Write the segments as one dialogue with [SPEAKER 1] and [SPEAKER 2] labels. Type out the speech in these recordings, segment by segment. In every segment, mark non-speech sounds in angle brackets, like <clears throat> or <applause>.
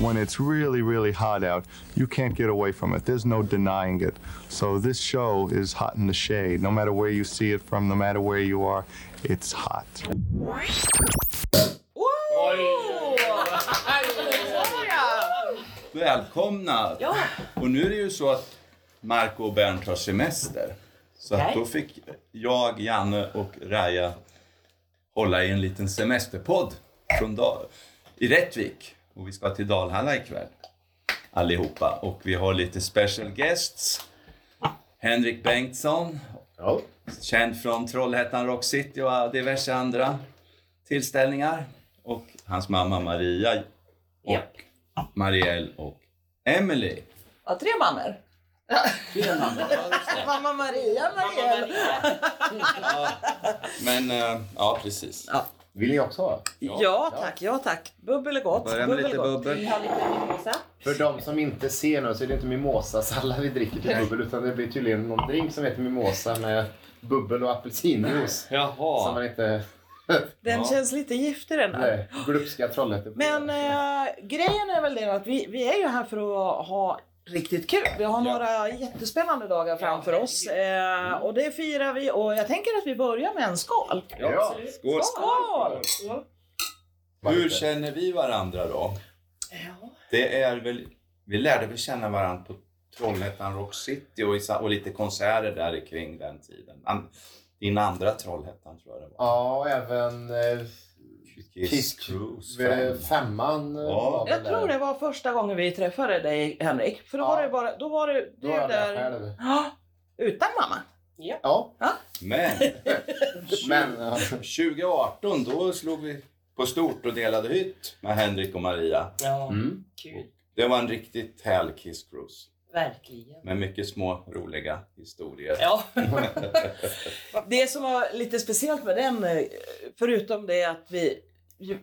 [SPEAKER 1] when it's really, really hot out, you can't get away from it. There's no denying it. So this show is hot in the shade. No matter where you see it from, no matter where you are, it's hot.
[SPEAKER 2] Välkomna! Och nu är det ju så att Marco och Bernt har semester. Så att då fick jag, Janne och Raja hålla i en liten semesterpodd från Dal- i Rättvik. Och vi ska till Dalhalla ikväll. Allihopa. Och vi har lite special guests. Henrik Bengtsson. Känd från Trollhättan Rock City och diverse andra tillställningar. Och hans mamma Maria. Och
[SPEAKER 3] Japp.
[SPEAKER 2] Marielle och Emily.
[SPEAKER 3] Ja, tre <laughs> mammor. Mamma Maria, Maria.
[SPEAKER 2] Men eh, ja, precis.
[SPEAKER 4] Vill ni också ha?
[SPEAKER 3] <laughs> Ja tack, ja tack. Bubbel är gott.
[SPEAKER 2] Börja med lite
[SPEAKER 3] gott.
[SPEAKER 2] bubbel.
[SPEAKER 3] Vi har lite mimosa.
[SPEAKER 4] För de som inte ser nu så är det inte mimosasallad vi dricker till bubbel utan det blir tydligen någon drink som heter mimosa med bubbel och apelsinjuice. Som
[SPEAKER 2] Jaha.
[SPEAKER 4] man inte...
[SPEAKER 3] <laughs> Den
[SPEAKER 2] Ja.
[SPEAKER 3] känns lite giftig den där.
[SPEAKER 4] Nej, glupska Trollhätte.
[SPEAKER 3] Men eh, grejen är väl det att vi, vi är ju här för att ha riktigt kul. Vi har några jättespännande dagar framför oss eh, och det firar vi och jag tänker att vi börjar med en skål.
[SPEAKER 4] Ja,
[SPEAKER 2] Skål.
[SPEAKER 3] Skål!
[SPEAKER 2] Hur känner vi varandra då? Det är väl, vi lärde väl känna varandra på Trollhättan Rock City och, i, sa- och lite konserter där kring den tiden. An, din andra Trollhättan tror jag det var.
[SPEAKER 4] Ja, och även eh,
[SPEAKER 2] Kiss
[SPEAKER 4] Kiss
[SPEAKER 2] Cruise.
[SPEAKER 4] eh,
[SPEAKER 2] Fem.
[SPEAKER 4] femman eh,
[SPEAKER 2] Ja.
[SPEAKER 4] var väl
[SPEAKER 3] Jag tror
[SPEAKER 4] där.
[SPEAKER 3] det var första gången vi träffade dig Henrik. För då
[SPEAKER 4] Ja.
[SPEAKER 3] var det bara, då var det, du
[SPEAKER 4] Då var jag
[SPEAKER 3] där
[SPEAKER 4] själv.
[SPEAKER 3] Ja, utan mamma.
[SPEAKER 4] Ja,
[SPEAKER 2] <laughs> Men
[SPEAKER 4] men... ja.
[SPEAKER 2] <laughs> 2018 då slog vi på stort och delade hytt med Henrik och Maria.
[SPEAKER 4] Mm.
[SPEAKER 5] Kul,
[SPEAKER 2] Det var en riktigt härlig Kiss Cruise.
[SPEAKER 5] verkligen.
[SPEAKER 2] Med mycket små roliga historier.
[SPEAKER 5] Ja,
[SPEAKER 3] Det som var lite speciellt med den, eh, förutom det att vi,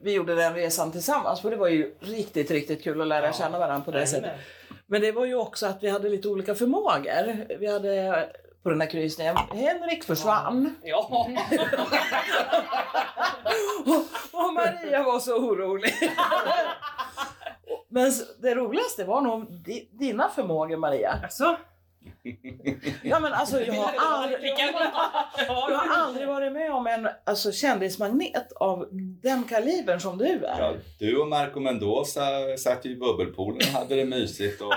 [SPEAKER 3] vi gjorde den resan tillsammans, för det var ju riktigt, riktigt kul att lära känna varandra på det sättet.
[SPEAKER 5] jajamän.
[SPEAKER 3] Men det var ju också att vi hade lite olika förmågor. Vi hade på den här kryssningen, Henrik försvann
[SPEAKER 5] ja.
[SPEAKER 3] och Maria var så orolig. Men s- det roligaste var nog di- dina förmågor Maria.
[SPEAKER 5] Alltså,
[SPEAKER 3] Ja, men alltså, jag, har aldrig, jag har aldrig varit med om en alltså, kändismagnet av den kalibern som du är.
[SPEAKER 2] <laughs> Ja, du och Marco Mendoza satt ju i bubbelpoolen och hade det mysigt.
[SPEAKER 5] <laughs>
[SPEAKER 2] Och,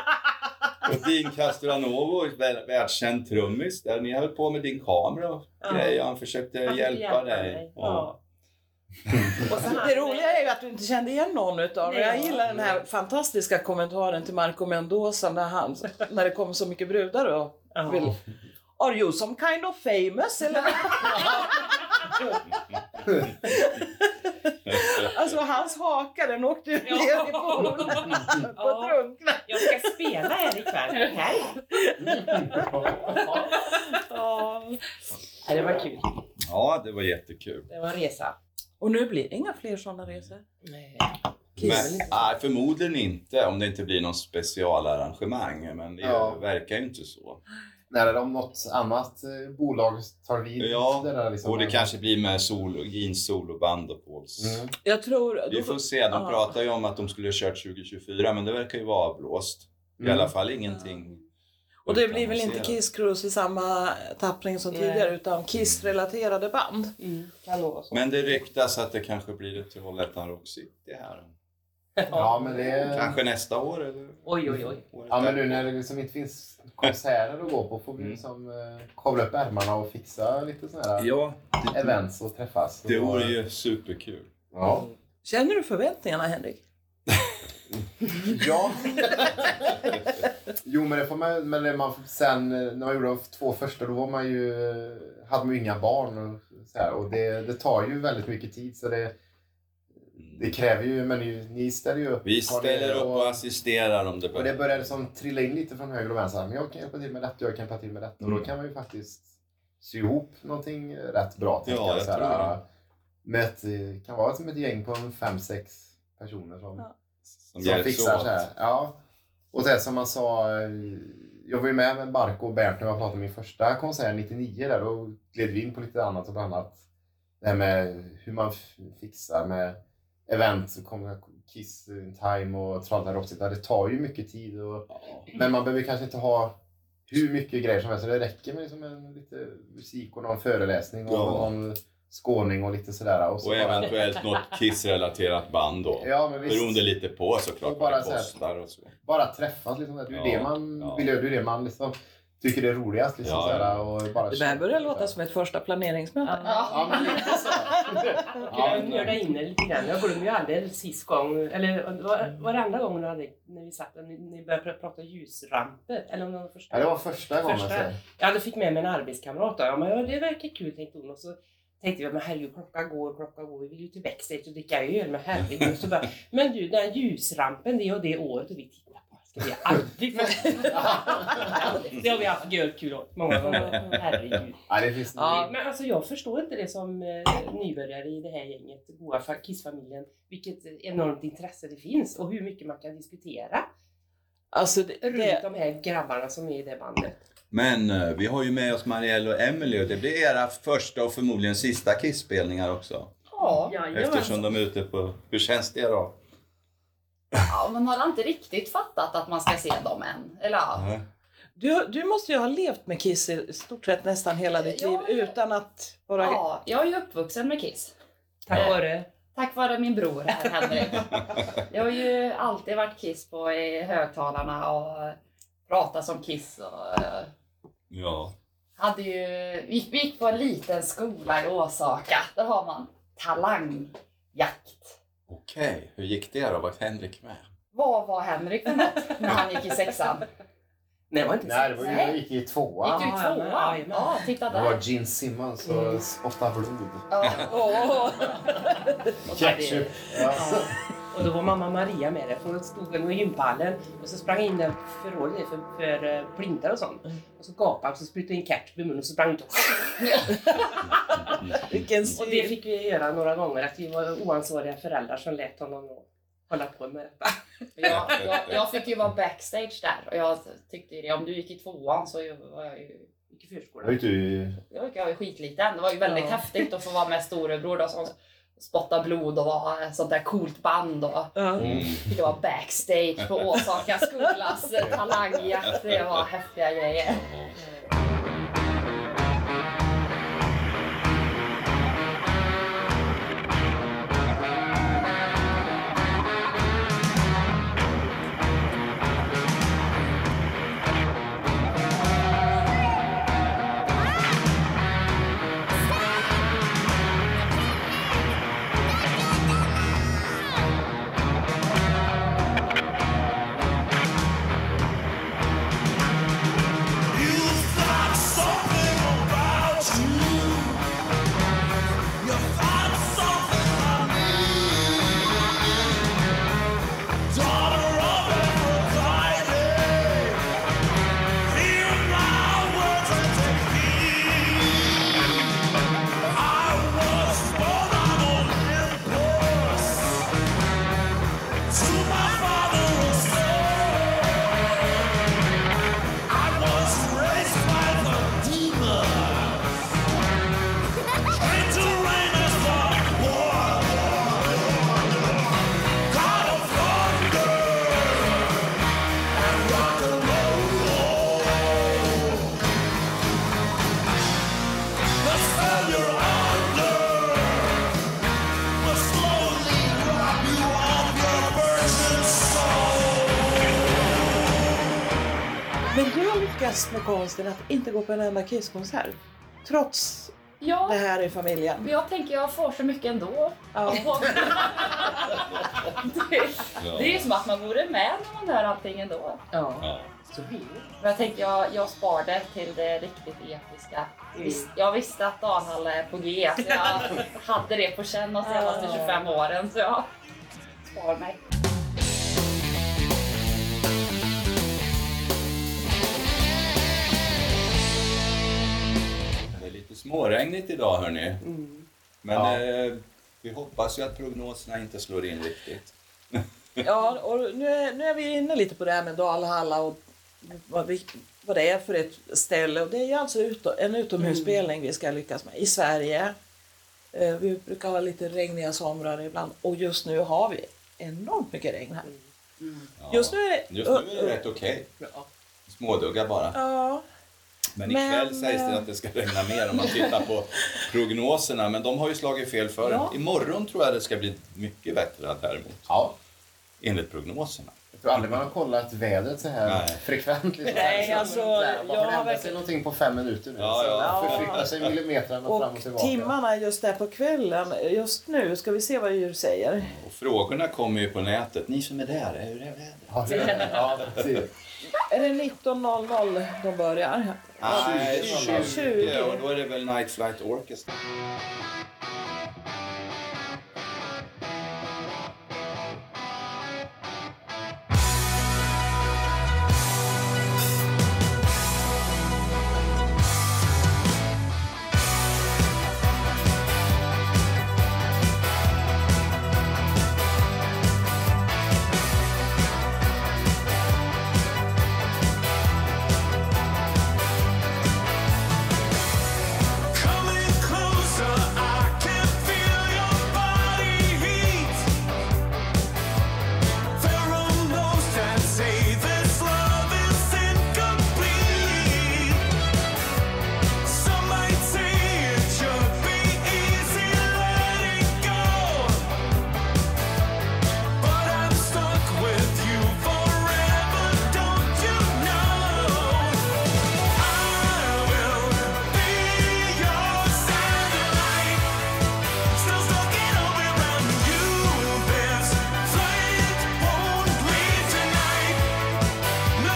[SPEAKER 2] och din Castranovo, väl- världskänd trummis, där ni höll på med din kamera och grejer. Han försökte
[SPEAKER 5] Han
[SPEAKER 2] hjälpa,
[SPEAKER 5] försökte hjälpa
[SPEAKER 2] dig.
[SPEAKER 5] mig,
[SPEAKER 2] Och-
[SPEAKER 5] ja. <laughs> Och så
[SPEAKER 3] Det
[SPEAKER 5] hade-
[SPEAKER 3] roliga är ju att du inte kände igen någon utav dem.
[SPEAKER 5] Nej,
[SPEAKER 3] Jag gillar den här fantastiska kommentaren till Marco Mendoza när, han, när det kom så mycket brudar och
[SPEAKER 5] Ja.
[SPEAKER 3] vill Are you some kind of
[SPEAKER 5] <laughs>
[SPEAKER 3] famous? Eller? Alltså hans haka den åkte ju ner i poolen på
[SPEAKER 5] Ja.
[SPEAKER 3] att drunkna.
[SPEAKER 5] Jag ska spela här ikväll. Här. <laughs> Ja. Nej, Det var kul.
[SPEAKER 2] Ja, det var jättekul.
[SPEAKER 5] Det var en resa.
[SPEAKER 3] Och nu blir det inga fler sådana resor.
[SPEAKER 5] Nej.
[SPEAKER 2] Men, nej, förmodligen inte om det inte blir någon specialarrangemang. Men det
[SPEAKER 4] Ja.
[SPEAKER 2] verkar ju inte så.
[SPEAKER 4] När om något annat eh, bolag tar vid.
[SPEAKER 2] Ja,
[SPEAKER 4] det där liksom.
[SPEAKER 2] Och det kanske blir med solo, Jeans soloband och Pauls.
[SPEAKER 4] Mm.
[SPEAKER 3] Jag tror...
[SPEAKER 2] Vi
[SPEAKER 3] Då,
[SPEAKER 2] får se. De
[SPEAKER 3] Ja.
[SPEAKER 2] pratar ju om att de skulle ha kört 2024 men det verkar ju vara avblåst. I
[SPEAKER 4] Mm.
[SPEAKER 2] alla fall ingenting.
[SPEAKER 3] och det blir väl inte
[SPEAKER 2] utannonserat.
[SPEAKER 3] Kiss Cruise i samma tappning som
[SPEAKER 5] Nej.
[SPEAKER 3] tidigare utan Kiss-relaterade band.
[SPEAKER 5] Mm. Kan lova så.
[SPEAKER 2] Men det ryktas att det kanske blir ett Trollhättan Rock City här.
[SPEAKER 4] Ja, men det...
[SPEAKER 2] Kanske nästa år eller
[SPEAKER 5] Oj, oj, oj.
[SPEAKER 2] året
[SPEAKER 4] Ja men
[SPEAKER 2] där.
[SPEAKER 4] nu när det liksom inte finns konserter att gå på får vi
[SPEAKER 2] Mm.
[SPEAKER 4] liksom eh, kavla upp ärmarna och fixa lite sådana här
[SPEAKER 2] Ja,
[SPEAKER 4] events och träffas.
[SPEAKER 2] det
[SPEAKER 4] Och-
[SPEAKER 2] vore ju superkul.
[SPEAKER 4] Ja.
[SPEAKER 3] Känner du förväntningarna Henrik?
[SPEAKER 4] ja. <laughs> jo men det får man, men det man får- sen eh, när man gjorde de två första då var man ju, eh, hade man ju inga barn och så här, och det, det tar ju väldigt mycket tid så det, det kräver ju, men ni, ni ställer ju upp.
[SPEAKER 2] Vi
[SPEAKER 4] Har ni-
[SPEAKER 2] ställer upp
[SPEAKER 4] och-
[SPEAKER 2] och assisterar om typ det
[SPEAKER 4] Och det
[SPEAKER 2] behövs. Mm.
[SPEAKER 4] började som trilla in lite från höger och vänster. Men jag kan hjälpa till med detta, jag kan hjälpa till med detta. Och då kan man ju faktiskt sy ihop någonting rätt bra. tänker
[SPEAKER 2] Ja, jag
[SPEAKER 4] så här, äh,
[SPEAKER 2] tror det.
[SPEAKER 4] Med ett, eh, kan vara som ett gäng på en fem, sex personer som,
[SPEAKER 3] Ja.
[SPEAKER 2] Som
[SPEAKER 4] som
[SPEAKER 2] hjälps
[SPEAKER 4] fixar så här.
[SPEAKER 2] åt.
[SPEAKER 4] Ja. Och det som man sa, eh, jag var ju med med Barko och Bernt när jag pratade om min första konsert 99 där. Då gled vi in på lite annat och bland annat det här med hur man f- fixar med event, så kommer Kiss in Time och Trallhättan Det tar ju mycket tid och
[SPEAKER 2] Ja.
[SPEAKER 4] men man behöver kanske inte ha hur mycket grejer som helst. Det räcker med liksom en, lite musik och <laughs> någon föreläsning och
[SPEAKER 2] Ja.
[SPEAKER 4] någon skåning och lite sådär. Och så
[SPEAKER 2] Och
[SPEAKER 4] bara-
[SPEAKER 2] eventuellt något kissrelaterat band då.
[SPEAKER 4] ja, men
[SPEAKER 2] Beroende
[SPEAKER 4] visst,
[SPEAKER 2] lite på såklart
[SPEAKER 4] Och bara
[SPEAKER 2] vad det
[SPEAKER 4] så här-
[SPEAKER 2] kostar och så.
[SPEAKER 4] bara träffas. Liksom, det är ju
[SPEAKER 2] Ja,
[SPEAKER 4] det man
[SPEAKER 2] ja.
[SPEAKER 4] vill göra. Det är det man liksom, tycker är roligast. Liksom,
[SPEAKER 2] Ja,
[SPEAKER 4] sådär,
[SPEAKER 2] ja.
[SPEAKER 4] och bara
[SPEAKER 6] Det där börjar låta som ett första planeringsmöte.
[SPEAKER 4] Ja, men lite så.
[SPEAKER 5] Ja, jag nörda in det lite grann. Jag glömmer ju aldrig sist gång, eller det var, varenda gång du hade, när vi satt och ni, ni började pr- prata ljusramper. Eller om det var första.
[SPEAKER 4] Ja, det var första gången.
[SPEAKER 5] Första.
[SPEAKER 4] så.
[SPEAKER 5] Ja, då fick med mig en arbetskamrat. Då. Ja, men ja, det verkar kul tänkte hon. Och så tänkte jag, men herregud, klockan går, klockan går. Vi vill ju till backstage och dricka öl. Men herregud. Så bara, men du, den ljusrampen, det och det året. Och vi tittar på <laughs> ska vi
[SPEAKER 4] <laughs>
[SPEAKER 5] aldrig få. det har vi haft görkul åt många gånger. Herregud.
[SPEAKER 4] Ja, det finns
[SPEAKER 6] Ja.
[SPEAKER 5] Men alltså jag förstår inte det som eh, nybörjare i det här gänget, goa fa- Kissfamiljen, vilket eh, enormt intresse det finns och hur mycket man kan diskutera
[SPEAKER 6] Alltså, det,
[SPEAKER 5] runt
[SPEAKER 6] det,
[SPEAKER 5] de här grabbarna som är i det bandet.
[SPEAKER 2] Men eh, vi har ju med oss Marielle och Emily och det blir era första och förmodligen sista Kiss-spelningar också.
[SPEAKER 7] Ja.
[SPEAKER 2] Eftersom
[SPEAKER 3] alltså.
[SPEAKER 2] de är ute på... Hur känns det då?
[SPEAKER 7] ja, man har inte riktigt fattat att man ska se dem än. Eller ja.
[SPEAKER 2] Nej.
[SPEAKER 6] du, du måste ju ha levt med Kiss i stort sett nästan hela ditt
[SPEAKER 7] Ja,
[SPEAKER 6] liv utan att vara...
[SPEAKER 7] ja, jag är ju uppvuxen med Kiss.
[SPEAKER 5] Tack
[SPEAKER 7] Ja.
[SPEAKER 5] vare
[SPEAKER 7] Tack vare min bror här, Henrik. Jag har ju alltid varit Kiss på i högtalarna och pratat som Kiss. Och eh,
[SPEAKER 2] Ja.
[SPEAKER 7] hade ju, vi vi gick på en liten skola i Åsaka. Där har man talangjakt.
[SPEAKER 2] Okej, hur gick det då? Var Henrik med?
[SPEAKER 7] Vad var Henrik för något när han gick i sexan?
[SPEAKER 5] Nej, det var inte
[SPEAKER 4] Nej, det var ju, jag gick i
[SPEAKER 7] Gick
[SPEAKER 4] tvåan.
[SPEAKER 7] du i
[SPEAKER 5] Ja, ja, men, ja,
[SPEAKER 7] tvåan?
[SPEAKER 5] men.
[SPEAKER 7] Ja, titta
[SPEAKER 4] Det var
[SPEAKER 7] där.
[SPEAKER 4] Gene Simmons och Spotta blod. <laughs>
[SPEAKER 7] Ja.
[SPEAKER 6] Åh,
[SPEAKER 4] Ketchup. Ja.
[SPEAKER 5] Och då var mamma Maria med det. för Hon stod väl med gympallen och så sprang in den förrådet för, för eh, plintar och sånt. Och så gapade och så sprutade in ketchup i munnen och så sprang ut och...
[SPEAKER 3] <laughs>
[SPEAKER 6] vilken
[SPEAKER 5] och det
[SPEAKER 6] syn!
[SPEAKER 5] fick vi göra några gånger att vi var oansvariga föräldrar som lät honom hålla på med detta.
[SPEAKER 7] Jag, jag, jag fick ju vara backstage där och jag tyckte ju det, om du gick i tvåan så ju- var jag ju
[SPEAKER 5] Gick i förskolan.
[SPEAKER 4] Jag är ju
[SPEAKER 7] jag var- jag var ju skitliten. Det var ju väldigt
[SPEAKER 5] Ja.
[SPEAKER 7] häftigt att få vara med storebror då, som spottade blod och var ett sånt där coolt band. Och
[SPEAKER 6] Ja.
[SPEAKER 7] det var backstage på Åsaka skolas eh, talangjakt. Det var häftiga grejer.
[SPEAKER 6] Men du har lyckats med konsten att inte gå på en enda Kiss-konsert. Trots det
[SPEAKER 7] Ja,
[SPEAKER 6] här i familjen.
[SPEAKER 7] men jag tänker jag får så mycket ändå.
[SPEAKER 6] Ja.
[SPEAKER 7] Det, det är ju som att man vore med när man hör allting ändå.
[SPEAKER 5] Ja,
[SPEAKER 2] Ja.
[SPEAKER 5] så blir det.
[SPEAKER 7] Men jag tänker jag, jag spar det till det riktigt episka.
[SPEAKER 5] Mm.
[SPEAKER 7] Visst, jag visste att Dalhalla är på G, så
[SPEAKER 5] <laughs>
[SPEAKER 7] jag hade det på känn de senaste
[SPEAKER 5] Ah.
[SPEAKER 7] 25 åren. Så jag spar mig.
[SPEAKER 2] Det är lite småregnigt idag hörni.
[SPEAKER 5] Mm.
[SPEAKER 2] Men
[SPEAKER 4] Ja.
[SPEAKER 2] eh, vi hoppas ju att prognoserna inte slår in riktigt.
[SPEAKER 3] Ja, och nu är, nu är vi inne lite på det här med Dalhalla och vad, vi, vad det är för ett ställe. Och det är ju alltså uto, en utomhusspelning vi ska lyckas med i Sverige. Eh, Vi brukar ha lite regniga somrar ibland och just nu har vi enormt mycket regn här.
[SPEAKER 8] Mm.
[SPEAKER 2] Ja.
[SPEAKER 3] Just nu är det...
[SPEAKER 2] <laughs> Just nu är det rätt okej. Småduggar bara.
[SPEAKER 3] Ja,
[SPEAKER 2] Men ikväll
[SPEAKER 3] Men,
[SPEAKER 2] sägs det
[SPEAKER 3] eh,
[SPEAKER 2] att det ska regna mer om man tittar
[SPEAKER 3] <laughs>
[SPEAKER 2] på prognoserna. Men de har ju slagit fel för
[SPEAKER 3] Ja.
[SPEAKER 2] Imorgon tror jag det ska bli mycket bättre däremot.
[SPEAKER 4] Ja.
[SPEAKER 2] Enligt prognoserna. Eh,
[SPEAKER 4] Jag tror aldrig man har kollat vädret så här
[SPEAKER 2] Nej.
[SPEAKER 4] frekvent. Liksom.
[SPEAKER 3] Nej, alltså,
[SPEAKER 4] Bara,
[SPEAKER 3] jag
[SPEAKER 4] har det
[SPEAKER 3] har
[SPEAKER 4] ändrat sig
[SPEAKER 3] verkligen-
[SPEAKER 4] någonting på fem minuter nu?
[SPEAKER 2] Ja, ja.
[SPEAKER 4] Så Förflyttar sig millimetrarna fram och
[SPEAKER 3] och
[SPEAKER 4] tillbaka.
[SPEAKER 3] timmarna just där på kvällen, just nu, ska vi se vad djur säger.
[SPEAKER 2] Och frågorna kommer ju på nätet. Ni som är där, hur är vädret?
[SPEAKER 4] Ja, ja, precis.
[SPEAKER 3] Är det 19.00 de börjar?
[SPEAKER 2] Nej, 20.
[SPEAKER 3] 20.
[SPEAKER 2] Och då är det väl Night Flight Orchestra.
[SPEAKER 6] Coming closer, I can feel your body heat. Pheromones that say this love is incomplete. Some might say it should be easy, letting go. But I'm stuck with you forever, don't you know? Oh,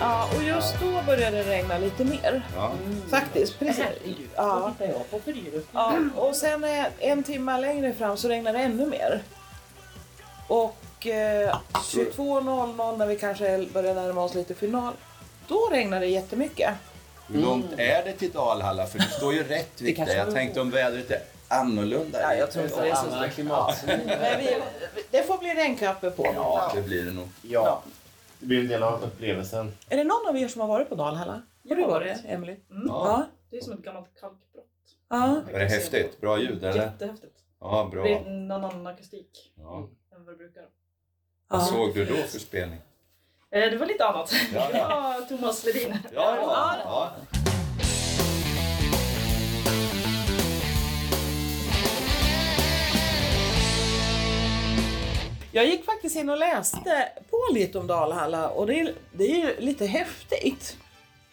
[SPEAKER 3] Ja, och Oh, just då börjar det regna lite mer.
[SPEAKER 2] Ja.
[SPEAKER 3] Faktiskt, precis.
[SPEAKER 5] Äh, Herregud,
[SPEAKER 3] Ja.
[SPEAKER 5] vad tittar jag på för djur?
[SPEAKER 3] Ja, och sen eh, en timme längre fram så regnar det ännu mer. Och eh, 22.00 när vi kanske börjar närma oss lite final, då regnar det jättemycket. Mm.
[SPEAKER 2] Hur långt är det till Dalhalla? För det står ju Rättvik där. Jag tänkte om vädret är annorlunda.
[SPEAKER 3] Ja, jag tror inte det är så
[SPEAKER 4] Annan klimatzon.
[SPEAKER 3] <laughs> Men vi, det får bli regnkappe på.
[SPEAKER 2] Ja, det blir det nog.
[SPEAKER 4] Ja. Det blir en del av upplevelsen.
[SPEAKER 3] Är det någon av er som har varit på Dalhalla? Har du
[SPEAKER 8] Jag har
[SPEAKER 3] varit,
[SPEAKER 8] varit.
[SPEAKER 3] Emily?
[SPEAKER 2] Ja.
[SPEAKER 8] Mm. Det är som ett gammalt kalkbrott.
[SPEAKER 3] Ja.
[SPEAKER 2] Var det häftigt? Bra ljud eller?
[SPEAKER 8] Jättehäftigt.
[SPEAKER 2] Ja,
[SPEAKER 8] Det
[SPEAKER 2] bra.
[SPEAKER 8] är en annan akustik
[SPEAKER 2] Ja.
[SPEAKER 8] än vad det brukar.
[SPEAKER 3] ja.
[SPEAKER 2] Vad såg du då för spelning?
[SPEAKER 8] Eh, det var lite annat.
[SPEAKER 2] Ja,
[SPEAKER 8] <laughs> Ja,
[SPEAKER 2] ja.
[SPEAKER 8] Thomas Ledin.
[SPEAKER 2] Ja, ja, ja.
[SPEAKER 3] Jag gick faktiskt in och läste på lite om Dalhalla och det är, det är ju lite häftigt.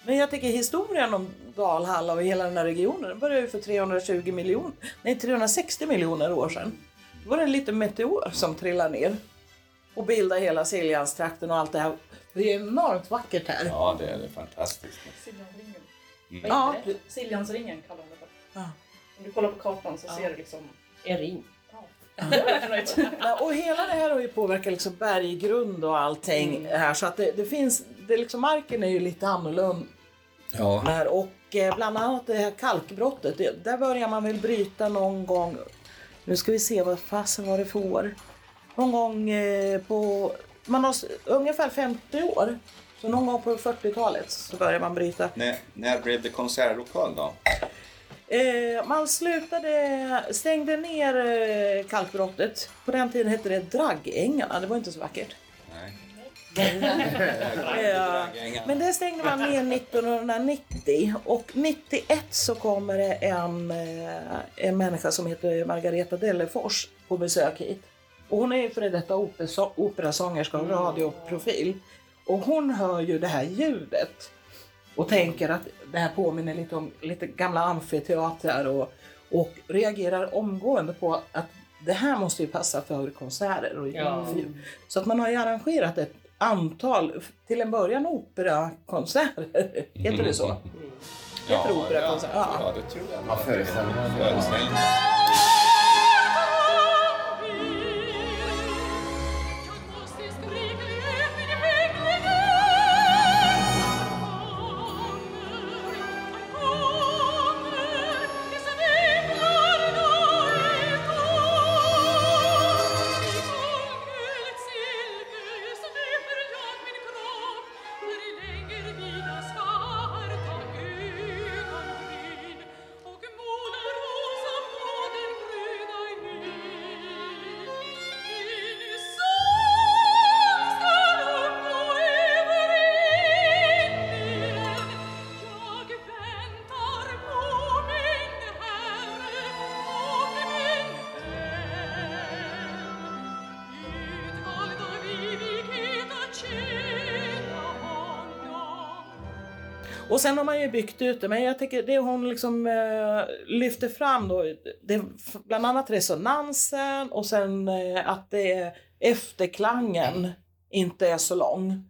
[SPEAKER 3] Men jag tänker historien om Dalhalla och hela den här regionen, den började ju för 320 miljoner, nej 360 miljoner år sedan. Då var det en liten meteor som trillade ner och bildade hela Siljanstrakten och allt det här. Det är enormt vackert här.
[SPEAKER 2] ja det är det fantastiskt.
[SPEAKER 8] Siljansringen.
[SPEAKER 2] Mm.
[SPEAKER 3] Ja,
[SPEAKER 8] Ja, Siljansringen kallar de det för.
[SPEAKER 3] Ja.
[SPEAKER 8] Om du kollar på kartan så
[SPEAKER 5] Ja.
[SPEAKER 8] ser du liksom...
[SPEAKER 5] En ring.
[SPEAKER 8] Jag är verkligen nöjd.
[SPEAKER 3] Ja, Och hela det här har ju påverkat liksom berggrund och allting här så att det, det finns, det liksom marken är ju lite annorlunda
[SPEAKER 2] Ja.
[SPEAKER 3] Där. Och eh, bland annat det här kalkbrottet, det, där börjar man väl bryta någon gång, nu ska vi se vad fasen var det för år, någon gång eh, på, man har s- ungefär 50 år, så någon gång på 40-talet så börjar man bryta.
[SPEAKER 2] När, när blev det konsertlokal då?
[SPEAKER 3] Eh, man slutade, stängde ner eh, kalkbrottet, på den tiden hette det Draggängarna, det var inte så vackert.
[SPEAKER 2] Nej.
[SPEAKER 3] Ja. Men det stängde man ner 1990 och 91 så kommer det en, eh, en människa som heter Margareta Dellefors på besök hit. Och hon är ju före detta operaså- operasångerska och radioprofil. Och hon hör ju det här ljudet och tänker att det här påminner lite om lite gamla amfiteatrar och, och reagerar omgående på att det här måste ju passa för konserter och
[SPEAKER 5] Ja.
[SPEAKER 3] så att man har ju arrangerat ett <laughs> antal, till en början operakonserter, heter det så? Heter operakonsert?
[SPEAKER 2] Mm. Ja,
[SPEAKER 3] Ja.
[SPEAKER 2] ja, det tror jag.
[SPEAKER 4] Ja, föreställningar.
[SPEAKER 2] Föreställning.
[SPEAKER 3] Och sen har man ju byggt ut det, men jag tänker det hon liksom eh, lyfter fram då, det är f- bland annat resonansen och sen eh, att det är efterklangen inte är så lång.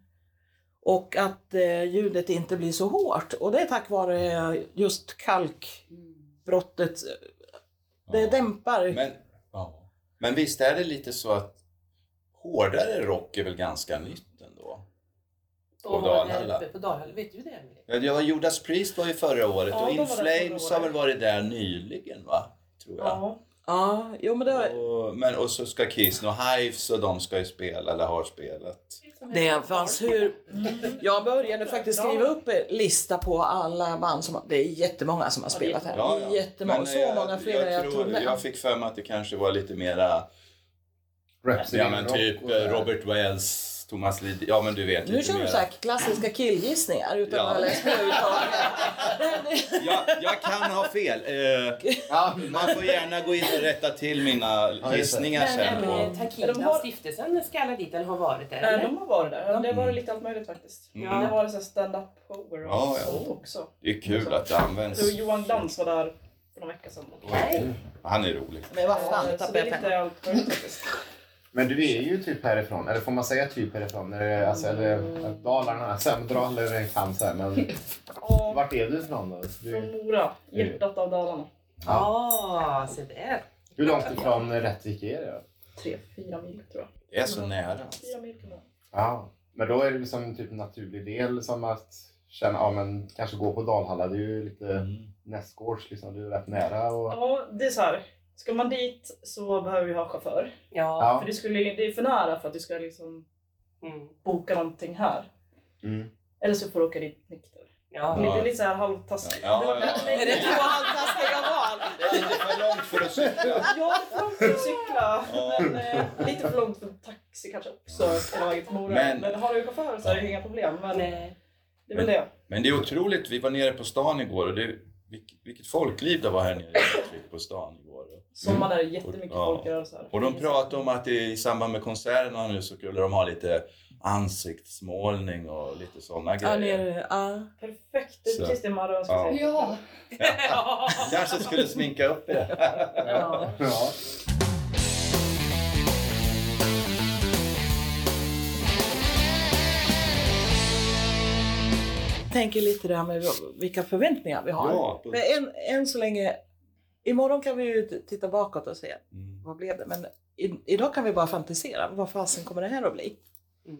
[SPEAKER 3] Och att eh, ljudet inte blir så hårt och det är tack vare just kalkbrottet. eh, Det
[SPEAKER 2] Ja.
[SPEAKER 3] dämpar.
[SPEAKER 2] Men, men visst är det lite så att hårdare rock är väl ganska nytt ändå? På Dalhalla.
[SPEAKER 9] På Dalhalla, vet du det Emelie?
[SPEAKER 2] Ja, det var Judas Priest var ju förra året
[SPEAKER 8] Ja,
[SPEAKER 2] och
[SPEAKER 8] de var
[SPEAKER 2] In
[SPEAKER 8] där förra
[SPEAKER 2] Flames har
[SPEAKER 8] året.
[SPEAKER 2] väl varit där nyligen va? Tror jag.
[SPEAKER 8] Ja.
[SPEAKER 3] Ja, jo men det,
[SPEAKER 2] Och, men, och så ska Kiss och Hives och de ska ju spela eller har spelat.
[SPEAKER 3] det fanns hur... Jag började faktiskt skriva upp en lista på alla band som... Det är jättemånga som har spelat här. Jättemånga.
[SPEAKER 2] Men,
[SPEAKER 3] så
[SPEAKER 2] eh,
[SPEAKER 3] många fler än jag,
[SPEAKER 2] tror-
[SPEAKER 3] trodde.
[SPEAKER 2] Jag fick för mig att det kanske var lite mera
[SPEAKER 4] Rhapsody
[SPEAKER 2] Ja men
[SPEAKER 4] Rock
[SPEAKER 2] typ
[SPEAKER 4] och sådär.
[SPEAKER 2] eh, Robert Wells, Thomas Lidin, ja men du vet
[SPEAKER 3] Nu
[SPEAKER 2] lite
[SPEAKER 3] kör du
[SPEAKER 2] mera.
[SPEAKER 3] så här klassiska killgissningar utan
[SPEAKER 2] Ja.
[SPEAKER 3] att ha läst på <laughs> överhuvudtaget.
[SPEAKER 2] Jag, jag kan ha fel.
[SPEAKER 3] <laughs>
[SPEAKER 2] Eh,
[SPEAKER 4] Ja,
[SPEAKER 2] man får gärna gå in och rätta till mina
[SPEAKER 4] det.
[SPEAKER 2] gissningar sen.
[SPEAKER 5] Men
[SPEAKER 2] på-
[SPEAKER 5] eh, Takina och stiftelsen ska alla dit eller har varit där?
[SPEAKER 8] Nej,
[SPEAKER 5] eller?
[SPEAKER 8] Eh, de har varit där. Det har varit lite allt möjligt faktiskt.
[SPEAKER 2] Mm.
[SPEAKER 8] Det har varit så här stand-up shower och
[SPEAKER 2] Ja, ja.
[SPEAKER 8] sånt också.
[SPEAKER 2] Det är kul att det används.
[SPEAKER 8] Så Johan Glans var där för några veckor sedan.
[SPEAKER 2] Han är rolig.
[SPEAKER 3] Men vad fan, nu
[SPEAKER 8] så
[SPEAKER 3] tappade
[SPEAKER 8] det är
[SPEAKER 3] jag pennan.
[SPEAKER 8] lite allt möjligt faktiskt.
[SPEAKER 4] Men du är ju typ härifrån, eller får man säga typ härifrån? Är det, alltså, är det Dalarna? Sen dra över en kam så här, men
[SPEAKER 8] Och
[SPEAKER 4] vart är du ifrån då?
[SPEAKER 8] från
[SPEAKER 4] Du,
[SPEAKER 8] Mora, hjärtat av Dalarna.
[SPEAKER 5] Ja, se där.
[SPEAKER 4] hur långt ifrån Rättvik är det?
[SPEAKER 8] Tre, fyra mil tror jag.
[SPEAKER 2] Det är så nära.
[SPEAKER 8] Fyra mil kan det vara.
[SPEAKER 4] Ja, men då är det liksom en typ naturlig del som att känna, ja men kanske gå på Dalhalla, det är ju lite nästgårds liksom, du är rätt nära och...
[SPEAKER 8] Ja, det är så här. Ska man dit så behöver vi ha chaufför.
[SPEAKER 5] Ja.
[SPEAKER 4] Ja.
[SPEAKER 8] För det, skulle, det är för nära för att du ska liksom
[SPEAKER 5] Mm.
[SPEAKER 8] boka någonting här.
[SPEAKER 4] Mm.
[SPEAKER 8] Eller så får du åka dit nykter.
[SPEAKER 5] ja.
[SPEAKER 8] Det är lite så här halvtaskigt.
[SPEAKER 2] Ja,
[SPEAKER 8] Det var-
[SPEAKER 2] ja, ja.
[SPEAKER 8] Nej,
[SPEAKER 3] Är det två halvtaskiga val?
[SPEAKER 2] Det är lite för långt för att cykla.
[SPEAKER 8] Ja, det var för långt att cykla.
[SPEAKER 2] Ja.
[SPEAKER 8] Men, eh, lite för långt för taxi kanske också. på väg till Mora.
[SPEAKER 2] Men-
[SPEAKER 8] Men, har du chaufför så är det inga problem. Men
[SPEAKER 5] Nej.
[SPEAKER 8] det är väl det.
[SPEAKER 2] Men det är otroligt, vi var nere på stan igår och det, vilket, vilket folkliv det var här nere i Rättvik på stan igår.
[SPEAKER 8] Sommaren är det jättemycket
[SPEAKER 2] Mm. Ja.
[SPEAKER 8] folk i rörelser.
[SPEAKER 2] Och de pratade om att i samband med konserterna nu så skulle de ha lite ansiktsmålning och lite sådana
[SPEAKER 3] Ja,
[SPEAKER 2] grejer.
[SPEAKER 3] nere, ja.
[SPEAKER 8] Perfekt, det är
[SPEAKER 2] Så.
[SPEAKER 8] precis det man rör sig
[SPEAKER 2] Ja.
[SPEAKER 8] till.
[SPEAKER 5] Ja.
[SPEAKER 2] <laughs> Kanske skulle sminka upp det.
[SPEAKER 5] ja.
[SPEAKER 4] Ja.
[SPEAKER 3] tänker lite det här med vilka förväntningar vi har.
[SPEAKER 2] Ja,
[SPEAKER 3] Men än, än så länge, imorgon kan vi ju titta bakåt och se
[SPEAKER 2] Mm.
[SPEAKER 3] vad blev det? Men i, idag kan vi bara fantisera. Vad fasen kommer det här att bli?
[SPEAKER 2] <laughs>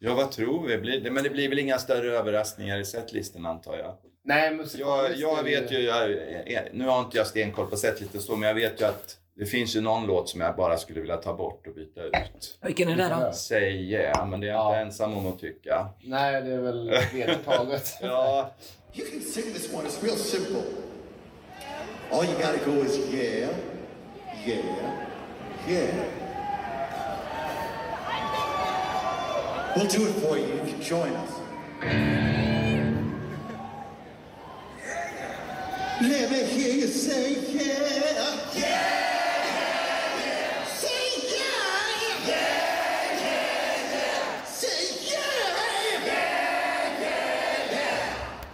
[SPEAKER 2] Ja, vad tror vi? Blir det? Men det blir väl inga större överraskningar i setlisten antar jag.
[SPEAKER 4] Nej, musikaliskt
[SPEAKER 2] Jag, jag
[SPEAKER 4] är det
[SPEAKER 2] vet ju, jag, jag- nu har inte jag stenkoll på setlisten så, men jag vet ju att det finns ju någon låt som jag bara skulle vilja ta bort och byta ut.
[SPEAKER 3] Vilken är det då?
[SPEAKER 2] Säg yeah, men det är jag
[SPEAKER 4] Ja.
[SPEAKER 2] inte ensam om att tycka.
[SPEAKER 4] Nej, det är väl
[SPEAKER 2] <laughs>
[SPEAKER 4] vedertaget.
[SPEAKER 2] Ja,
[SPEAKER 10] You can sing this one. It's real simple. All you gotta go is yeah, yeah, yeah. We'll do it for you. You can join us. Let me hear you say yeah, yeah. Say yeah, yeah, yeah. Say yeah, yeah.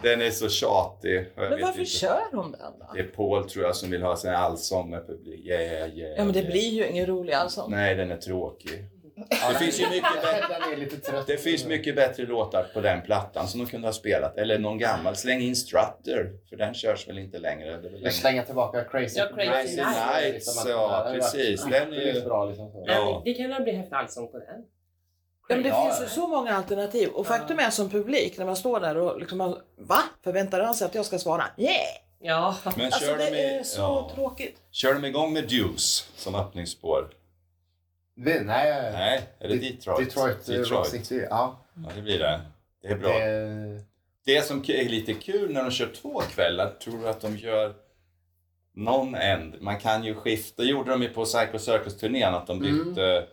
[SPEAKER 2] den är så tjatig. Jag
[SPEAKER 3] Men
[SPEAKER 2] vet
[SPEAKER 3] varför
[SPEAKER 2] inte.
[SPEAKER 3] kör hon den då?
[SPEAKER 2] Det är Paul tror jag som vill ha sin allsång med publik. Yeah, yeah,
[SPEAKER 3] Ja men det
[SPEAKER 2] yeah.
[SPEAKER 3] blir ju ingen rolig allsång.
[SPEAKER 2] Nej, den är tråkig. Det finns ju mycket bättre.
[SPEAKER 3] <laughs>
[SPEAKER 4] Den är lite trött.
[SPEAKER 2] Det finns mycket bättre låtar på den plattan som de kunde ha spelat. Eller någon gammal. Släng in Strutter, för den körs väl inte längre. Det är
[SPEAKER 4] Jag
[SPEAKER 2] väl längre.
[SPEAKER 4] slänger tillbaka Crazy,
[SPEAKER 5] Ja, Crazy
[SPEAKER 4] Nights.
[SPEAKER 2] Nights,
[SPEAKER 4] Liksom att-
[SPEAKER 2] ja,
[SPEAKER 4] det hade varit
[SPEAKER 2] precis. Den är ju-
[SPEAKER 4] sjukt bra liksom. så.
[SPEAKER 2] Ja.
[SPEAKER 5] Men Det kan väl bli häftig allsång på den?
[SPEAKER 3] Ja, men det
[SPEAKER 2] Ja.
[SPEAKER 3] finns ju så många alternativ och faktum är som publik när man står där och liksom man, va? Förväntar han sig att jag ska svara yeah?
[SPEAKER 5] Ja.
[SPEAKER 2] Men kör,
[SPEAKER 3] Alltså
[SPEAKER 2] de
[SPEAKER 3] det
[SPEAKER 2] i,
[SPEAKER 3] är så
[SPEAKER 2] ja,
[SPEAKER 3] tråkigt.
[SPEAKER 2] kör de igång med Deuce som öppningsspår?
[SPEAKER 4] Det, nej,
[SPEAKER 2] Nej, är det
[SPEAKER 4] Det-
[SPEAKER 2] Detroit?
[SPEAKER 4] Detroit, eh, Rock
[SPEAKER 2] Detroit.
[SPEAKER 4] City. Ja,
[SPEAKER 2] Ja, det blir det. Det är bra.
[SPEAKER 4] det är
[SPEAKER 2] Det som är lite kul när de kör två kvällar, tror du att de gör någon end? Man kan ju skifta. Det gjorde de ju på Psycho Circus-turnén, att de
[SPEAKER 4] Mm.
[SPEAKER 2] bytte,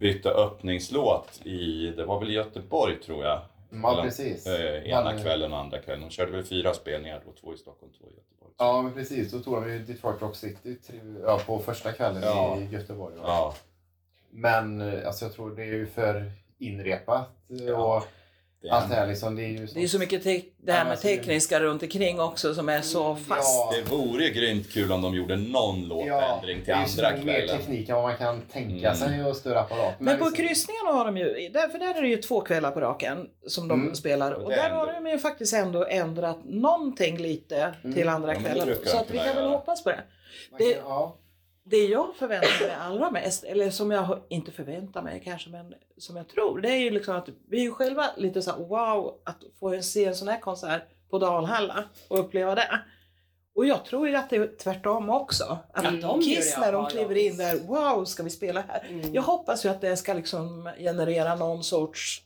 [SPEAKER 2] bytte öppningslåt i, det var väl i Göteborg tror jag.
[SPEAKER 4] Ja, precis.
[SPEAKER 2] eh, ena
[SPEAKER 4] Man-
[SPEAKER 2] kvällen och andra kvällen. De körde väl fyra spelningar då, två i Stockholm, två i Göteborg.
[SPEAKER 4] Ja, men precis. Då tog de ju Detroit Rock City tre- ja, på första kvällen
[SPEAKER 2] Ja.
[SPEAKER 4] i Göteborg. va?
[SPEAKER 2] Ja.
[SPEAKER 4] Men eh, alltså, jag tror det är ju för inrepat eh, och
[SPEAKER 2] Det
[SPEAKER 4] allt det
[SPEAKER 2] är,
[SPEAKER 4] här. Liksom, det är ju
[SPEAKER 3] Det är ju så mycket te- det här
[SPEAKER 4] Ja,
[SPEAKER 3] med
[SPEAKER 4] alltså det-
[SPEAKER 3] tekniska runt omkring också som är så
[SPEAKER 2] Mm,
[SPEAKER 3] fast.
[SPEAKER 4] Ja,
[SPEAKER 2] det vore grymt kul om de gjorde någon låtändring
[SPEAKER 4] det
[SPEAKER 2] till
[SPEAKER 4] är ju så
[SPEAKER 2] andra
[SPEAKER 4] mycket mer
[SPEAKER 2] kvällen.
[SPEAKER 4] teknik än vad man kan tänka
[SPEAKER 2] Mm.
[SPEAKER 4] sig och större apparat.
[SPEAKER 3] Men på
[SPEAKER 4] liksom-
[SPEAKER 3] kryssningarna har de ju, där, för där är det ju två kvällar på raken som de
[SPEAKER 4] Mm.
[SPEAKER 3] spelar
[SPEAKER 2] Och
[SPEAKER 3] och
[SPEAKER 2] det
[SPEAKER 3] där
[SPEAKER 2] ändå-
[SPEAKER 3] har de ju faktiskt ändå ändrat någonting lite till andra
[SPEAKER 2] Mm. Ja, men det
[SPEAKER 3] kvällen.
[SPEAKER 2] brukar
[SPEAKER 3] Så
[SPEAKER 2] de
[SPEAKER 3] att vi
[SPEAKER 2] kunna
[SPEAKER 3] kan väl
[SPEAKER 2] göra.
[SPEAKER 3] hoppas på det.
[SPEAKER 4] man
[SPEAKER 3] det-
[SPEAKER 4] kan- ja.
[SPEAKER 3] Det jag förväntar mig allra mest, eller som jag har- inte förväntar mig kanske, men som jag tror, det är ju liksom att vi är ju själva lite så här wow att få se en sån här konsert på Dalhalla och uppleva det. Och jag tror ju att det är tvärtom också. Att
[SPEAKER 5] Ja, de gör det,
[SPEAKER 3] Mm. Kiss när
[SPEAKER 5] ja,
[SPEAKER 3] de
[SPEAKER 5] ja,
[SPEAKER 3] kliver in
[SPEAKER 5] visst.
[SPEAKER 3] där, wow ska vi spela här.
[SPEAKER 5] Mm.
[SPEAKER 3] Jag hoppas ju att det ska liksom generera någon sorts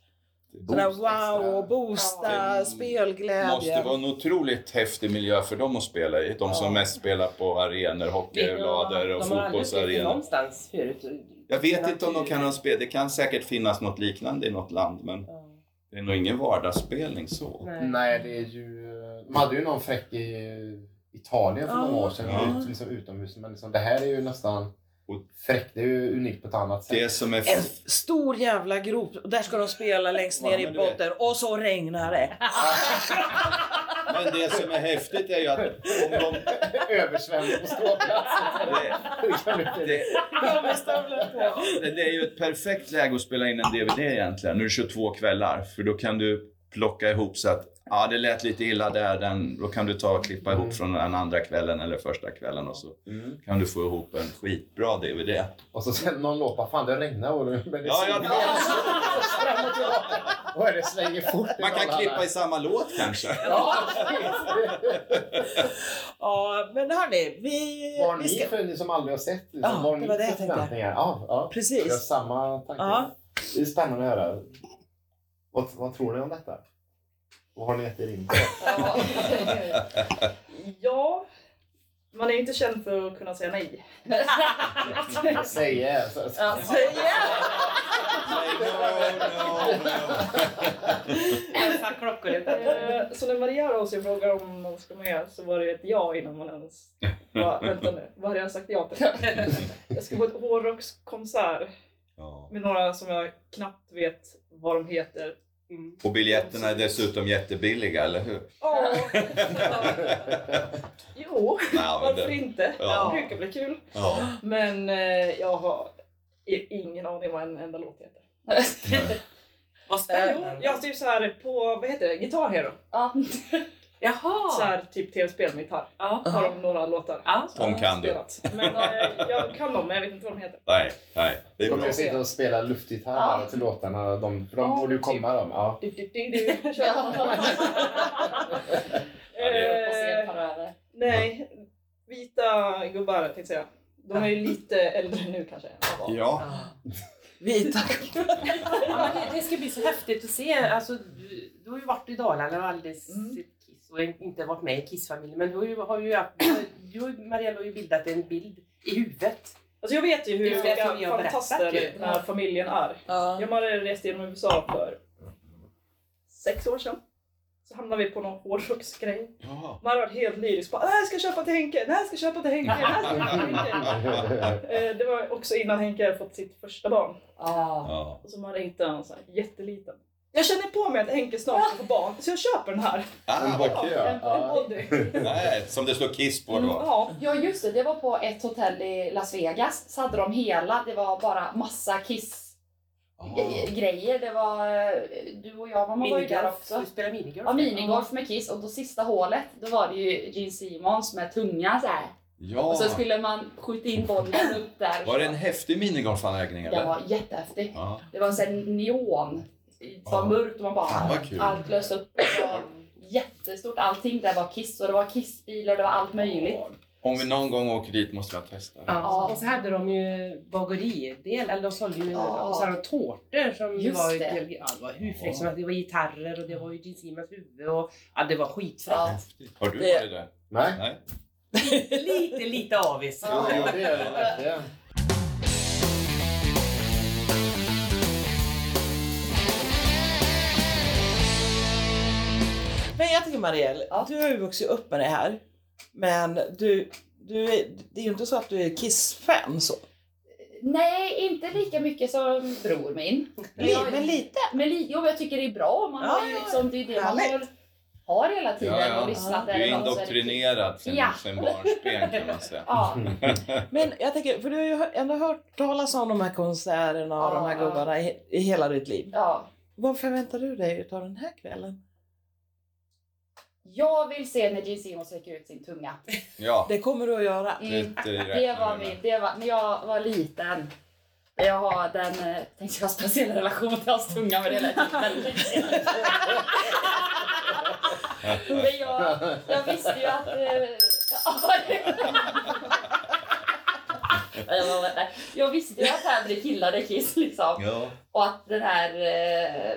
[SPEAKER 3] sån där wow och boosta
[SPEAKER 2] Ja.
[SPEAKER 3] spelglädje.
[SPEAKER 2] måste vara en otroligt häftig miljö för dem att spela i. De som
[SPEAKER 5] Ja.
[SPEAKER 2] mest spelar på arenor, hockeylador och
[SPEAKER 5] De har aldrig spelat
[SPEAKER 2] fotbollsarenor.
[SPEAKER 5] någonstans förut.
[SPEAKER 2] Jag vet inte om de kan ha spel. Det kan säkert finnas något liknande i något land men
[SPEAKER 5] Ja.
[SPEAKER 2] det är nog ingen vardagsspelning så.
[SPEAKER 5] Nej.
[SPEAKER 4] Nej, det är ju... De hade ju någon fräck i Italien för några
[SPEAKER 3] Ja.
[SPEAKER 4] år sedan,
[SPEAKER 2] Ja.
[SPEAKER 4] ut, liksom utomhus. Men liksom, det här är ju nästan fräckt. Det är ju unikt på ett annat sätt.
[SPEAKER 2] Det som är...
[SPEAKER 3] En stor jävla grop, och där ska de spela längst ner
[SPEAKER 2] Ja,
[SPEAKER 3] i
[SPEAKER 2] men du vet.
[SPEAKER 3] botten och så
[SPEAKER 2] <laughs>
[SPEAKER 3] regnar det.
[SPEAKER 2] Men det som är häftigt är ju att om
[SPEAKER 5] <laughs>
[SPEAKER 2] de...
[SPEAKER 4] <laughs> Översvämning på ståplatsen.
[SPEAKER 2] Det, det, det, det är ju ett perfekt läge att spela in en DVD egentligen. Nu är det 22 kvällar för då kan du plocka ihop så att ja, det lät lite illa där. Den, då kan du ta och klippa ihop från den andra kvällen eller första kvällen och så kan du få ihop en skitbra DVD.
[SPEAKER 4] Och så sen någon låt bara, fan det regnar och men det
[SPEAKER 2] Ja, ja,
[SPEAKER 10] <laughs>
[SPEAKER 2] det är
[SPEAKER 4] fram och tillbaka. <laughs> Vad är det slänger fort i
[SPEAKER 2] Man kan
[SPEAKER 4] Dalarna?
[SPEAKER 2] klippa i samma låt kanske.
[SPEAKER 4] Ja,
[SPEAKER 3] Ja, men hörni, vi...
[SPEAKER 4] vad har
[SPEAKER 3] vi
[SPEAKER 4] ni för, ni som aldrig har sett? Liksom,
[SPEAKER 3] Ja,
[SPEAKER 4] vad har
[SPEAKER 3] det
[SPEAKER 4] ni
[SPEAKER 3] var det jag
[SPEAKER 4] för
[SPEAKER 3] tänkte.
[SPEAKER 4] förväntningar? Ja, ja.
[SPEAKER 3] Precis.
[SPEAKER 4] Jag har samma tanke.
[SPEAKER 3] Ja.
[SPEAKER 4] Det är spännande att höra. Vad, vad tror ni om detta? Vad har ni gett er in på?
[SPEAKER 2] <laughs>
[SPEAKER 3] <laughs>
[SPEAKER 8] Ja. <laughs> ja, man är ju inte känd för att kunna säga nej.
[SPEAKER 4] Säg yes. Alltså,
[SPEAKER 8] Ja, säg ja.
[SPEAKER 5] Elsa klockor
[SPEAKER 8] Eh, Så när Maria hör av sig och frågar om hon ska med så var det ju ett ja innan man ens... Bara, vänta nu, vad hade jag sagt ja till? Jag ska på ett hårdrockskonsert
[SPEAKER 2] Ja.
[SPEAKER 8] med några som jag knappt vet vad de heter.
[SPEAKER 2] Och biljetterna är dessutom jättebilliga, eller hur? <laughs>
[SPEAKER 8] Ja. Jo,
[SPEAKER 2] Ja, men
[SPEAKER 8] varför
[SPEAKER 2] det,
[SPEAKER 8] inte?
[SPEAKER 2] Ja.
[SPEAKER 8] Det brukar bli kul.
[SPEAKER 2] ja.
[SPEAKER 8] Men eh, jag har i- ingen aning vad en enda låt heter.
[SPEAKER 5] <laughs> Vad
[SPEAKER 8] Eh, jo, jag har typ så här på, vad heter det, Guitar Hero. <laughs>
[SPEAKER 7] Ja.
[SPEAKER 5] Jaha!
[SPEAKER 8] Så här, typ tv-spel med gitarr.
[SPEAKER 5] Ja.
[SPEAKER 8] Har de några låtar.
[SPEAKER 5] Ja.
[SPEAKER 2] De kan du.
[SPEAKER 8] Spelat. Men eh, jag kan dem, men jag vet inte vad de heter.
[SPEAKER 2] Nej, nej. Det är
[SPEAKER 4] de
[SPEAKER 2] bra.
[SPEAKER 4] kan sitta och spela luftgitarr här till låtarna. De, för de
[SPEAKER 8] Ja,
[SPEAKER 4] borde ju
[SPEAKER 8] typ.
[SPEAKER 4] komma de. Ja.
[SPEAKER 8] Du, du, du, <laughs> du. Kör.
[SPEAKER 7] Och se
[SPEAKER 8] eh,
[SPEAKER 7] par över.
[SPEAKER 8] nej, vita gubbar tänkte jag säga. De är ju lite äldre nu kanske. än vad de var.
[SPEAKER 2] Ja.
[SPEAKER 3] Vita...
[SPEAKER 5] Ja, men det, det ska bli så häftigt att se. Alltså, du, du har ju varit i Dalarna och aldrig
[SPEAKER 8] Mm.
[SPEAKER 5] sett Kiss och inte varit med i Kissfamiljen. Men du har ju, har ju, du, du, Marielle har ju bildat en bild i huvudet.
[SPEAKER 8] Alltså <laughs> jag vet ju
[SPEAKER 5] Det är
[SPEAKER 8] hur
[SPEAKER 5] ju det som vi
[SPEAKER 8] vilka
[SPEAKER 5] har berättat
[SPEAKER 8] fantaster
[SPEAKER 5] ju.
[SPEAKER 8] den här familjen är.
[SPEAKER 3] Ja.
[SPEAKER 8] Jag och Maria reste genom USA för sex år sedan. Så hamnade vi på någon hårdrocksgrej.
[SPEAKER 2] Ja.
[SPEAKER 8] Maria var helt lyrisk. Bara, det här ska jag köpa till Henke, det här ska jag köpa till Henke, det här ska jag köpa till Henke. Eh, Det var också innan Henke hade fått sitt första barn.
[SPEAKER 3] Ah.
[SPEAKER 2] Ja.
[SPEAKER 8] Och så Maria hittade en sån här jätteliten. Jag känner på mig att Henke snart ska få barn, så jag köper den här.
[SPEAKER 2] Ah,
[SPEAKER 4] En
[SPEAKER 2] vad-
[SPEAKER 4] bocke
[SPEAKER 8] En, en
[SPEAKER 4] ja.
[SPEAKER 8] body.
[SPEAKER 2] <laughs> nej, som det står Kiss på då.
[SPEAKER 8] Ja.
[SPEAKER 7] Ja just det, det var på ett hotell i Las Vegas. Så hade de hela, det var bara massa kiss gre- grejer. Det var, eh, du och jag mamma var ju där
[SPEAKER 5] Minigolf.
[SPEAKER 7] också.
[SPEAKER 5] Vi spelar minigolf.
[SPEAKER 7] Ja, minigolf med Kiss och då sista hålet, då var det ju Gene Simmons med tungan så här.
[SPEAKER 2] Ja,
[SPEAKER 7] Och så skulle man skjuta in bollen upp där.
[SPEAKER 2] var det en häftig minigolfanläggning eller?
[SPEAKER 7] Den var jättehäftig.
[SPEAKER 2] Ja.
[SPEAKER 7] Det var en sån här neon. Det var
[SPEAKER 2] Ja.
[SPEAKER 7] mörkt och man
[SPEAKER 2] Fan,
[SPEAKER 7] bara...
[SPEAKER 2] vad kul.
[SPEAKER 7] Allt lös upp. Det var jättestort. Allting där var Kiss och det var Kissbilar och det var allt möjligt.
[SPEAKER 2] Om vi någon gång åker dit måste jag testa. det.
[SPEAKER 7] Ja.
[SPEAKER 5] Ja. Och så hade de ju bageridel, eller de sålde ju
[SPEAKER 7] Ja.
[SPEAKER 5] och så hade de tårtor som
[SPEAKER 7] Just
[SPEAKER 5] var,
[SPEAKER 7] det.
[SPEAKER 5] Ja, det var hur fräckt som helst. Det var gitarrer och det var ju Gene Simmons huvud och ja, det var skitfräckt.
[SPEAKER 7] Ja.
[SPEAKER 2] Har du varit där?
[SPEAKER 4] Nej.
[SPEAKER 2] Nej.
[SPEAKER 5] Lite, lite avis.
[SPEAKER 4] Jo, jo, det är det verkligen.
[SPEAKER 3] Men jag tycker Marielle, du har ju vuxit upp med det här. Men du, du är, det är ju inte så att du är Kiss-fan så.
[SPEAKER 7] Nej, inte lika mycket som bror min.
[SPEAKER 3] Li- Men lite.
[SPEAKER 7] Men li- jo, men jag tycker det är bra. Man har ju
[SPEAKER 3] Ja, ja,
[SPEAKER 7] liksom, det är det man
[SPEAKER 3] härligt.
[SPEAKER 7] har, har hela tiden
[SPEAKER 2] Ja, ja.
[SPEAKER 7] och lyssnat.
[SPEAKER 2] Du
[SPEAKER 7] där
[SPEAKER 2] är
[SPEAKER 7] och så det-
[SPEAKER 2] indoktrinerad sen,
[SPEAKER 7] Ja.
[SPEAKER 2] sen barnsben kan man säga.
[SPEAKER 7] Ja,
[SPEAKER 3] Men jag tänker, för du har ju hö- ändå hört talas om de här konserterna
[SPEAKER 7] Ja.
[SPEAKER 3] och de här gubbarna i, i hela ditt liv.
[SPEAKER 7] ja.
[SPEAKER 3] Vad förväntar du dig av den här kvällen?
[SPEAKER 7] Jag vill se när Gene Simmons sträcker ut sin tunga.
[SPEAKER 2] Ja,
[SPEAKER 3] Det kommer du att göra.
[SPEAKER 7] Mm.
[SPEAKER 2] det
[SPEAKER 7] Det
[SPEAKER 2] räknar
[SPEAKER 7] var
[SPEAKER 2] vi
[SPEAKER 7] min,
[SPEAKER 2] med.
[SPEAKER 7] det var, när jag var liten. Jag har den, eh, tänkte jag, speciella relation till hans tunga men det lät ju väldigt fel. Men jag, jag visste ju att... eh, <laughs> ja, det- Jag var- nej. Jag visste ju att hellre gillade Kiss liksom.
[SPEAKER 2] Ja.
[SPEAKER 7] Och att den här eh,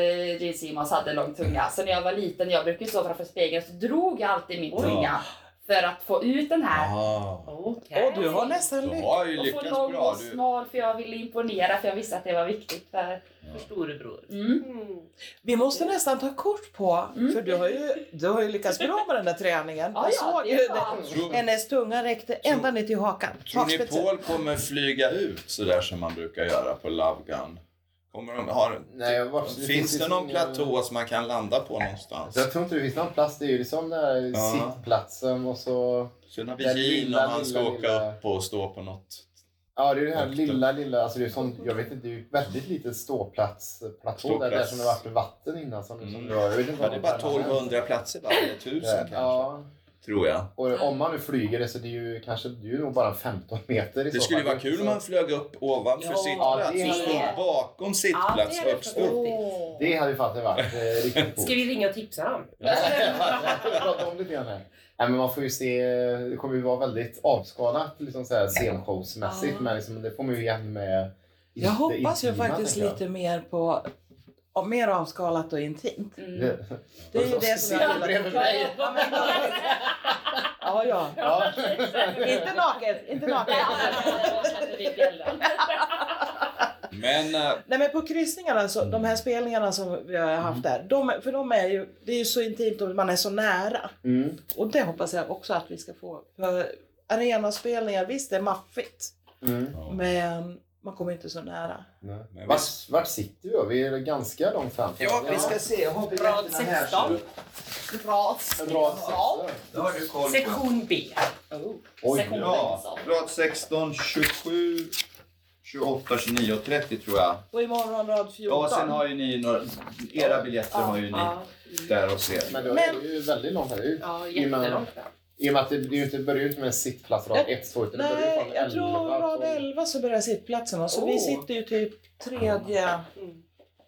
[SPEAKER 7] eh, Gene Simmons hade lång tunga. Så när jag var liten, jag brukade stå framför spegeln, så drog jag alltid min
[SPEAKER 2] Oj.
[SPEAKER 7] tunga. För att få ut den här
[SPEAKER 2] Ah,
[SPEAKER 5] Okej.
[SPEAKER 3] Och du har nästan
[SPEAKER 2] du
[SPEAKER 3] lyckats.
[SPEAKER 2] har ju
[SPEAKER 7] och få
[SPEAKER 2] lyckats
[SPEAKER 7] lång
[SPEAKER 2] bra.
[SPEAKER 7] och
[SPEAKER 2] Du,
[SPEAKER 7] smal för jag ville imponera för jag visste att det var viktigt för...
[SPEAKER 5] För storebror.
[SPEAKER 7] Mm.
[SPEAKER 8] Mm.
[SPEAKER 3] Vi måste nästan ta kort på,
[SPEAKER 7] Mm.
[SPEAKER 3] för du har, ju, du har ju lyckats bra med den där träningen.
[SPEAKER 7] Ja,
[SPEAKER 3] jag
[SPEAKER 7] ja,
[SPEAKER 3] såg
[SPEAKER 7] det
[SPEAKER 3] ju
[SPEAKER 7] är bra.
[SPEAKER 3] det.
[SPEAKER 2] tror,
[SPEAKER 3] Hennes tunga räckte ända ner till hakan.
[SPEAKER 2] tror ni
[SPEAKER 3] Hakspetsen.
[SPEAKER 2] Paul kommer flyga ut sådär som man brukar göra på Love Gun? Kommer de, har,
[SPEAKER 4] Nej, jag var,
[SPEAKER 2] finns det någon
[SPEAKER 4] ingen-
[SPEAKER 2] platå som man kan landa på någonstans?
[SPEAKER 4] Jag tror inte det finns någon plats. Det är ju liksom den där
[SPEAKER 2] Ja.
[SPEAKER 4] sittplatsen och så...
[SPEAKER 2] Sen har
[SPEAKER 4] Den
[SPEAKER 2] vi Gene
[SPEAKER 4] lilla,
[SPEAKER 2] om han ska
[SPEAKER 4] lilla,
[SPEAKER 2] åka
[SPEAKER 4] lilla-
[SPEAKER 2] upp och stå på något.
[SPEAKER 4] Ja, det är det här
[SPEAKER 2] Högt
[SPEAKER 4] lilla, lilla, alltså det är sånt, jag vet inte, det är ju väldigt litet ståplats, platå där, där
[SPEAKER 2] Ståplats.
[SPEAKER 4] som det varit vatten innan som, som
[SPEAKER 2] Mm.
[SPEAKER 4] rör. Jag vet inte
[SPEAKER 2] Ja,
[SPEAKER 4] vad
[SPEAKER 2] det är
[SPEAKER 4] de
[SPEAKER 2] bara
[SPEAKER 4] kallar det.
[SPEAKER 2] 1200 platser va? Eller 1000 kanske?
[SPEAKER 4] Ja,
[SPEAKER 2] Tror jag.
[SPEAKER 4] och om man nu flyger det så det är ju kanske, det är ju nog bara 15 meter i
[SPEAKER 2] Det
[SPEAKER 4] så
[SPEAKER 2] skulle ju
[SPEAKER 4] fall.
[SPEAKER 2] vara kul om man flög upp ovanför
[SPEAKER 5] Ja,
[SPEAKER 2] sittplats
[SPEAKER 4] det är-
[SPEAKER 2] och stod bakom
[SPEAKER 5] Ja,
[SPEAKER 2] sittplats
[SPEAKER 5] det är det
[SPEAKER 2] högst
[SPEAKER 5] för-
[SPEAKER 2] upp.
[SPEAKER 7] Åh.
[SPEAKER 4] Det hade ju faktiskt varit eh, riktigt coolt.
[SPEAKER 5] Ska vi ringa och tipsa
[SPEAKER 2] <laughs>
[SPEAKER 5] dem?
[SPEAKER 4] Jag pratar om lite grann här. Nej, men man får ju se, det kommer ju vara väldigt avskalat liksom så här scenshowsmässigt,
[SPEAKER 7] Ja.
[SPEAKER 4] men liksom, det får man ju igen med
[SPEAKER 3] Jag
[SPEAKER 4] det
[SPEAKER 3] hoppas ju
[SPEAKER 4] intima,
[SPEAKER 3] faktiskt
[SPEAKER 4] tänker jag.
[SPEAKER 3] lite mer på ja, mer avskalat och intimt.
[SPEAKER 7] Mm.
[SPEAKER 3] Det är ju det som jag gillar.
[SPEAKER 4] bredvid mig.
[SPEAKER 3] Ja, ja.
[SPEAKER 4] Ja.
[SPEAKER 3] Inte naket, inte naket.
[SPEAKER 2] Men eh,
[SPEAKER 3] Nej men på kryssningarna, så, de
[SPEAKER 2] Mm.
[SPEAKER 3] här spelningarna som vi har haft där, de, för de är ju, det är ju så intimt och man är så nära.
[SPEAKER 4] Mm.
[SPEAKER 3] Och det hoppas jag också att vi ska få. För arenaspelningar, visst det är maffigt,
[SPEAKER 4] Mm.
[SPEAKER 3] men man kommer inte så nära.
[SPEAKER 2] Men
[SPEAKER 4] Vart, vart sitter vi då? Vi är ganska långt fram.
[SPEAKER 6] Ja, vi ska se. Jag har
[SPEAKER 5] Rad
[SPEAKER 6] biljetterna här.
[SPEAKER 5] 16.
[SPEAKER 7] Bra.
[SPEAKER 4] En rad sexor.
[SPEAKER 6] Då har du koll på.
[SPEAKER 5] Sektion B.
[SPEAKER 4] Oj,
[SPEAKER 7] Sektion
[SPEAKER 2] Ja,
[SPEAKER 7] Bengtsson.
[SPEAKER 2] rad 16, 27, 28, 29 och 30 tror jag.
[SPEAKER 3] Och imorgon rad 14.
[SPEAKER 2] Ja, sen har ju ni några, era biljetter har ju ni där och ser.
[SPEAKER 4] men då är det ju väldigt långt här. ut.
[SPEAKER 5] Ja,
[SPEAKER 4] I och med-
[SPEAKER 5] jättelångt fram.
[SPEAKER 4] I och med att det, det är ju inte börjar ju inte med en sittplats rad
[SPEAKER 3] Jag-
[SPEAKER 4] 1, 2 utan det börjar ju
[SPEAKER 3] Nej,
[SPEAKER 4] från
[SPEAKER 3] jag tror
[SPEAKER 4] 11
[SPEAKER 3] rad
[SPEAKER 4] och-
[SPEAKER 3] 11 så börjar sittplatserna. Så vi
[SPEAKER 5] Oh.
[SPEAKER 3] sitter ju typ tredje.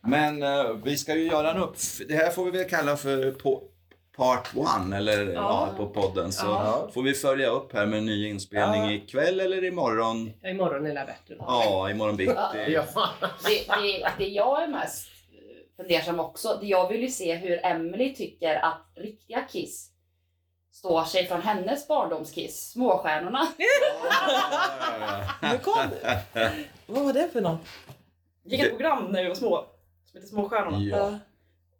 [SPEAKER 2] Men eh, vi ska ju göra en upp... Det här får vi väl kalla för po- part one, eller ja. på podden. Så
[SPEAKER 5] Ja.
[SPEAKER 2] får vi följa upp här med en ny inspelning
[SPEAKER 3] Ja.
[SPEAKER 2] ikväll eller imorgon.
[SPEAKER 5] Ja, Imorgon är det bättre.
[SPEAKER 2] Ja, imorgon bitti.
[SPEAKER 4] Ja.
[SPEAKER 7] Det, det, det jag är mest eh, fundersam också, det jag vill ju se hur Emily tycker att riktiga Kiss står sig från hennes barndomskiss, småstjärnorna. <laughs>
[SPEAKER 3] Nu kom du.
[SPEAKER 2] <laughs>
[SPEAKER 3] Vad var det för något?
[SPEAKER 8] gick ett program när vi var små som hette Småstjärnorna.
[SPEAKER 2] Ja.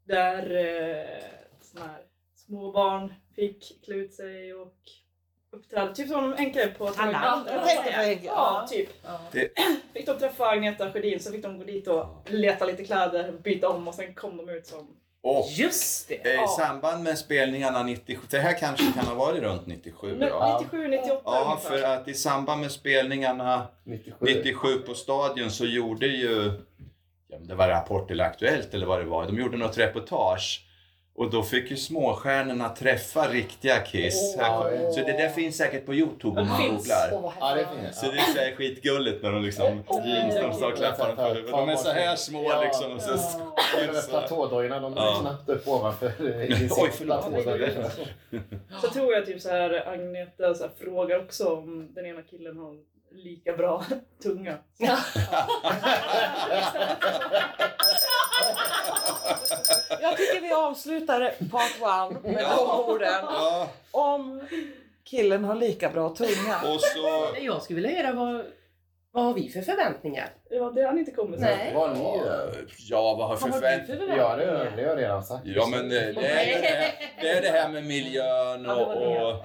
[SPEAKER 8] Där eh, såna här små barn fick klä ut sig och uppträda. Typ som Enka på
[SPEAKER 5] Alla.
[SPEAKER 8] Eller
[SPEAKER 3] Jag tänkte på
[SPEAKER 8] vad
[SPEAKER 3] Henke.
[SPEAKER 8] Ja, typ.
[SPEAKER 2] Det-
[SPEAKER 8] Fick de träffa Agneta Sjödin så fick de gå dit och leta lite kläder, byta om och sen kom de ut som
[SPEAKER 2] Och
[SPEAKER 5] Just det.
[SPEAKER 2] I samband med spelningarna 97, det här kanske kan ha varit runt 97
[SPEAKER 8] Men
[SPEAKER 2] då.
[SPEAKER 8] 97, 98
[SPEAKER 2] Ja,
[SPEAKER 8] ungefär.
[SPEAKER 2] för att i samband med spelningarna
[SPEAKER 4] 97,
[SPEAKER 2] 97 på Stadion så gjorde ju, ja, men det var Rapport eller Aktuellt eller vad det var, de gjorde något reportage. Och då fick ju småstjärnorna träffa riktiga Kiss. Här kom- Så det där finns säkert på Youtube om man googlar.
[SPEAKER 4] Ja, det finns.
[SPEAKER 2] Så det är så här skitgulligt när de liksom, jeans, de står och klappar dem på huvudet. De är så här små liksom. Och så,
[SPEAKER 4] De där platådojorna, de är
[SPEAKER 2] Ja.
[SPEAKER 4] snabbt upp ovanför
[SPEAKER 2] <laughs>
[SPEAKER 4] eh, i
[SPEAKER 2] Oj,
[SPEAKER 4] sin
[SPEAKER 2] förlåt.
[SPEAKER 4] platådojor.
[SPEAKER 8] <laughs> Så tror jag typ så här Agneta så här, frågar också om den ena killen har lika bra <laughs> tunga. Ja.
[SPEAKER 1] Jag tycker vi avslutar part one med de orden.
[SPEAKER 2] Ja.
[SPEAKER 1] Om killen har lika bra tunga.
[SPEAKER 2] Och så...
[SPEAKER 5] Jag skulle vilja höra vad, vad har vi för förväntningar?
[SPEAKER 8] Ja, <laughs> det har ni inte kommit så.
[SPEAKER 5] Nej.
[SPEAKER 4] Vad ni gör.
[SPEAKER 2] Ja, vad har
[SPEAKER 5] Vad har
[SPEAKER 2] för
[SPEAKER 5] du för förväntningar?
[SPEAKER 4] Ja, det har det har jag redan sagt.
[SPEAKER 2] Ja, men eh, det är ju det här, det, är det här med miljön och, och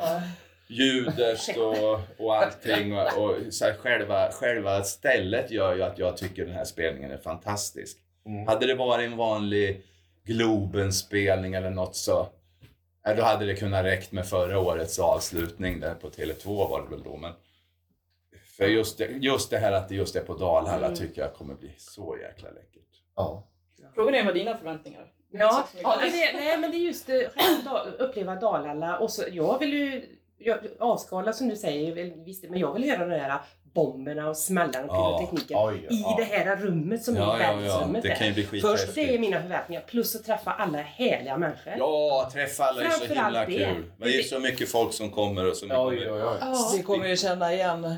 [SPEAKER 2] ljudest och, och allting. Och, och så här, själva, själva stället gör ju att jag tycker den här spelningen är fantastisk.
[SPEAKER 4] Mm.
[SPEAKER 2] Hade det varit en vanlig Globen-spelning eller något så ja, då hade det kunnat räckt med förra årets avslutning där på Tele2 var det väl då. Men för just det, just det här att det just är på Dalhalla tycker jag kommer bli så jäkla läckert.
[SPEAKER 4] Ja.
[SPEAKER 8] Frågan är vad dina förväntningar är.
[SPEAKER 5] Ja, ja men det, nej men det är just eh, själva da- uppleva Dalala och så, jag vill ju jag, avskala som du säger, väl, visst, men jag vill höra de här bomberna och smällarna och
[SPEAKER 2] Ja,
[SPEAKER 5] pyrotekniken
[SPEAKER 4] oj,
[SPEAKER 5] i
[SPEAKER 4] ja.
[SPEAKER 5] det här rummet som är världsrummet.
[SPEAKER 2] Det kan ju
[SPEAKER 5] är.
[SPEAKER 2] bli
[SPEAKER 5] Först det är
[SPEAKER 2] skithäftigt.
[SPEAKER 5] mina förväntningar, plus att träffa alla härliga människor.
[SPEAKER 2] Ja, träffa alla är så
[SPEAKER 5] Framförallt
[SPEAKER 2] himla
[SPEAKER 5] det.
[SPEAKER 2] kul. Men det är så mycket folk som kommer och så mycket.
[SPEAKER 4] Oj, oj, oj.
[SPEAKER 5] Ja.
[SPEAKER 1] Vi kommer ju känna igen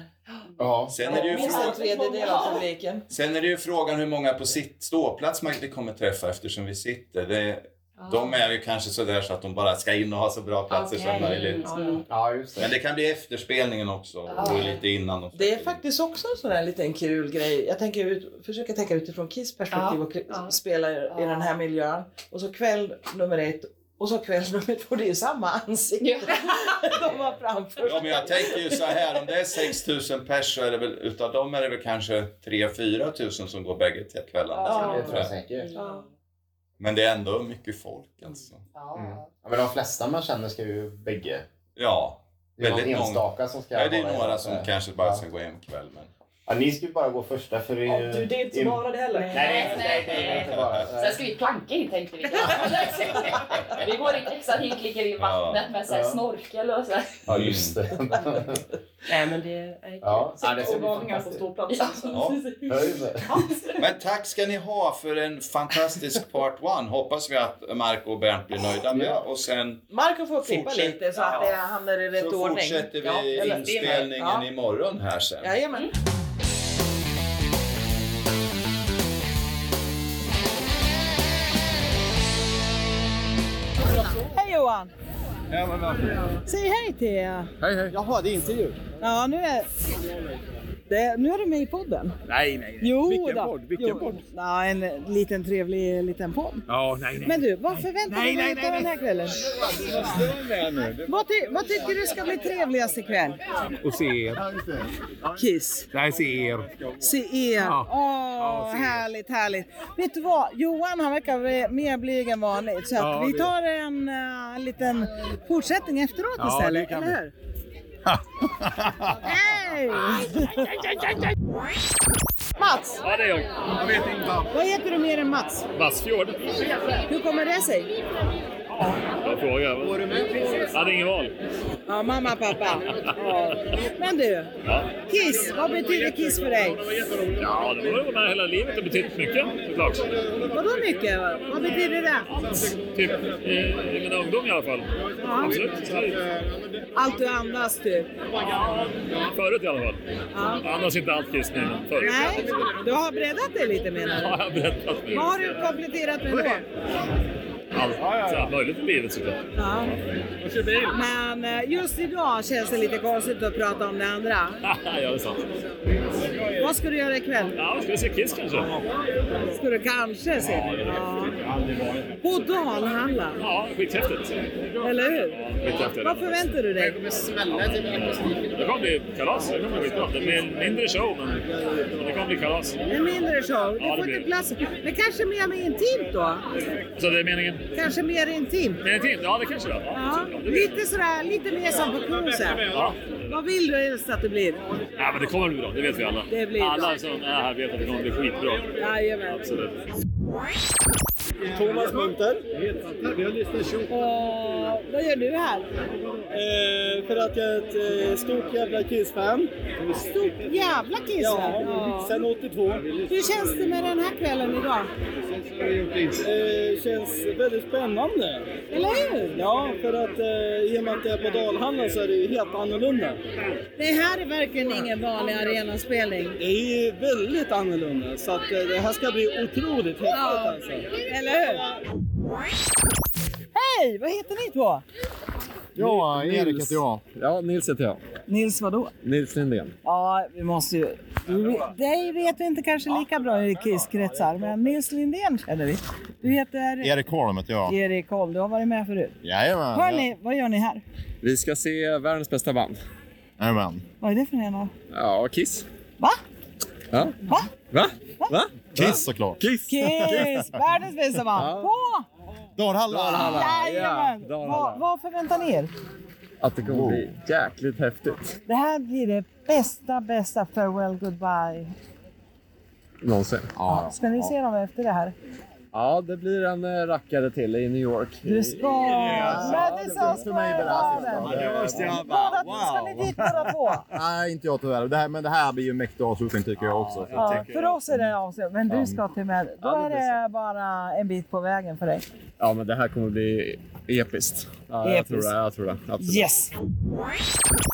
[SPEAKER 4] Ja.
[SPEAKER 2] Sen är, det ju
[SPEAKER 1] minst en
[SPEAKER 2] frågan,
[SPEAKER 1] tredjedel av publiken.
[SPEAKER 2] sen är det ju frågan hur många på sitt ståplats man inte kommer träffa eftersom vi sitter. Det, De är ju kanske sådär så att de bara ska in och ha så bra platser
[SPEAKER 5] Okej.
[SPEAKER 2] som möjligt.
[SPEAKER 5] Ja,
[SPEAKER 4] Ja, just
[SPEAKER 2] Men
[SPEAKER 4] det.
[SPEAKER 2] det kan bli efterspelningen också och lite innan. de
[SPEAKER 1] Det är
[SPEAKER 2] släpper in.
[SPEAKER 1] faktiskt också en sån här liten kul grej. Jag tänker ut, försöker tänka utifrån Kiss perspektiv och k-
[SPEAKER 5] ja.
[SPEAKER 1] spela i, i den här miljön. Och så kväll nummer ett och så kväll nummer två. Det är ju samma ansikte <laughs> de har framför
[SPEAKER 2] Ja, men jag tänker ju så här, om det är 6 000 pers så är det väl, utav dem är det väl kanske 3-4 000 som går bägge till kvällarna.
[SPEAKER 1] Ja.
[SPEAKER 4] Det tror jag
[SPEAKER 2] Ja.
[SPEAKER 4] säkert.
[SPEAKER 1] Ja.
[SPEAKER 2] Men det är ändå mycket folk alltså.
[SPEAKER 4] Mm. Ja, men de flesta man känner ska ju bägge.
[SPEAKER 2] Ja,
[SPEAKER 4] Det är någon
[SPEAKER 2] Väldigt många.
[SPEAKER 4] enstaka som ska
[SPEAKER 2] Nej, det är
[SPEAKER 4] vara i
[SPEAKER 2] några
[SPEAKER 4] något,
[SPEAKER 2] som
[SPEAKER 4] eh,
[SPEAKER 2] kanske bara
[SPEAKER 4] ja.
[SPEAKER 2] ska gå hem kväll. Men...
[SPEAKER 4] Ja, ni ska ju bara gå första för det
[SPEAKER 8] Ja,
[SPEAKER 4] är ju-
[SPEAKER 8] du, det är inte
[SPEAKER 4] in-
[SPEAKER 8] så bara det heller.
[SPEAKER 4] Nej, det är inte-
[SPEAKER 7] Nej,
[SPEAKER 4] det är
[SPEAKER 7] nej.
[SPEAKER 4] inte bara.
[SPEAKER 7] Sen
[SPEAKER 4] Nej.
[SPEAKER 7] ska vi planka in tänkte vi. vi går in extra hink, ligger i vattnet med så här
[SPEAKER 4] Ja.
[SPEAKER 7] snorkel och så. här.
[SPEAKER 4] Ja, just det.
[SPEAKER 2] Mm.
[SPEAKER 5] <laughs> Nej men det är kul.
[SPEAKER 4] Ja, ja, det
[SPEAKER 8] Sex
[SPEAKER 4] ska bli
[SPEAKER 8] årgångar på
[SPEAKER 4] fantastiskt.
[SPEAKER 8] ståplatsen. så.
[SPEAKER 2] Ja.
[SPEAKER 8] <laughs>
[SPEAKER 4] Ja, just det.
[SPEAKER 2] <laughs> men tack ska ni ha för en fantastisk part one. Hoppas vi att Marco och Bernt blir nöjda med. Och sen
[SPEAKER 1] Marco får klippa
[SPEAKER 2] Fortsätt.
[SPEAKER 1] lite så att det
[SPEAKER 2] Ja.
[SPEAKER 1] hamnar i rätt
[SPEAKER 2] så
[SPEAKER 1] ordning.
[SPEAKER 2] fortsätter vi
[SPEAKER 1] eller-
[SPEAKER 2] inspelningen
[SPEAKER 1] Ja.
[SPEAKER 2] imorgon här sen.
[SPEAKER 1] Jajamän.
[SPEAKER 3] Hej Johan! Säg hej till er.
[SPEAKER 11] Hej, hej. Jaha, det är intervju.
[SPEAKER 3] Ja, nu är, det, nu är du med i podden.
[SPEAKER 11] Nej, nej, nej.
[SPEAKER 3] Jo
[SPEAKER 11] Vilken
[SPEAKER 3] då.
[SPEAKER 11] podd? Vilken
[SPEAKER 3] Jo.
[SPEAKER 11] podd?
[SPEAKER 3] Ja, en liten trevlig liten podd.
[SPEAKER 11] Ja, nej, nej.
[SPEAKER 3] Men du, vad förväntar
[SPEAKER 11] Nej,
[SPEAKER 3] du dig
[SPEAKER 11] nej, nej,
[SPEAKER 3] av den här
[SPEAKER 11] nej.
[SPEAKER 3] kvällen?
[SPEAKER 11] Vad stör det här nu? Det-
[SPEAKER 3] Vad, ty, vad tycker du ska bli trevligast ikväll?
[SPEAKER 11] Och se er.
[SPEAKER 3] Kiss.
[SPEAKER 11] Nej, se er.
[SPEAKER 3] Se er. Åh,
[SPEAKER 11] Ja. Ja, se er.
[SPEAKER 3] härligt, härligt. Vet du vad? Johan han verkar bli mer blyg än vanligt. Så att
[SPEAKER 11] Ja,
[SPEAKER 3] vi
[SPEAKER 11] det-
[SPEAKER 3] tar en eh, liten fortsättning efteråt
[SPEAKER 11] Ja,
[SPEAKER 3] istället,
[SPEAKER 11] det kan
[SPEAKER 3] eller
[SPEAKER 11] vi.
[SPEAKER 3] hur? Hej! Mats!
[SPEAKER 11] Ja, det är jag. Jag vet inte.
[SPEAKER 3] Vad heter du mer än Mats?
[SPEAKER 11] Vassfjord.
[SPEAKER 3] Hur kommer det sig?
[SPEAKER 11] Jag frågar. Var du med? Jag hade ingen val.
[SPEAKER 3] Ja, mamma och pappa. Ja. Men du,
[SPEAKER 11] Ja.
[SPEAKER 3] Kiss, vad betyder Kiss för dig?
[SPEAKER 11] Ja, det var ju hela livet. Det har betytt mycket såklart.
[SPEAKER 3] Vadå mycket? Vad betyder det?
[SPEAKER 11] Typ i, i min ungdom i alla fall.
[SPEAKER 3] Ja.
[SPEAKER 11] Absolut.
[SPEAKER 3] Allt du andas typ?
[SPEAKER 11] Förut i alla fall.
[SPEAKER 3] Ja.
[SPEAKER 11] Annars inte allt kristna innan. Förut.
[SPEAKER 3] Nej, du har breddat dig lite menar
[SPEAKER 11] Ja,
[SPEAKER 3] du?
[SPEAKER 11] jag har berättat nu.
[SPEAKER 3] Vad har du kompletterat med då?
[SPEAKER 11] Allt så här möjligt i livet såklart.
[SPEAKER 3] Ja. Men eh, just idag känns det lite konstigt att prata om det andra.
[SPEAKER 11] <laughs> ja, det är sant.
[SPEAKER 3] Vad ska du göra ikväll?
[SPEAKER 11] Ja, ska vi se Kiss kanske?
[SPEAKER 3] Ska du kanske se? Ja. På Dalhalla,
[SPEAKER 11] Ja, skithäftigt.
[SPEAKER 3] eller hur?
[SPEAKER 11] Skithäftigt.
[SPEAKER 3] Vad förväntar du dig?
[SPEAKER 11] Det kommer bli kalas. Det kommer bli skitbra. Det blir en mindre show, men men det kommer bli kalas.
[SPEAKER 3] En mindre show. Du
[SPEAKER 11] Ja, det
[SPEAKER 3] får
[SPEAKER 11] blir
[SPEAKER 3] inte
[SPEAKER 11] det.
[SPEAKER 3] plats. Men kanske mer med intimt då?
[SPEAKER 11] Så det är meningen?
[SPEAKER 3] Kanske mer intimt.
[SPEAKER 11] Men en till? Ja, det kanske det är. Ja.
[SPEAKER 3] Ja, lite sådär, lite mer som på cruisen.
[SPEAKER 11] Ja.
[SPEAKER 3] Vad vill du helst att det blir?
[SPEAKER 11] ja, men det kommer bli bra. Det vet vi alla.
[SPEAKER 3] Det blir
[SPEAKER 11] alla
[SPEAKER 3] bra.
[SPEAKER 11] som är här vet att det kommer bli skitbra.
[SPEAKER 3] Jajamän.
[SPEAKER 11] Absolut.
[SPEAKER 12] Thomas Munter. Och
[SPEAKER 3] vad gör du här?
[SPEAKER 12] Eh, för att jag är ett eh, stort jävla Kiss-fan.
[SPEAKER 3] Stort jävla Kiss?
[SPEAKER 12] Ja, sen 82.
[SPEAKER 3] Hur känns det med den här kvällen idag?
[SPEAKER 12] Eh, känns väldigt spännande.
[SPEAKER 3] Eller hur?
[SPEAKER 12] Ja, för att eh, i och med att det är på Dalhallen så är det ju helt annorlunda.
[SPEAKER 3] Det här är verkligen ingen vanlig arenaspelning.
[SPEAKER 12] Det är ju väldigt annorlunda, så att, eh, det här ska bli otroligt häftigt
[SPEAKER 3] Ja,
[SPEAKER 12] alltså.
[SPEAKER 3] eller hur? Hej, vad heter ni två?
[SPEAKER 10] Ja,
[SPEAKER 3] Nils.
[SPEAKER 10] Erik heter jag. Ja, Nils heter jag.
[SPEAKER 3] Nils vadå?
[SPEAKER 10] Nils Lindén.
[SPEAKER 3] Ja, vi måste ju... Dig vet vi inte kanske lika bra i Kiss-kretsar, men Nils Lindén känner vi. Du heter
[SPEAKER 10] Erik Holm heter jag.
[SPEAKER 3] Erik Holm, du har varit med förut.
[SPEAKER 10] Jajamän.
[SPEAKER 3] Hörni, vad gör ni här?
[SPEAKER 10] Vi ska se världens bästa band. Jajamän.
[SPEAKER 3] Vad är det för ena?
[SPEAKER 10] Ja, Kiss.
[SPEAKER 3] Va?
[SPEAKER 10] Ja.
[SPEAKER 3] Va?
[SPEAKER 10] Va? Va? Kiss såklart. Kiss!
[SPEAKER 3] Kiss!
[SPEAKER 10] <laughs>
[SPEAKER 3] Världens bästa band! På!
[SPEAKER 10] Dalhalla! Dalhalla, ja.
[SPEAKER 3] Jajamän!
[SPEAKER 10] Dalhalla.
[SPEAKER 3] Vad, vad förväntar ni er?
[SPEAKER 10] Att det kommer bli jäkligt häftigt.
[SPEAKER 3] Det här blir det bästa, bästa farewell goodbye.
[SPEAKER 10] Någonsin. Ja.
[SPEAKER 3] Ska ni se dem efter det här?
[SPEAKER 10] Ja, det blir en eh, rackare till i New York.
[SPEAKER 3] Du ska! Madison Square Garden! Båda två ska ni dit båda två!
[SPEAKER 10] Nej, inte jag tyvärr. Det här, men det här blir ju en mäktig avslutning tycker <laughs> jag också.
[SPEAKER 3] Ja, för oss är det avslut, men du ska till med. Då
[SPEAKER 10] Ja, det
[SPEAKER 3] är det bara en bit på vägen för dig.
[SPEAKER 10] Ja, men det här kommer bli episkt. Ja, Jag tror
[SPEAKER 3] Episkt.
[SPEAKER 10] det. Jag tror det. Absolut.
[SPEAKER 3] Yes.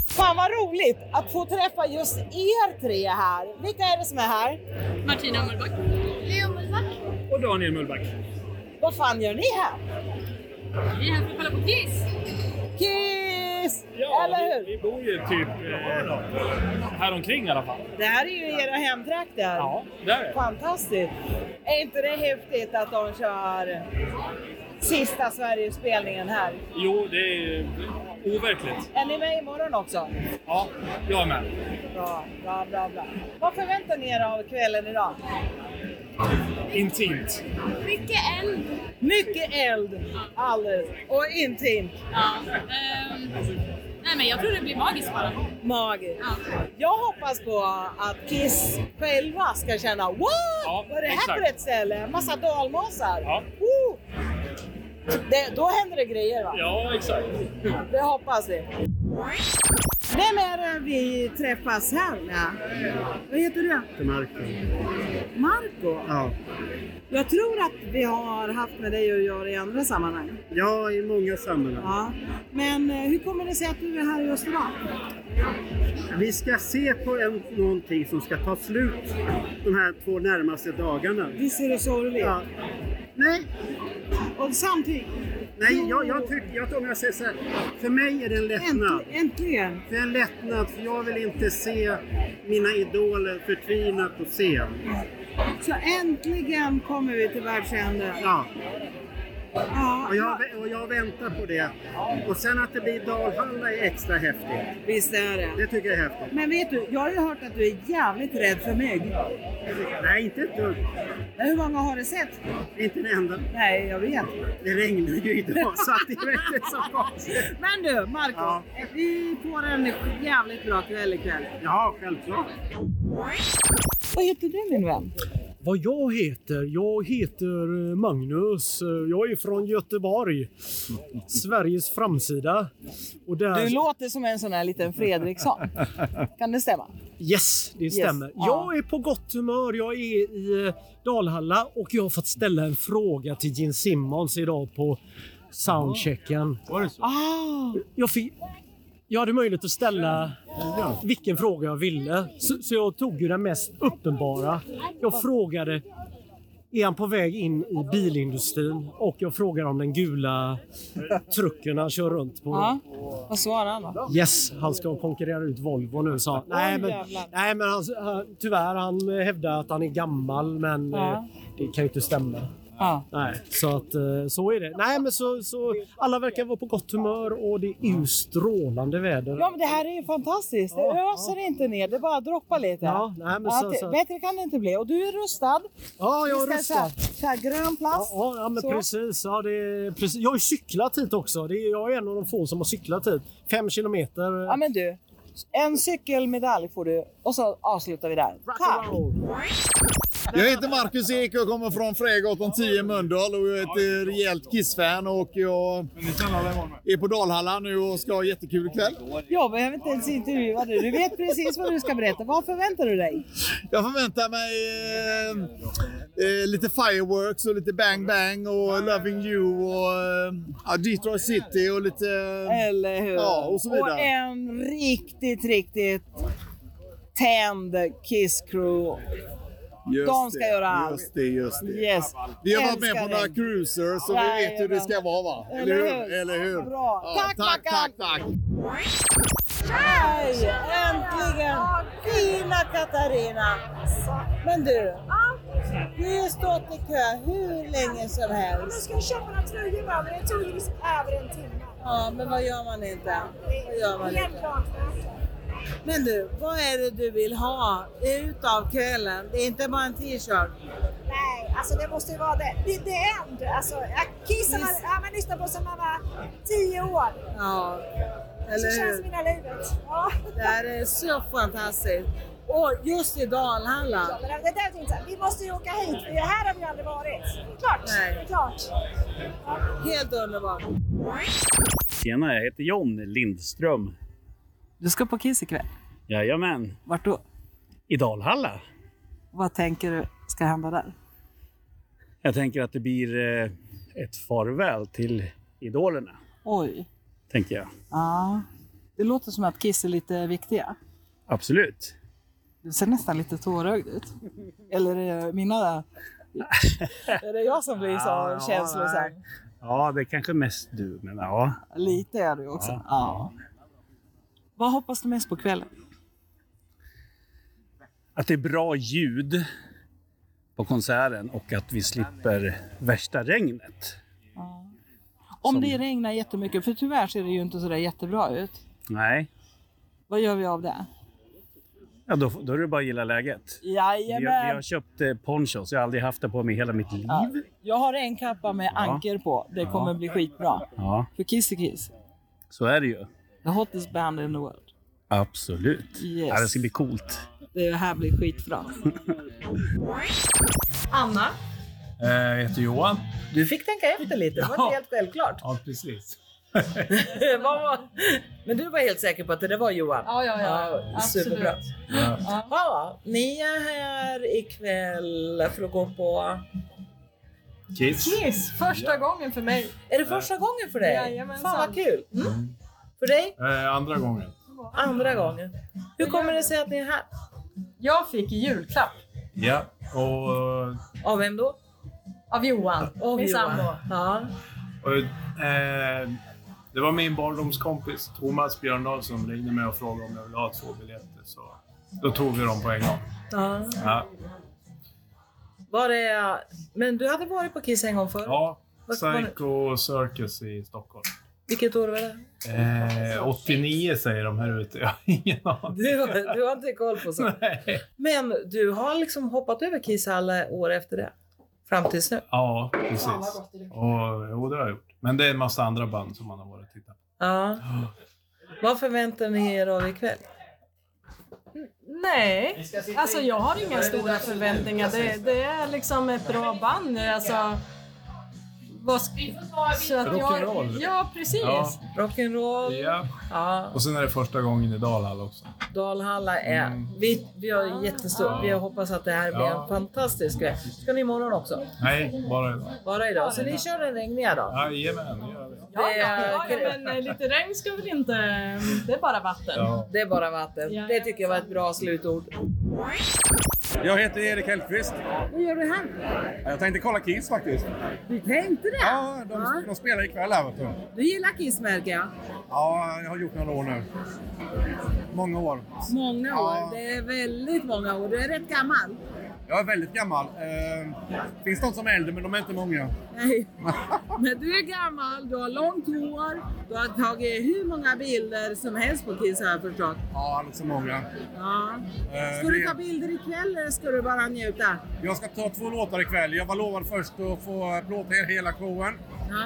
[SPEAKER 3] Fan vad roligt att få träffa just er tre här. Vilka är det som är här? Martina Mullback. Leo Mullback.
[SPEAKER 11] Och Daniel Mullback.
[SPEAKER 3] Vad fan gör ni här?
[SPEAKER 13] Vi är här för att kolla på Kiss.
[SPEAKER 3] Kiss! Eller hur?
[SPEAKER 11] Vi bor ju typ eh, här omkring i alla fall.
[SPEAKER 3] Det här är ju era hemtrakter.
[SPEAKER 11] Ja, det är det.
[SPEAKER 3] Fantastiskt. Är inte det häftigt att de kör sista Sverigespelningen här?
[SPEAKER 11] Jo, det är overkligt.
[SPEAKER 3] Är ni med imorgon också?
[SPEAKER 11] Ja, jag är med.
[SPEAKER 3] Bra, bra, bra, bra. Vad förväntar ni er av kvällen idag?
[SPEAKER 11] Intimt.
[SPEAKER 13] Mycket eld.
[SPEAKER 3] Mycket eld, alldeles. Och intimt.
[SPEAKER 13] Ja. ehm, nej men jag tror det blir magiskt bara.
[SPEAKER 3] Magiskt. Jag hoppas på att Kiss själva ska känna Wow! Vad är det här
[SPEAKER 13] exakt.
[SPEAKER 3] för ett ställe? En massa dalmåsar.
[SPEAKER 11] Ja.
[SPEAKER 3] Oh! Det, då händer det grejer va?
[SPEAKER 11] Ja, exakt.
[SPEAKER 3] Det hoppas vi. Vem är det vi träffas här med? Vad heter du? Marco?
[SPEAKER 12] Ja.
[SPEAKER 3] Jag tror att vi har haft med dig att göra i andra sammanhang.
[SPEAKER 12] ja, i många sammanhang.
[SPEAKER 3] Ja. Men eh, hur kommer det sig att du är här just idag?
[SPEAKER 12] Vi ska se på en, någonting som ska ta slut de här två närmaste dagarna.
[SPEAKER 3] Visst är det sorgligt?
[SPEAKER 12] Ja. Nej.
[SPEAKER 3] Och samtidigt?
[SPEAKER 12] Nej, jag, jag tycker, jag, om jag säger så här, för mig är det en lättnad.
[SPEAKER 3] Äntligen!
[SPEAKER 12] Det är en lättnad, för jag vill inte se mina idoler förtvina på scen.
[SPEAKER 3] Så äntligen kommer vi till världsänden.
[SPEAKER 12] Ja.
[SPEAKER 3] Ja,
[SPEAKER 12] Och jag, vä- och jag väntar på det. Och sen att det blir Dalhalla är extra häftigt.
[SPEAKER 3] Visst är det.
[SPEAKER 12] Det tycker jag är häftigt.
[SPEAKER 3] Men vet du, jag har ju hört att du är jävligt rädd för mygg.
[SPEAKER 12] Nej, inte ett dugg.
[SPEAKER 3] Hur många har du sett?
[SPEAKER 12] Inte en enda.
[SPEAKER 3] Nej, jag vet.
[SPEAKER 12] Det regnar ju idag,
[SPEAKER 3] <laughs>
[SPEAKER 12] så att det är inte så konstigt.
[SPEAKER 3] Men du, Marco.
[SPEAKER 12] Ja.
[SPEAKER 3] Vi får en jävligt bra kväll ikväll.
[SPEAKER 12] Ja, självklart.
[SPEAKER 3] Vad heter du min vän?
[SPEAKER 14] Vad jag heter? Jag heter eh, Magnus. Eh, Jag är från Göteborg. Sveriges framsida. Och där...
[SPEAKER 3] Du låter som en sån här liten
[SPEAKER 14] <laughs>
[SPEAKER 3] Fredriksson. Kan det stämma?
[SPEAKER 14] Yes, det
[SPEAKER 3] Yes,
[SPEAKER 14] stämmer.
[SPEAKER 3] ja.
[SPEAKER 14] Jag är på gott humör. Jag är i eh, Dalhalla och jag har fått ställa en fråga till Gene Simmons idag på soundchecken. Var det så? Jag, fick, jag hade möjlighet att ställa vilken fråga jag ville. Så, så jag tog ju den mest uppenbara. Jag frågade är han på väg in i bilindustrin? Och jag frågar om den gula trucken han kör runt på.
[SPEAKER 3] Ja. Vad svarar han då?
[SPEAKER 14] Yes, han ska konkurrera ut Volvo nu sa han. Nej, men,
[SPEAKER 3] jävlar.
[SPEAKER 14] nej, eh, men han, han, tyvärr, han hävdar att han är gammal men
[SPEAKER 3] Ja.
[SPEAKER 14] eh, det kan ju inte stämma.
[SPEAKER 3] Ja.
[SPEAKER 14] Nej, så, att, eh, så är det. Nej, men så, så, alla verkar vara på gott humör och det är ju strålande väder.
[SPEAKER 3] Ja, men det här är ju fantastiskt. Det öser inte ner, det bara droppar lite.
[SPEAKER 14] Ja, nej, men
[SPEAKER 3] Ja,
[SPEAKER 14] så-
[SPEAKER 3] det-
[SPEAKER 14] så-
[SPEAKER 3] Bättre kan det inte bli. Och du är rustad.
[SPEAKER 14] Ja, jag är
[SPEAKER 3] Vi ska
[SPEAKER 14] rustad.
[SPEAKER 3] Så här, så här, grön plast.
[SPEAKER 14] Ja, ja men
[SPEAKER 3] Så.
[SPEAKER 14] precis, ja, det är, precis. Jag har ju cyklat hit också. Det är, jag är en av de få som har cyklat hit. Fem kilometer.
[SPEAKER 3] Ja, men du. En cykelmedalj får du och så avslutar vi där. Tack!
[SPEAKER 10] Jag heter Marcus Ek och kommer från Frägatan 10 i Mölndal och jag är ett eh, rejält Kiss-fan och jag är på Dalhalla nu och ska ha jättekul ikväll.
[SPEAKER 3] Jag behöver inte ens intervjua dig. Du vet precis vad du ska berätta. Vad förväntar du dig?
[SPEAKER 10] Jag förväntar mig eh, eh, lite fireworks och lite Bang Bang och Loving You och eh, ja, Detroit City och lite...
[SPEAKER 3] Eller hur?
[SPEAKER 10] Ja, och så
[SPEAKER 3] Och
[SPEAKER 10] vidare.
[SPEAKER 3] en riktigt, riktigt tänd Kiss Crew. De ska
[SPEAKER 10] det,
[SPEAKER 3] göra allt.
[SPEAKER 10] Just det, just det.
[SPEAKER 3] Yes.
[SPEAKER 10] Vi har varit med
[SPEAKER 3] Älskar
[SPEAKER 10] på några
[SPEAKER 3] dig.
[SPEAKER 10] cruiser så vi vet hur det ska vara va? Eller hur? Eller hur?
[SPEAKER 3] Bra.
[SPEAKER 10] Ja,
[SPEAKER 3] tack,
[SPEAKER 10] tack,
[SPEAKER 3] Mackan!
[SPEAKER 10] tack, tack.
[SPEAKER 3] Hej! Äntligen! Fina Katarina! Men du, du har ju stått i kö hur länge som helst.
[SPEAKER 15] Jag ska köpa några tröjor med men det tog liksom över en timme.
[SPEAKER 3] Ja, men vad gör man inte? Vad gör man
[SPEAKER 15] Helt
[SPEAKER 3] inte?
[SPEAKER 15] klart.
[SPEAKER 3] Men du, vad är det du vill ha utav kvällen? Det är inte bara en t-shirt.
[SPEAKER 15] Nej, alltså det måste ju vara det. Det är the end. Alltså, Kissen har ja, man lyssnat på sedan man var tio år.
[SPEAKER 3] Ja,
[SPEAKER 15] så
[SPEAKER 3] eller
[SPEAKER 15] känns
[SPEAKER 3] hur?
[SPEAKER 15] mina livet. Ja.
[SPEAKER 3] Det här är så fantastiskt. Och just i
[SPEAKER 15] Ja,
[SPEAKER 3] Dalhalla.
[SPEAKER 15] men det där tänkte jag, vi måste ju åka hit. för Här har vi aldrig varit. Det är klart.
[SPEAKER 3] Nej.
[SPEAKER 15] Det är klart.
[SPEAKER 3] Helt underbart.
[SPEAKER 16] Tjena, jag heter John Lindström.
[SPEAKER 3] Du ska på Kiss ikväll.
[SPEAKER 16] Jajamän.
[SPEAKER 3] Vart då?
[SPEAKER 16] I Dalhalla.
[SPEAKER 3] Vad tänker du ska hända där?
[SPEAKER 16] Jag tänker att det blir eh, ett farväl till idolerna,
[SPEAKER 3] Oj.
[SPEAKER 16] tänker jag.
[SPEAKER 3] Ja. Det låter som att Kiss är lite viktiga.
[SPEAKER 16] Absolut.
[SPEAKER 3] Du ser nästan lite tårögd ut. Eller är det
[SPEAKER 16] <laughs>
[SPEAKER 3] mina... är det jag som blir så
[SPEAKER 16] Ja,
[SPEAKER 3] känslosam?
[SPEAKER 16] Ja, det är kanske mest du, men ja.
[SPEAKER 3] Lite är du också. Ja. Vad hoppas du mest på kvällen?
[SPEAKER 16] Att det är bra ljud på konserten och att vi slipper värsta regnet.
[SPEAKER 3] Om det regnar jättemycket, för tyvärr ser det ju inte så där jättebra ut.
[SPEAKER 16] Nej,
[SPEAKER 3] Vad gör vi av det?
[SPEAKER 16] ja, då, då är det bara att gilla läget. Vi har,
[SPEAKER 3] Jajamän!
[SPEAKER 16] vi har köpt eh, ponchos. Jag har aldrig haft det på mig i hela mitt liv.
[SPEAKER 3] Ja. Jag har en kappa med anker på. Det
[SPEAKER 16] Ja.
[SPEAKER 3] kommer bli skitbra.
[SPEAKER 16] Ja,
[SPEAKER 3] För Kiss är Kiss.
[SPEAKER 16] så är det ju.
[SPEAKER 3] The hottest band in the world.
[SPEAKER 16] Absolut.
[SPEAKER 3] Yes.
[SPEAKER 16] Ja, det ska bli coolt.
[SPEAKER 3] Det här blir skitbra.
[SPEAKER 17] Anna.
[SPEAKER 18] Eh, Jag heter Johan.
[SPEAKER 3] Du fick tänka efter lite. Det var inte helt självklart.
[SPEAKER 18] Ja, precis.
[SPEAKER 3] <laughs> Vad var- Men du var helt säker på att det där var Johan?
[SPEAKER 17] Ja, ja, ja. Absolut.
[SPEAKER 3] superbra.
[SPEAKER 18] Ja.
[SPEAKER 3] Ja. ni är här ikväll för att gå på...
[SPEAKER 18] Kiss.
[SPEAKER 17] Kiss! Första gången för mig.
[SPEAKER 3] Är det första gången för dig?
[SPEAKER 17] Jajamensan.
[SPEAKER 3] Fan vad kul! Mm. För dig?
[SPEAKER 18] Eh, andra gången.
[SPEAKER 3] Andra gången. Hur kommer det sig att ni är här?
[SPEAKER 17] Jag fick julklapp.
[SPEAKER 18] Ja, och,
[SPEAKER 3] Av vem då?
[SPEAKER 17] Av Johan,
[SPEAKER 3] Av
[SPEAKER 17] min
[SPEAKER 3] Johan.
[SPEAKER 17] sambo.
[SPEAKER 3] Ja.
[SPEAKER 18] och eh, det var min barndomskompis Thomas Björndal som ringde mig och frågade om jag ville ha två biljetter. Så då tog vi dem på en gång.
[SPEAKER 3] Ja.
[SPEAKER 18] Ja,
[SPEAKER 3] Var det... Men du hade varit på Kiss en gång förut?
[SPEAKER 18] ja
[SPEAKER 3] Vart var det?
[SPEAKER 18] Psycho Circus i Stockholm.
[SPEAKER 3] Vilket år var det?
[SPEAKER 18] Eh, 89 säger de här ute. Jag har ingen aning.
[SPEAKER 3] Du, har- du har inte koll på sånt. Men du har liksom hoppat över Kiss alla år efter det? Fram tills nu?
[SPEAKER 18] Ja, precis. Och, jo, det har jag gjort. Men det är en massa andra band som man har varit och tittat på.
[SPEAKER 3] Ja. Vad förväntar ni er av ikväll?
[SPEAKER 17] Nej, alltså jag har inga stora förväntningar. Det, det är liksom ett bra band. Alltså, vad ska, så att jag,
[SPEAKER 18] Rock'n'roll.
[SPEAKER 17] Ja, precis.
[SPEAKER 18] Ja.
[SPEAKER 3] Rock'n'roll.
[SPEAKER 18] Ja.
[SPEAKER 3] Ja.
[SPEAKER 18] Och sen är det första gången i Dalhalla också.
[SPEAKER 3] Dalhalla är... Vi, vi har ju jättestor... Vi hoppas att det här blir
[SPEAKER 18] Mm. Ja.
[SPEAKER 3] en fantastisk grej. Ska ni imorgon också?
[SPEAKER 18] Nej, bara idag.
[SPEAKER 3] Bara idag. Så ni kör en regniga dag?
[SPEAKER 18] Jajamän, det gör vi.
[SPEAKER 17] Ja, ja, ja, men eh, lite regn ska väl inte... Det är bara vatten.
[SPEAKER 3] Det är bara vatten. Det tycker jag var ett bra slutord.
[SPEAKER 19] Jag heter Erik Hellqvist.
[SPEAKER 3] Vad gör du här?
[SPEAKER 19] Jag tänkte kolla Kiss faktiskt.
[SPEAKER 3] Du tänkte det?
[SPEAKER 19] Ja, de, de spelar ikväll här vet du.
[SPEAKER 3] Du gillar Kiss märker jag.
[SPEAKER 19] Ja, jag har gjort några år nu. Många år.
[SPEAKER 3] Många år. Det är väldigt många år. Du är rätt gammal.
[SPEAKER 19] Jag är väldigt gammal. Eh, finns de som är äldre, men de är inte många. <laughs>
[SPEAKER 3] Nej. Men du är gammal, du har långt hår, du har tagit hur många bilder som helst på Kiss har jag förstått.
[SPEAKER 19] Ja, alldeles för många.
[SPEAKER 3] Ja.
[SPEAKER 19] Eh,
[SPEAKER 3] Ska du
[SPEAKER 19] det-
[SPEAKER 3] ta bilder ikväll eller ska du bara njuta?
[SPEAKER 19] Jag ska ta två låtar ikväll. Jag var lovad först att få plåta er hela showen.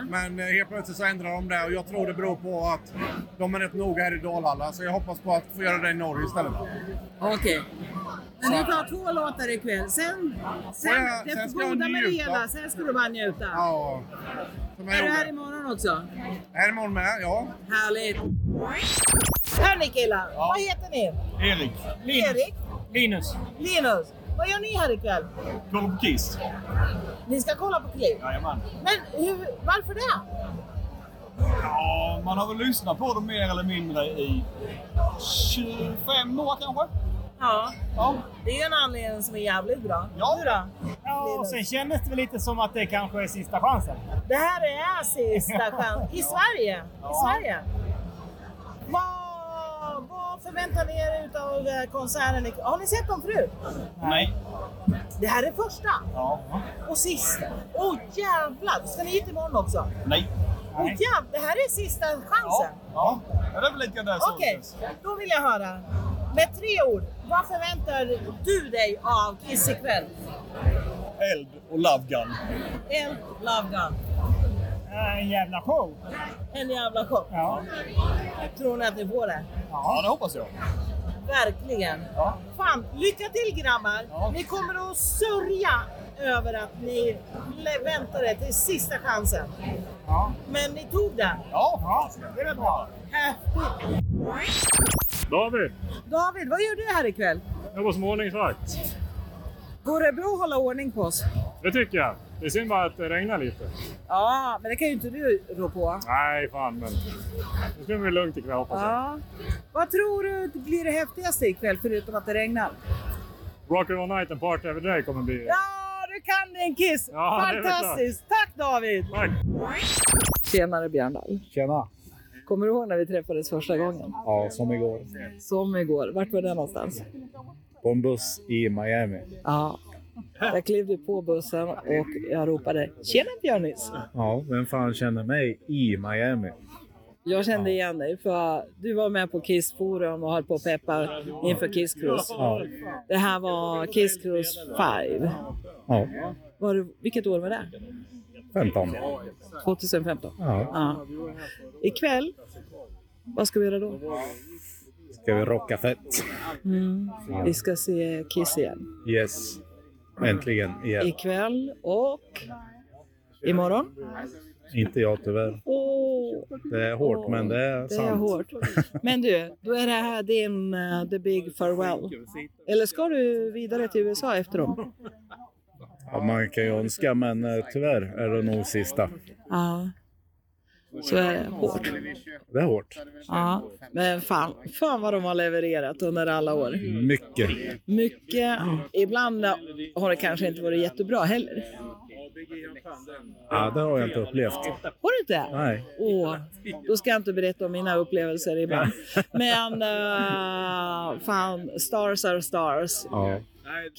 [SPEAKER 19] Men eh, helt plötsligt så ändrar de det och jag tror det beror på att de är rätt noga här i Dalhalla. Så jag hoppas på att få göra det i Norge istället.
[SPEAKER 3] Okej. Men du tar två låtar ikväll, sen, sen,
[SPEAKER 19] Får jag-
[SPEAKER 3] det
[SPEAKER 19] sen ska jag
[SPEAKER 3] goda med det
[SPEAKER 19] njuta.
[SPEAKER 3] hela, sen ska du bara njuta.
[SPEAKER 19] Ja. jag
[SPEAKER 3] Är du
[SPEAKER 19] gjorde.
[SPEAKER 3] här imorgon också?
[SPEAKER 19] Här imorgon med, ja.
[SPEAKER 3] Härligt! Hörni killar, vad heter ni?
[SPEAKER 20] Erik. Linus.
[SPEAKER 3] Erik?
[SPEAKER 20] Linus.
[SPEAKER 3] Linus? Vad gör ni här ikväll?
[SPEAKER 20] Kolla på Kiss.
[SPEAKER 3] Ni ska kolla på klipp?
[SPEAKER 20] Jajamän.
[SPEAKER 3] Men hur, varför det?
[SPEAKER 20] Ja, man har väl lyssnat på dem mer eller mindre i 25 år kanske.
[SPEAKER 3] Ja. Det är ju en anledning som är jävligt bra.
[SPEAKER 20] Ja.
[SPEAKER 3] Du då?
[SPEAKER 20] Ja, och sen kändes det väl lite som att det kanske är sista chansen.
[SPEAKER 3] Det här
[SPEAKER 20] <laughs>
[SPEAKER 3] är sista chansen. I Sverige? I Sverige? Vad, vad förväntar ni er av konserten? ikväll? Har ni sett dem förut?
[SPEAKER 20] Nej.
[SPEAKER 3] Det här är första
[SPEAKER 20] Ja.
[SPEAKER 3] och sista. Åh jävlar! Ska ni hit imorgon också?
[SPEAKER 20] Nej.
[SPEAKER 3] Åh jävlar, det här är sista chansen.
[SPEAKER 20] Ja, det är väl lite där som
[SPEAKER 3] Okej,
[SPEAKER 20] känns.
[SPEAKER 3] då vill jag höra. Med tre ord, vad förväntar du dig av Kiss ikväll?
[SPEAKER 20] Eld och Love Gun.
[SPEAKER 3] Eld, Love Gun.
[SPEAKER 20] En jävla show.
[SPEAKER 3] En jävla show.
[SPEAKER 20] Ja.
[SPEAKER 3] Tror ni att ni får det?
[SPEAKER 20] Ja, det hoppas jag.
[SPEAKER 3] Verkligen. Fan, lycka till grabbar. Ni kommer att sörja över att ni le- väntade till sista chansen. Men ni tog den.
[SPEAKER 20] Ja, det är väl bra.
[SPEAKER 3] Häftigt.
[SPEAKER 11] David,
[SPEAKER 3] David, vad gör du här ikväll?
[SPEAKER 11] jag var som ordningsvakt.
[SPEAKER 3] Går det bra att hålla ordning på oss?
[SPEAKER 11] Det tycker jag. Det är synd bara att det regnar lite.
[SPEAKER 3] Ja, men det kan ju inte du rå på.
[SPEAKER 11] Nej, fan men. Det ska bli lugnt ikväll hoppas jag.
[SPEAKER 3] Ja. Vad tror du blir det häftigaste ikväll förutom att det regnar?
[SPEAKER 11] Rock and roll night and party every day kommer bli...
[SPEAKER 3] Ja, du kan din Kiss!
[SPEAKER 11] Ja, det är väl klart.
[SPEAKER 3] Fantastiskt! Tack David!
[SPEAKER 11] Tack!
[SPEAKER 3] Tjenare Björn Dahl.
[SPEAKER 21] Tjena!
[SPEAKER 3] Kommer du ihåg när vi träffades första gången?
[SPEAKER 21] Ja, som igår.
[SPEAKER 3] Som igår. Vart var det någonstans?
[SPEAKER 21] På en buss i Miami.
[SPEAKER 3] Ja. Jag klev du på bussen och jag ropade “Tjena Björnis!”
[SPEAKER 21] Ja, vem fan känner mig i Miami?
[SPEAKER 3] Jag kände igen dig för du var med på Kiss Forum och höll på att peppa inför Kiss Cruise.
[SPEAKER 21] Ja.
[SPEAKER 3] Det här var Kiss Cruise 5.
[SPEAKER 21] Ja,
[SPEAKER 3] Var du, vilket år var det?
[SPEAKER 21] 15.
[SPEAKER 3] 2015?
[SPEAKER 21] Ja.
[SPEAKER 3] Ikväll, vad ska vi göra då?
[SPEAKER 21] Ska vi rocka fett?
[SPEAKER 3] Mm.
[SPEAKER 21] Ja.
[SPEAKER 3] Vi ska se Kiss igen.
[SPEAKER 21] Yes. Äntligen igen.
[SPEAKER 3] Ikväll och imorgon.
[SPEAKER 21] Inte jag tyvärr.
[SPEAKER 3] Åh,
[SPEAKER 21] Det är hårt, men det är
[SPEAKER 3] det är
[SPEAKER 21] sant.
[SPEAKER 3] hårt. Men du, då är det här din eh, The Big Farewell. Eller ska du vidare till USA efter dem?
[SPEAKER 21] Ja, man kan ju önska, men eh, tyvärr är det nog sista.
[SPEAKER 3] Ja. Så är det hårt.
[SPEAKER 21] Det är hårt.
[SPEAKER 3] Ja, men fan, fan vad de har levererat under alla år.
[SPEAKER 21] Mycket.
[SPEAKER 3] Mycket. Ibland har det kanske inte varit jättebra heller.
[SPEAKER 21] Ja, det har jag inte upplevt.
[SPEAKER 3] Har du inte?
[SPEAKER 21] Nej.
[SPEAKER 3] Åh, då ska jag inte berätta om mina upplevelser ibland. Men eh, fan, stars are stars.
[SPEAKER 21] Ja.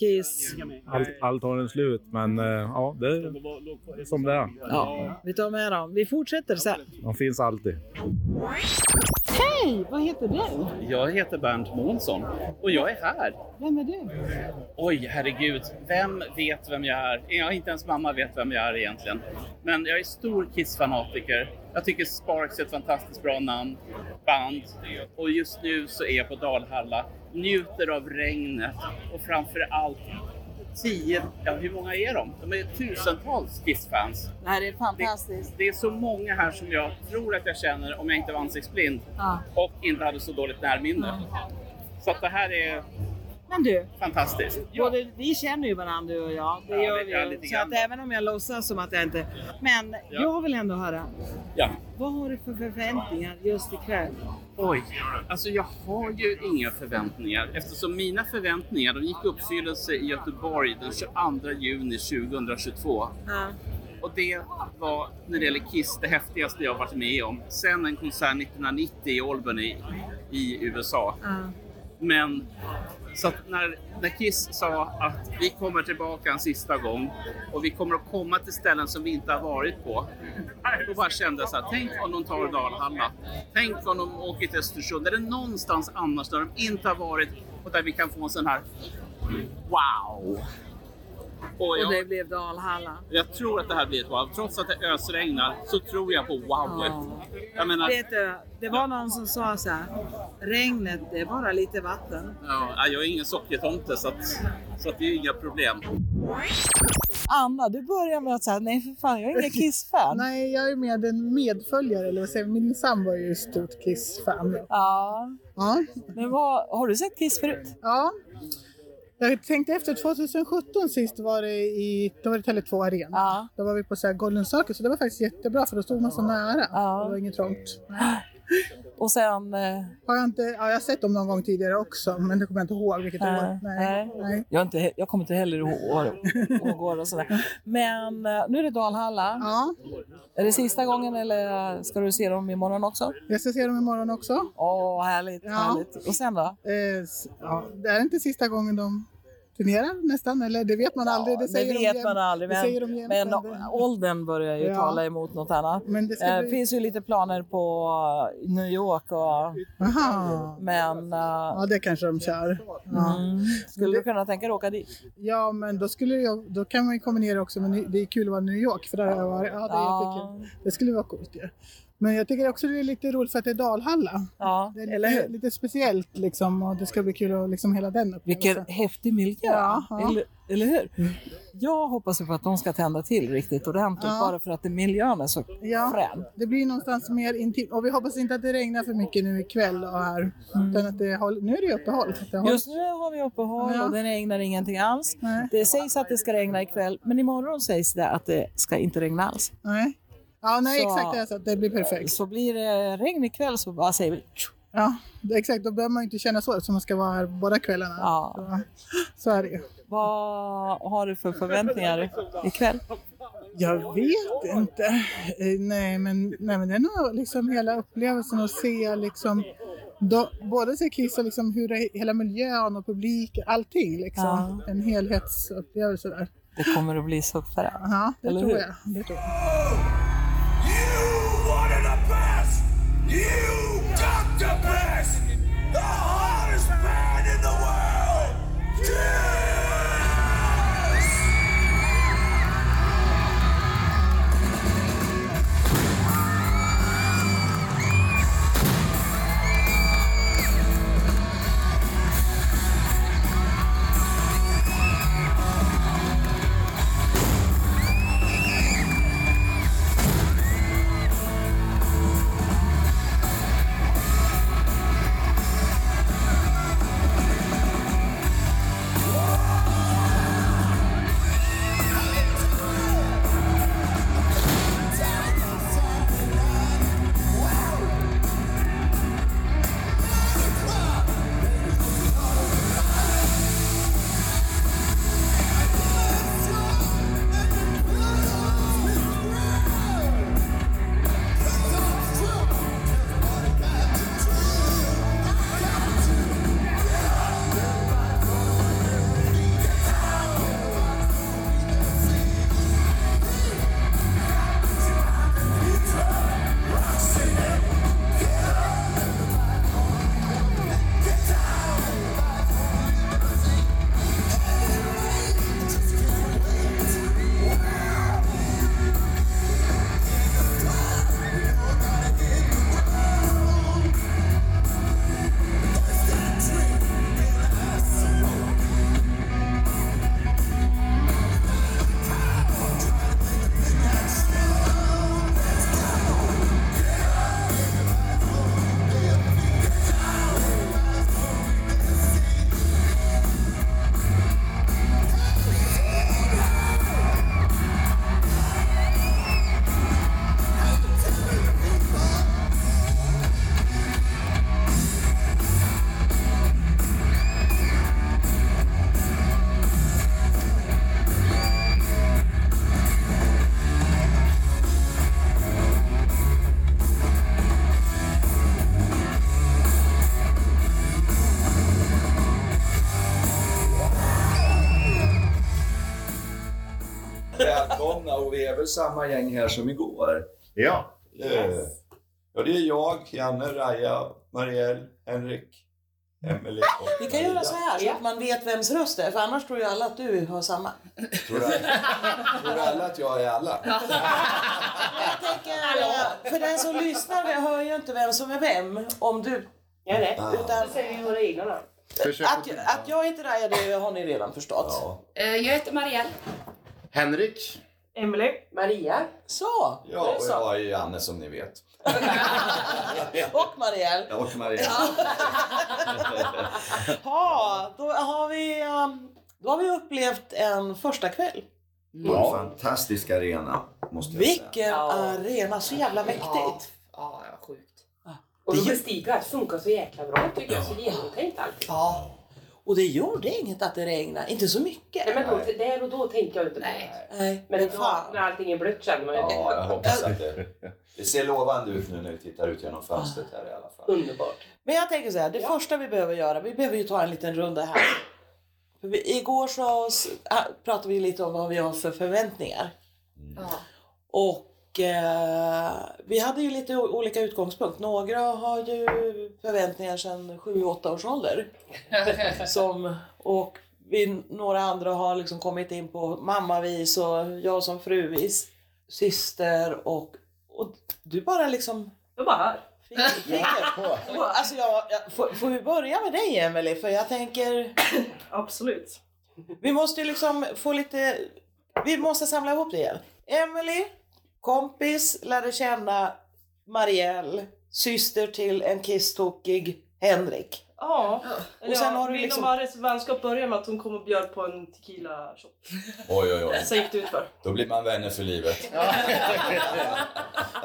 [SPEAKER 3] Kiss.
[SPEAKER 21] Allt, allt har en slut, men eh, ja, det är som det är.
[SPEAKER 3] Ja, vi tar med dem. Vi fortsätter sen.
[SPEAKER 21] De finns alltid.
[SPEAKER 3] Hej, vad heter du?
[SPEAKER 22] Jag heter Bernt Månsson och jag är här.
[SPEAKER 3] Vem är du?
[SPEAKER 22] Oj, herregud. Vem vet vem jag är? Ja, inte ens mamma vet vem jag är egentligen. Men jag är stor Kiss-fanatiker. Jag tycker Sparks är ett fantastiskt bra namn, band. Och just nu så är jag på Dalhalla, njuter av regnet och framför allt tio, ja hur många är de? De är tusentals Kiss-fans.
[SPEAKER 3] Det här är fantastiskt.
[SPEAKER 22] Det är så många här som jag tror att jag känner om jag inte var ansiktsblind
[SPEAKER 3] Ja.
[SPEAKER 22] och inte hade så dåligt närminne. Så att det här är
[SPEAKER 3] Men du,
[SPEAKER 22] fantastiskt.
[SPEAKER 3] både, vi känner ju varandra du och jag. Det
[SPEAKER 22] Ja,
[SPEAKER 3] gör
[SPEAKER 22] det- ja,
[SPEAKER 3] vi
[SPEAKER 22] lite
[SPEAKER 3] ju. Så
[SPEAKER 22] grann.
[SPEAKER 3] att även om jag låtsas som att jag inte... Men jag vill ändå höra.
[SPEAKER 22] Ja.
[SPEAKER 3] Vad har du för förväntningar just ikväll?
[SPEAKER 22] Oj, alltså jag har ju inga förväntningar eftersom mina förväntningar de gick i uppfyllelse i Göteborg den 22 juni 2022.
[SPEAKER 3] Ja.
[SPEAKER 22] Och det var när det gäller Kiss det häftigaste jag varit med om. Sen en konsert 1990 i Albany i USA. Men Så att när, när Kiss sa att vi kommer tillbaka en sista gång och vi kommer att komma till ställen som vi inte har varit på. Då bara kände jag så här, tänk om de tar Dalhalla. Tänk om de åker till Östersund eller någonstans annars där de inte har varit och där vi kan få en sån här wow. Och
[SPEAKER 6] Och
[SPEAKER 22] jag,
[SPEAKER 6] det blev Dalhalla.
[SPEAKER 22] jag tror att det här blir ett wow. Trots att det ösregnar så tror jag på wowet. Jag menar,
[SPEAKER 6] Vet du, det var någon som sa så här, regnet det är bara lite vatten.
[SPEAKER 22] ja, jag är ingen sockertomte så, att, så att det är inga problem.
[SPEAKER 3] Anna, du börjar med att säga nej för fan, jag är ingen Kiss-fan. nej, jag är med en medföljare, eller vad säger jag? Min sambo är ju stort Kiss-fan. Ja. ja. Men har du sett Kiss förut? Ja.
[SPEAKER 23] Jag tänkte efter 2017 sist var det i, då var det Tele2 Arena. Då var vi på så här Golden Circle, så det var faktiskt jättebra för då stod man så nära. Det var inget
[SPEAKER 3] <gasps>
[SPEAKER 23] trångt. Och sen?
[SPEAKER 3] eh,
[SPEAKER 23] Har jag, inte, ja, jag har sett dem någon gång tidigare också, men det kommer jag inte ihåg vilket
[SPEAKER 3] Nej,
[SPEAKER 23] år.
[SPEAKER 3] nej.
[SPEAKER 23] nej.
[SPEAKER 3] Jag, har inte, he- jag kommer inte heller ihåg ihåg år och sådär. Men eh, nu är det Dalhalla.
[SPEAKER 23] Ja.
[SPEAKER 3] Är det sista gången eller ska du se dem imorgon också?
[SPEAKER 23] Jag ska se dem imorgon också.
[SPEAKER 3] Åh, härligt,
[SPEAKER 23] Ja.
[SPEAKER 3] härligt. Och sen då?
[SPEAKER 23] Eh, s- ja, det är inte sista gången de turnerar nästan, eller det vet man aldrig. Det,
[SPEAKER 3] Det,
[SPEAKER 23] säger de
[SPEAKER 3] vet
[SPEAKER 23] jämt.
[SPEAKER 3] man aldrig,
[SPEAKER 23] Det säger de
[SPEAKER 3] men,
[SPEAKER 23] jämt,
[SPEAKER 3] men
[SPEAKER 23] det-
[SPEAKER 3] åldern börjar ju
[SPEAKER 23] Ja.
[SPEAKER 3] tala emot något annat.
[SPEAKER 23] Men det
[SPEAKER 3] det
[SPEAKER 23] ska bli-
[SPEAKER 3] finns ju lite planer på eh, New York och...
[SPEAKER 23] Aha.
[SPEAKER 3] Men... eh,
[SPEAKER 23] Ja, det kanske de kör. Ja.
[SPEAKER 3] Mm. Skulle du kunna tänka dig att åka dit?
[SPEAKER 23] Ja, men då, skulle jag, då kan man ju kombinera också med ny- det är kul att vara i New York för där har jag varit. Ja, det, är
[SPEAKER 3] Ja.
[SPEAKER 23] jättekul. det skulle vara coolt ju. Men jag tycker också det är lite roligt för att det är Dalhalla.
[SPEAKER 3] Ja,
[SPEAKER 23] det är lite,
[SPEAKER 3] eller hur?
[SPEAKER 23] lite speciellt liksom och det ska bli kul att liksom hela den upplevelsen.
[SPEAKER 3] Vilken häftig miljö!
[SPEAKER 23] Ja, ja. Mm.
[SPEAKER 3] Eller, eller hur? Jag hoppas ju på att de ska tända till riktigt ordentligt
[SPEAKER 23] Ja.
[SPEAKER 3] bara för att miljön är så
[SPEAKER 23] Ja,
[SPEAKER 3] frän.
[SPEAKER 23] det blir någonstans mer intimt. Och vi hoppas inte att det regnar för mycket nu ikväll och här. Utan att det håll, nu är det ju uppehåll. Att det håll-
[SPEAKER 3] Mm. Just nu har vi uppehåll
[SPEAKER 23] Ja.
[SPEAKER 3] och det regnar ingenting alls. Det sägs att det ska regna ikväll, men imorgon sägs det att det ska inte regna alls.
[SPEAKER 23] Nej, ja, nej
[SPEAKER 3] Så-
[SPEAKER 23] exakt. Det, är så att det blir perfekt.
[SPEAKER 3] Så blir det regn ikväll så bara säger vi
[SPEAKER 23] Ja, det, exakt. Då behöver man ju inte känna så eftersom man ska vara här båda kvällarna. Så, så är det ju.
[SPEAKER 3] Vad har du för förväntningar ikväll?
[SPEAKER 23] Jag vet inte. Eh, Nej men, nej, men det är nog liksom hela upplevelsen att se liksom då, både se Kiss och liksom hur det, hela miljön och publik, allting liksom. En helhetsupplevelse där.
[SPEAKER 3] Det kommer att bli suffare.
[SPEAKER 23] Ja, det
[SPEAKER 3] Eller
[SPEAKER 23] tror
[SPEAKER 3] hur?
[SPEAKER 23] jag. Det tror jag.
[SPEAKER 24] wanted the best. You got the best. The hardest band in the world. Yes!
[SPEAKER 2] det är väl samma gäng här som igår?
[SPEAKER 4] Ja.
[SPEAKER 2] Eh, Ja, det är jag, Janne, Raja, Marielle, Henrik, Emelie och...
[SPEAKER 3] Vi kan göra så här så att man vet vems röst det är, för annars tror ju alla att du har samma.
[SPEAKER 2] Tror du- tror du alla att jag är alla?
[SPEAKER 3] Jag tänker, eh, för den som lyssnar vi hör ju inte vem som är vem om du gör det.
[SPEAKER 2] Ah.
[SPEAKER 3] Utan, säger våra egna då. Att, att jag heter Raja det har ni redan förstått.
[SPEAKER 5] Jag heter Marielle.
[SPEAKER 4] Henrik.
[SPEAKER 3] Emelie. Maria. Så!
[SPEAKER 2] Ja,
[SPEAKER 3] nu
[SPEAKER 2] och
[SPEAKER 3] så.
[SPEAKER 2] jag är Janne som ni vet.
[SPEAKER 3] Och Marielle.
[SPEAKER 2] Jag och Maria.
[SPEAKER 3] Ha, då, har vi, um, då har vi upplevt en första kväll.
[SPEAKER 2] Ja. Fantastisk arena, måste jag säga.
[SPEAKER 3] Vilken arena, så jävla mäktigt.
[SPEAKER 5] Ja, ja sjukt. Och logistiken funkar så jäkla bra tycker jag, så genomtänkt allt.
[SPEAKER 3] Ja. Och det gjorde inget att det regnade, inte så mycket.
[SPEAKER 5] Nej, men då, där och då tänkte jag inte på det.
[SPEAKER 3] Nej,
[SPEAKER 5] Men idag när allting är blött känner man ju
[SPEAKER 2] Ja, jag
[SPEAKER 5] det.
[SPEAKER 2] hoppas att det... Det ser lovande ut nu när vi tittar ut genom fönstret här i alla fall.
[SPEAKER 5] Underbart.
[SPEAKER 3] Men jag tänker så här, det första vi behöver göra, vi behöver ju ta en liten runda här. För vi, igår så s- ah, pratade vi lite om vad vi har för förväntningar. Och eh, vi hade ju lite o- olika utgångspunkt. Några har ju förväntningar sedan 7-8 års ålder. som, och vi, några andra har liksom kommit in på mammavis och jag som fruvis, syster och, och du bara liksom...
[SPEAKER 5] Jag bara hör.
[SPEAKER 3] Alltså jag, jag, får, får vi börja med dig Emelie? För jag tänker...
[SPEAKER 5] Absolut.
[SPEAKER 3] Vi måste ju liksom få lite... Vi måste samla ihop det igen. Emelie, kompis, lärde känna Marielle, syster till en kisstokig Henrik.
[SPEAKER 8] Ja.
[SPEAKER 3] Och sen har du liksom-
[SPEAKER 8] Linovares vänskap började med att hon kom och bjöd på en tequila shot.
[SPEAKER 2] Oj, oj, oj.
[SPEAKER 8] Sen gick det utför.
[SPEAKER 2] Då blir man vänner för livet.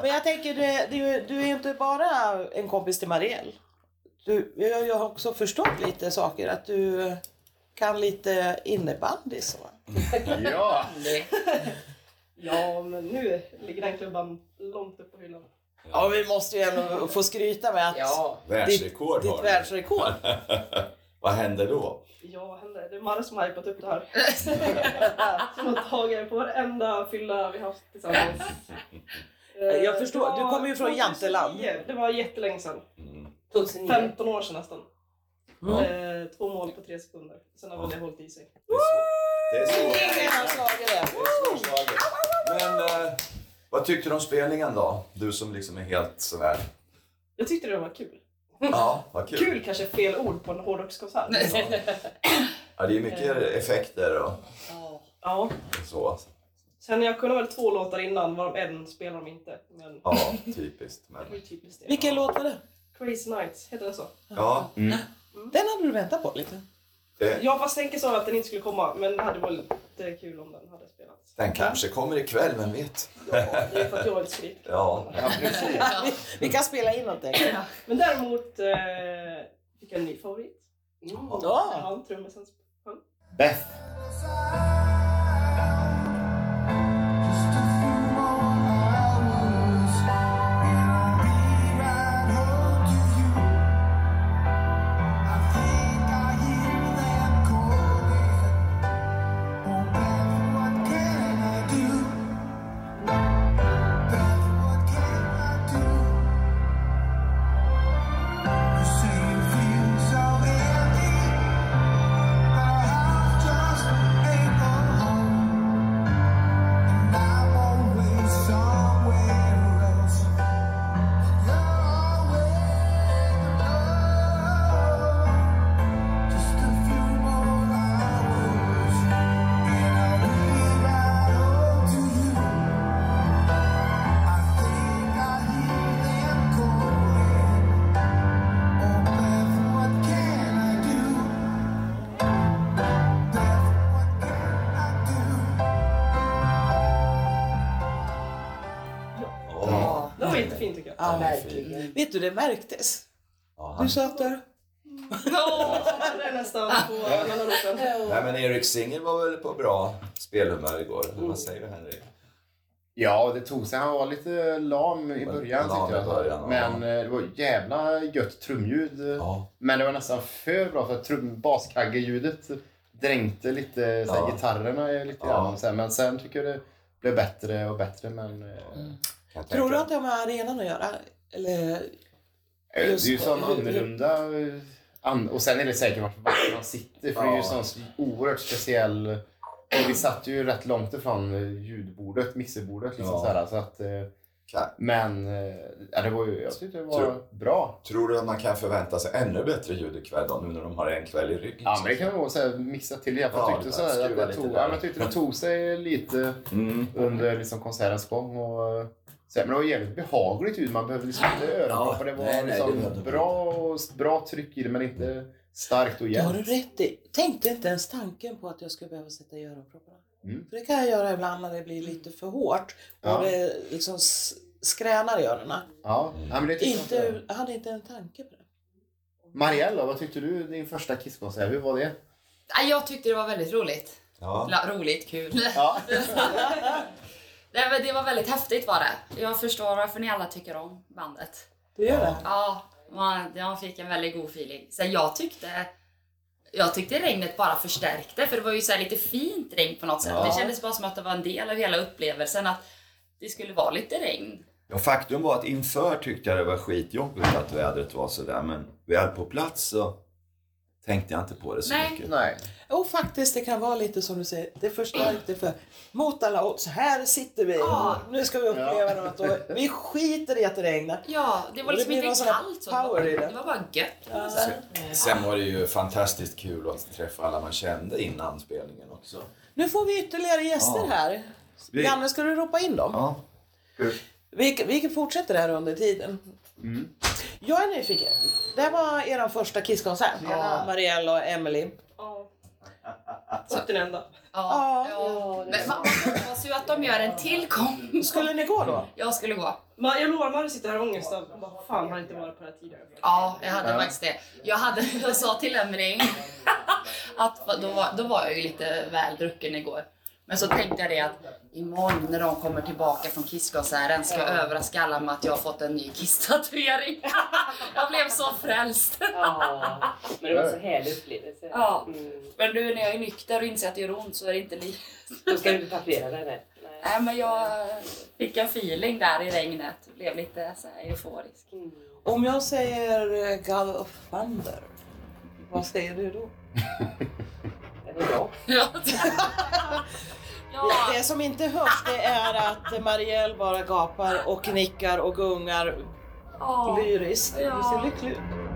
[SPEAKER 3] Men jag tänker, det, det, du är ju inte bara en kompis till Marielle. Du, jag, jag har också förstått lite saker, att du kan lite innebandy så.
[SPEAKER 4] Ja.
[SPEAKER 8] Ja, men nu ligger den klubban långt upp på hyllan.
[SPEAKER 3] Ja, vi måste ju ändå få skryta med att
[SPEAKER 2] Världsrekord
[SPEAKER 3] ditt,
[SPEAKER 2] har du.
[SPEAKER 3] ditt världsrekord.
[SPEAKER 2] <laughs> Vad händer då?
[SPEAKER 8] Ja, vad händer? Det är Marre som har hypat upp det
[SPEAKER 3] <laughs>
[SPEAKER 8] här. som har tagit på varenda fylla vi haft tillsammans. Eh,
[SPEAKER 3] Jag
[SPEAKER 8] det
[SPEAKER 3] förstår. Du
[SPEAKER 8] var
[SPEAKER 3] kommer ju från Janteland.
[SPEAKER 8] 2009. Det var jättelänge sedan.
[SPEAKER 5] 2009.
[SPEAKER 8] 15 år sedan nästan.
[SPEAKER 3] Ja.
[SPEAKER 8] Eh, två mål på tre sekunder. Sen har väl det hållit i sig.
[SPEAKER 2] Det är så.
[SPEAKER 8] Ingen har
[SPEAKER 2] Men eh, vad tyckte du om spelningen då? Du som liksom är helt sådär...
[SPEAKER 8] Jag tyckte det var kul.
[SPEAKER 2] Ja, vad
[SPEAKER 8] Kul,
[SPEAKER 2] kul.
[SPEAKER 8] kanske är fel ord på en hårdrockskonsert.
[SPEAKER 2] Ja, det är mycket effekter och
[SPEAKER 8] ja.
[SPEAKER 2] så.
[SPEAKER 8] Sen jag kunde väl två låtar innan, varav en spelar de inte. Men
[SPEAKER 2] Ja, typiskt. Men...
[SPEAKER 8] det var ju typiskt det.
[SPEAKER 3] Vilken låt var det?
[SPEAKER 8] Crazy Nights, heter den så?
[SPEAKER 2] Ja.
[SPEAKER 3] Den hade du väntat på lite.
[SPEAKER 2] Det,
[SPEAKER 8] Jag fast tänker så att den inte skulle komma, men det hade varit lite kul om den hade spelats.
[SPEAKER 2] den kanske kommer ikväll, vem vet?
[SPEAKER 8] Det är för att jag är lite skrik.
[SPEAKER 2] Ja,
[SPEAKER 3] <laughs> vi, vi kan spela in någonting.
[SPEAKER 8] Men däremot eh, fick jag en ny favorit. Mm. Ja, trummisen sjöng.
[SPEAKER 4] Beth.
[SPEAKER 6] Oh,
[SPEAKER 8] Det var jättefint tycker jag.
[SPEAKER 3] Ja, verkligen. Vet du, det märktes. Du satt där.
[SPEAKER 8] Ja, det är nästan på den andra låten.
[SPEAKER 2] Nej, men Erik Singer var väl på bra spelhumör igår? eller Vad säger du, Henrik?
[SPEAKER 4] Ja, det tog sig. Han var lite lam i
[SPEAKER 2] Var
[SPEAKER 4] början
[SPEAKER 2] lam
[SPEAKER 4] tyckte
[SPEAKER 2] i
[SPEAKER 4] jag.
[SPEAKER 2] början,
[SPEAKER 4] Men eh, det var jävla gött trumljud. Men det var nästan för bra för att trum- baskaggeljudet dränkte lite så här,
[SPEAKER 2] Ja.
[SPEAKER 4] gitarrerna lite grann. Så här, men sen tycker jag det blev bättre och bättre. Men, eh, kan jag tänka.
[SPEAKER 3] Tror du att det har med arenan att göra? Eller
[SPEAKER 4] Eh, Det är ju
[SPEAKER 3] just-
[SPEAKER 4] sån annorlunda... eh, An och sen är det säkert vart vart man sitter. För det är ju sån oerhört speciell... Och vi satt ju rätt långt ifrån eh, ljudbordet, mixerbordet. Liksom
[SPEAKER 2] Ja.
[SPEAKER 4] så här, så att, eh, men eh, ja, det var ju, jag tyckte det var bra.
[SPEAKER 2] Tror du att man kan förvänta sig ännu bättre ljud ikväll då, nu när de har en kväll i ryggen?
[SPEAKER 4] Ja, men det kan man nog säga, mixa till det.
[SPEAKER 2] Ja,
[SPEAKER 4] Jag tyckte,
[SPEAKER 2] det
[SPEAKER 4] så här, att
[SPEAKER 2] skruvar
[SPEAKER 4] det
[SPEAKER 2] lite
[SPEAKER 4] tog,
[SPEAKER 2] där.
[SPEAKER 4] ja, men jag tyckte det tog sig lite under liksom, konsertens gång. Och, eh, så här, men det var jävligt behagligt ljud. Man behövde liksom inte öronproppa. det var
[SPEAKER 3] nej, nej, det
[SPEAKER 4] liksom,
[SPEAKER 3] behövde man
[SPEAKER 4] bra, och, bra tryck i det, men inte starkt och
[SPEAKER 3] Det har du
[SPEAKER 4] jämnt.
[SPEAKER 3] rätt i. Tänkte inte ens tanken på att jag skulle behöva sätta i öronpropparna.
[SPEAKER 4] Mm.
[SPEAKER 3] För det kan jag göra ibland när det blir lite för hårt och
[SPEAKER 4] Ja.
[SPEAKER 3] det liksom s- skränar i öronen.
[SPEAKER 4] Ja, ja, men det typ tyckte jag inte.
[SPEAKER 3] Inte, jag hade inte en tanke på det.
[SPEAKER 4] Mariella, vad tyckte du din första Kisskonsert? Hur var det?
[SPEAKER 7] Nej, Jag tyckte det var väldigt roligt.
[SPEAKER 4] Ja.
[SPEAKER 7] La, roligt, kul.
[SPEAKER 4] Ja.
[SPEAKER 7] <laughs> Nej, men det var väldigt häftigt var det. Jag förstår varför ni alla tycker om bandet.
[SPEAKER 3] Du gör det?
[SPEAKER 7] Ja, man, man fick en väldigt god feeling. Sen jag tyckte jag tyckte regnet bara förstärkte för det var ju så här lite fint regn på något sätt.
[SPEAKER 2] Ja.
[SPEAKER 7] Det kändes bara som att det var en del av hela upplevelsen att det skulle vara lite regn.
[SPEAKER 2] Ja, faktum var att inför tyckte jag det var skitjobbigt att vädret var sådär, men väl på plats så tänkte jag inte på det så
[SPEAKER 3] Nej.
[SPEAKER 2] mycket.
[SPEAKER 4] Nej.
[SPEAKER 3] Och faktiskt, det kan vara lite som du säger, det förstärkte för mot alla odds, här sitter vi.
[SPEAKER 7] Ja.
[SPEAKER 3] Nu ska vi uppleva något och vi skiter i att det regnar.
[SPEAKER 7] Ja, det var
[SPEAKER 3] Och
[SPEAKER 7] liksom
[SPEAKER 3] blir någon
[SPEAKER 7] inte
[SPEAKER 3] sån här
[SPEAKER 7] kallt så.
[SPEAKER 3] Power i det.
[SPEAKER 7] Det var bara gött. på något sätt.
[SPEAKER 2] Sen var det ju fantastiskt kul att träffa alla man kände innan spelningen också.
[SPEAKER 3] Nu får vi ytterligare gäster
[SPEAKER 2] Ja.
[SPEAKER 3] här.
[SPEAKER 2] Vi-
[SPEAKER 3] Janne, ska du ropa in dem?
[SPEAKER 2] Ja.
[SPEAKER 3] Vi, vi fortsätter här under tiden.
[SPEAKER 16] Mm.
[SPEAKER 3] Jag är nyfiken. Det här var er första Kisskonsert.
[SPEAKER 7] Ja.
[SPEAKER 3] Marielle och Emily.
[SPEAKER 7] Typ den enda.
[SPEAKER 3] Ja.
[SPEAKER 7] Men man hoppas ju att de gör en till kom.
[SPEAKER 3] Skulle ni gå då?
[SPEAKER 7] Jag skulle gå.
[SPEAKER 8] Man, jag lovar, man sitter här i ångest och bara, fan har jag inte varit på det här tidigare.
[SPEAKER 7] Ja, jag hade
[SPEAKER 8] Ja.
[SPEAKER 7] faktiskt det. Jag, hade, <laughs> jag sa till Emily att då var, då var jag ju lite väl drucken igår. Men så tänkte jag det att imorgon när de kommer tillbaka från Kisskonserten ska jag överraska alla med att jag har fått en ny kisstatuering. <laughs> Jag blev så frälst.
[SPEAKER 5] Ja, men det var så härlig upplevelse.
[SPEAKER 7] Ja,
[SPEAKER 5] Mm.
[SPEAKER 7] men nu när jag är nykter och inser att det gör ont så är det inte li...
[SPEAKER 5] Då ska du inte tatuera dig där.
[SPEAKER 7] <laughs> Nej, men jag fick en feeling där i regnet. Blev lite så här euforisk.
[SPEAKER 5] Mm.
[SPEAKER 3] Om jag säger eh, God of Thunder, vad säger
[SPEAKER 4] <laughs>
[SPEAKER 3] du då?
[SPEAKER 5] Det var bra.
[SPEAKER 3] Det som inte hörs det är att Marielle bara gapar och nickar och gungar
[SPEAKER 7] Ja.
[SPEAKER 3] lyriskt. Du ser
[SPEAKER 7] Ah. Ja.
[SPEAKER 3] lycklig ut.
[SPEAKER 10] Oh, Oh, <laughs> Oh,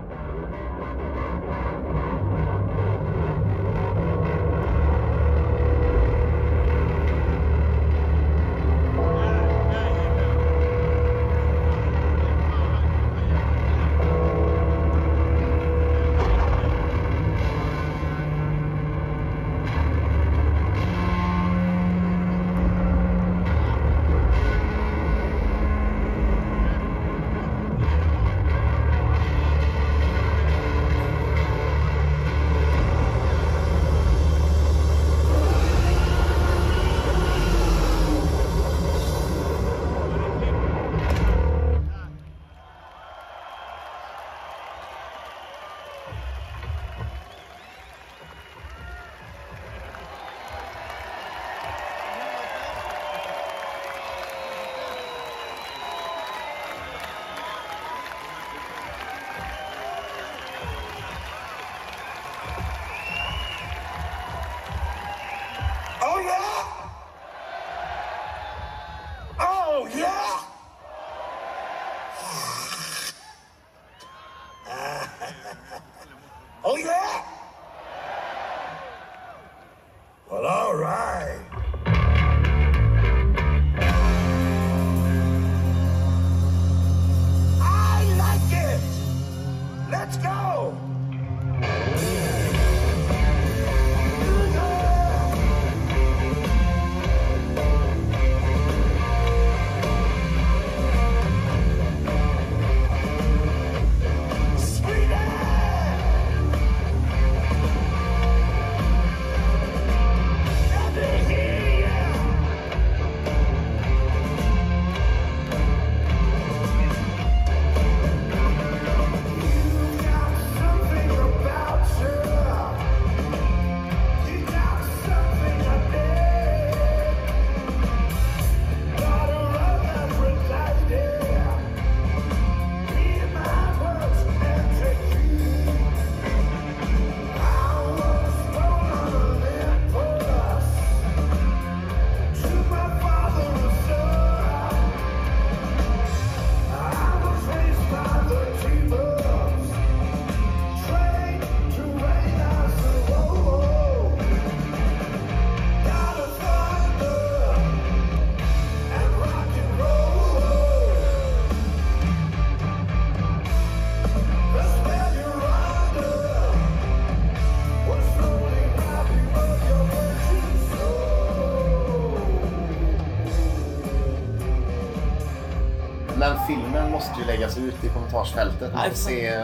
[SPEAKER 4] den filmen måste ju läggas ut i kommentarsfältet. Man får se ja,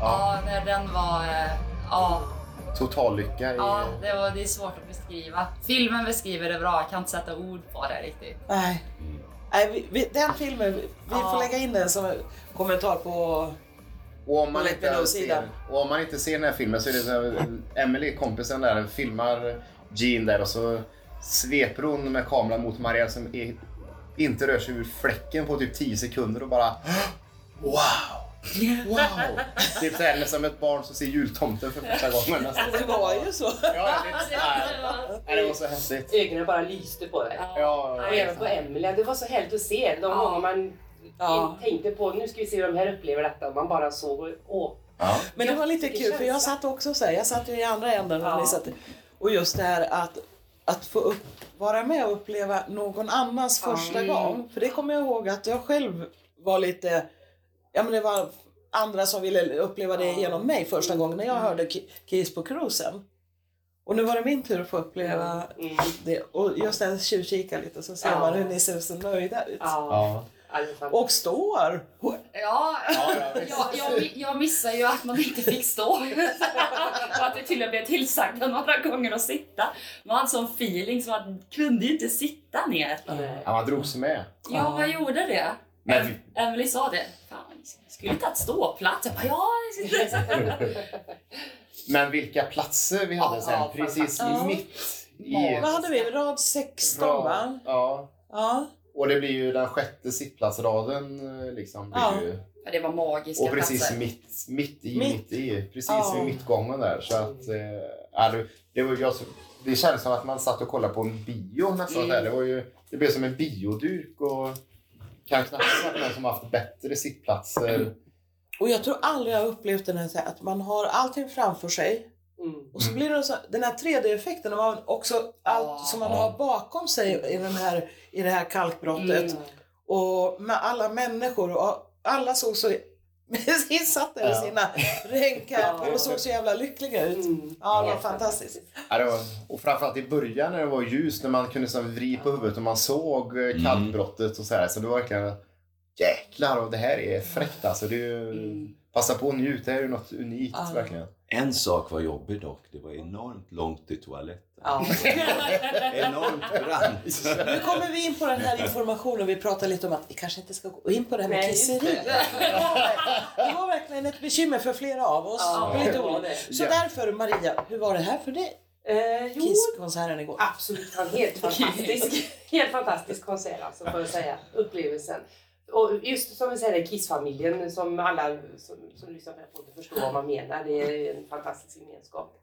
[SPEAKER 7] Ja, när den var... eh, Ja,
[SPEAKER 4] total lycka i...
[SPEAKER 7] ja det, var, det är svårt att beskriva. Filmen beskriver det bra, jag kan inte sätta ord på det riktigt.
[SPEAKER 3] Nej. Nej vi, vi, den filmen, vi får lägga in den som kommentar på...
[SPEAKER 4] Och om, man
[SPEAKER 3] På Late
[SPEAKER 4] inte
[SPEAKER 3] Below
[SPEAKER 4] ser,
[SPEAKER 3] sidan.
[SPEAKER 4] och om man inte ser den här filmen så är det så här, Emily, kompisen där, filmar Jean där och så sveper hon med kameran mot Marielle som är, inte rör sig ur fläcken på typ 10 sekunder och bara <gasps> Wow! Wow! Typ så här, som ett barn som ser jultomten för första gången.
[SPEAKER 7] Alltså,
[SPEAKER 4] nästan.
[SPEAKER 3] Det var ju så.
[SPEAKER 4] Ja, Nej, det var så häftigt.
[SPEAKER 5] Ögonen bara lyste på dig.
[SPEAKER 4] Ja,
[SPEAKER 5] Och även på Emelie. Det var så härligt att se de gånger man
[SPEAKER 3] Ja.
[SPEAKER 5] tänkte på nu ska vi se hur de här upplever detta. Och man bara såg och åh.
[SPEAKER 3] Men det var lite
[SPEAKER 5] Vilken
[SPEAKER 3] kul för jag
[SPEAKER 5] känsla.
[SPEAKER 3] satt också så här, jag satt ju i andra änden och ni satt, och just det här att, att få upp, vara med och uppleva någon annans första
[SPEAKER 5] Mm.
[SPEAKER 3] gång. För det kommer jag ihåg att jag själv var lite, ja men det var andra som ville uppleva det genom mig första gången när jag
[SPEAKER 5] Mm.
[SPEAKER 3] hörde Ki- Kiss på cruisen. Och nu var det min tur att få uppleva det. Och just det här tjuvkika lite så ser
[SPEAKER 5] Mm. Ja.
[SPEAKER 3] man hur ni ser så nöjda ut.
[SPEAKER 5] Ja. Ja.
[SPEAKER 3] Och står!
[SPEAKER 7] Ja, <laughs> jag, jag, jag missar ju att man inte fick stå. <laughs> och att det till och med blev tillsagda några gånger att sitta. Man hade sån feeling så man kunde ju inte sitta ner.
[SPEAKER 4] Ja, man drogs med.
[SPEAKER 7] Ja, jag gjorde det.
[SPEAKER 4] Men vi-
[SPEAKER 7] Emily sa det. Fan, skulle inte ha ett ståplats? Jag bara, ja, det skulle jag."
[SPEAKER 4] <laughs> Men vilka platser vi hade sen, precis
[SPEAKER 3] Ja.
[SPEAKER 4] mitt i...
[SPEAKER 3] Vad hade vi? Rad 16 va?
[SPEAKER 4] Ja.
[SPEAKER 3] Ja.
[SPEAKER 4] Och det blir ju den sjätte sittplatsraden. eh, Liksom, blir
[SPEAKER 3] Ja.
[SPEAKER 4] ju,
[SPEAKER 7] Ja, det var magiska
[SPEAKER 4] och precis
[SPEAKER 7] platser.
[SPEAKER 4] mitt, mitt i, mitt,
[SPEAKER 7] Mitt.
[SPEAKER 4] i. Precis
[SPEAKER 7] Ja.
[SPEAKER 4] vid mittgången där. Så att, eh, ja, det, det, var, ju- jag, det kändes som att man satt och kollade på en bio nästan.
[SPEAKER 7] Mm.
[SPEAKER 4] där. Det, var ju, det blev som en bioduk. Och kan knappast varit någon som haft bättre sittplatser.
[SPEAKER 3] Och jag tror aldrig jag har upplevt den här så här, att man har allting framför sig och så blir det så, den här 3D-effekten när man också allt som man har bakom sig i, den här, i det här kalkbrottet och med alla människor och alla såg så <laughs> insatta i
[SPEAKER 4] Ja.
[SPEAKER 3] sina regnkläder och såg så jävla lyckliga ut. Ja, det var fantastiskt. <laughs>
[SPEAKER 4] Ja, det var, och framförallt i början när det var ljus, när man kunde som vrida på huvudet och man såg eh,
[SPEAKER 3] Mm.
[SPEAKER 4] kallbrottet och så här. Så det var verkligen jäklar, och det här är fräckt alltså. Det är ju, Passa på att njuta, det är ju något unikt
[SPEAKER 3] Mm. Ja.
[SPEAKER 4] verkligen.
[SPEAKER 10] En sak var jobbig dock. Det var enormt långt till toaletten.
[SPEAKER 2] <laughs>
[SPEAKER 10] Enormt brant.
[SPEAKER 3] Nu kommer vi in på
[SPEAKER 2] <laughs>
[SPEAKER 3] den här informationen. Vi pratar lite om att vi kanske inte ska gå in på det här med
[SPEAKER 7] Nej, just det.
[SPEAKER 3] kisseriet. Det var verkligen ett bekymmer för flera av oss.
[SPEAKER 7] Ja,
[SPEAKER 3] På lite
[SPEAKER 7] det var
[SPEAKER 3] olika.
[SPEAKER 7] det.
[SPEAKER 3] Så
[SPEAKER 7] Ja.
[SPEAKER 3] därför Maria, hur var det här för dig?
[SPEAKER 5] Eh, jo,
[SPEAKER 3] Kisskonserten igår.
[SPEAKER 5] Absolut, han är helt fantastisk. <laughs> helt fantastisk konsert alltså, får jag säga. Upplevelsen. Och just som vi säger, Kissfamiljen som alla som, som lyssnar på det här podden förstår vad man menar. Det är en fantastisk gemenskap.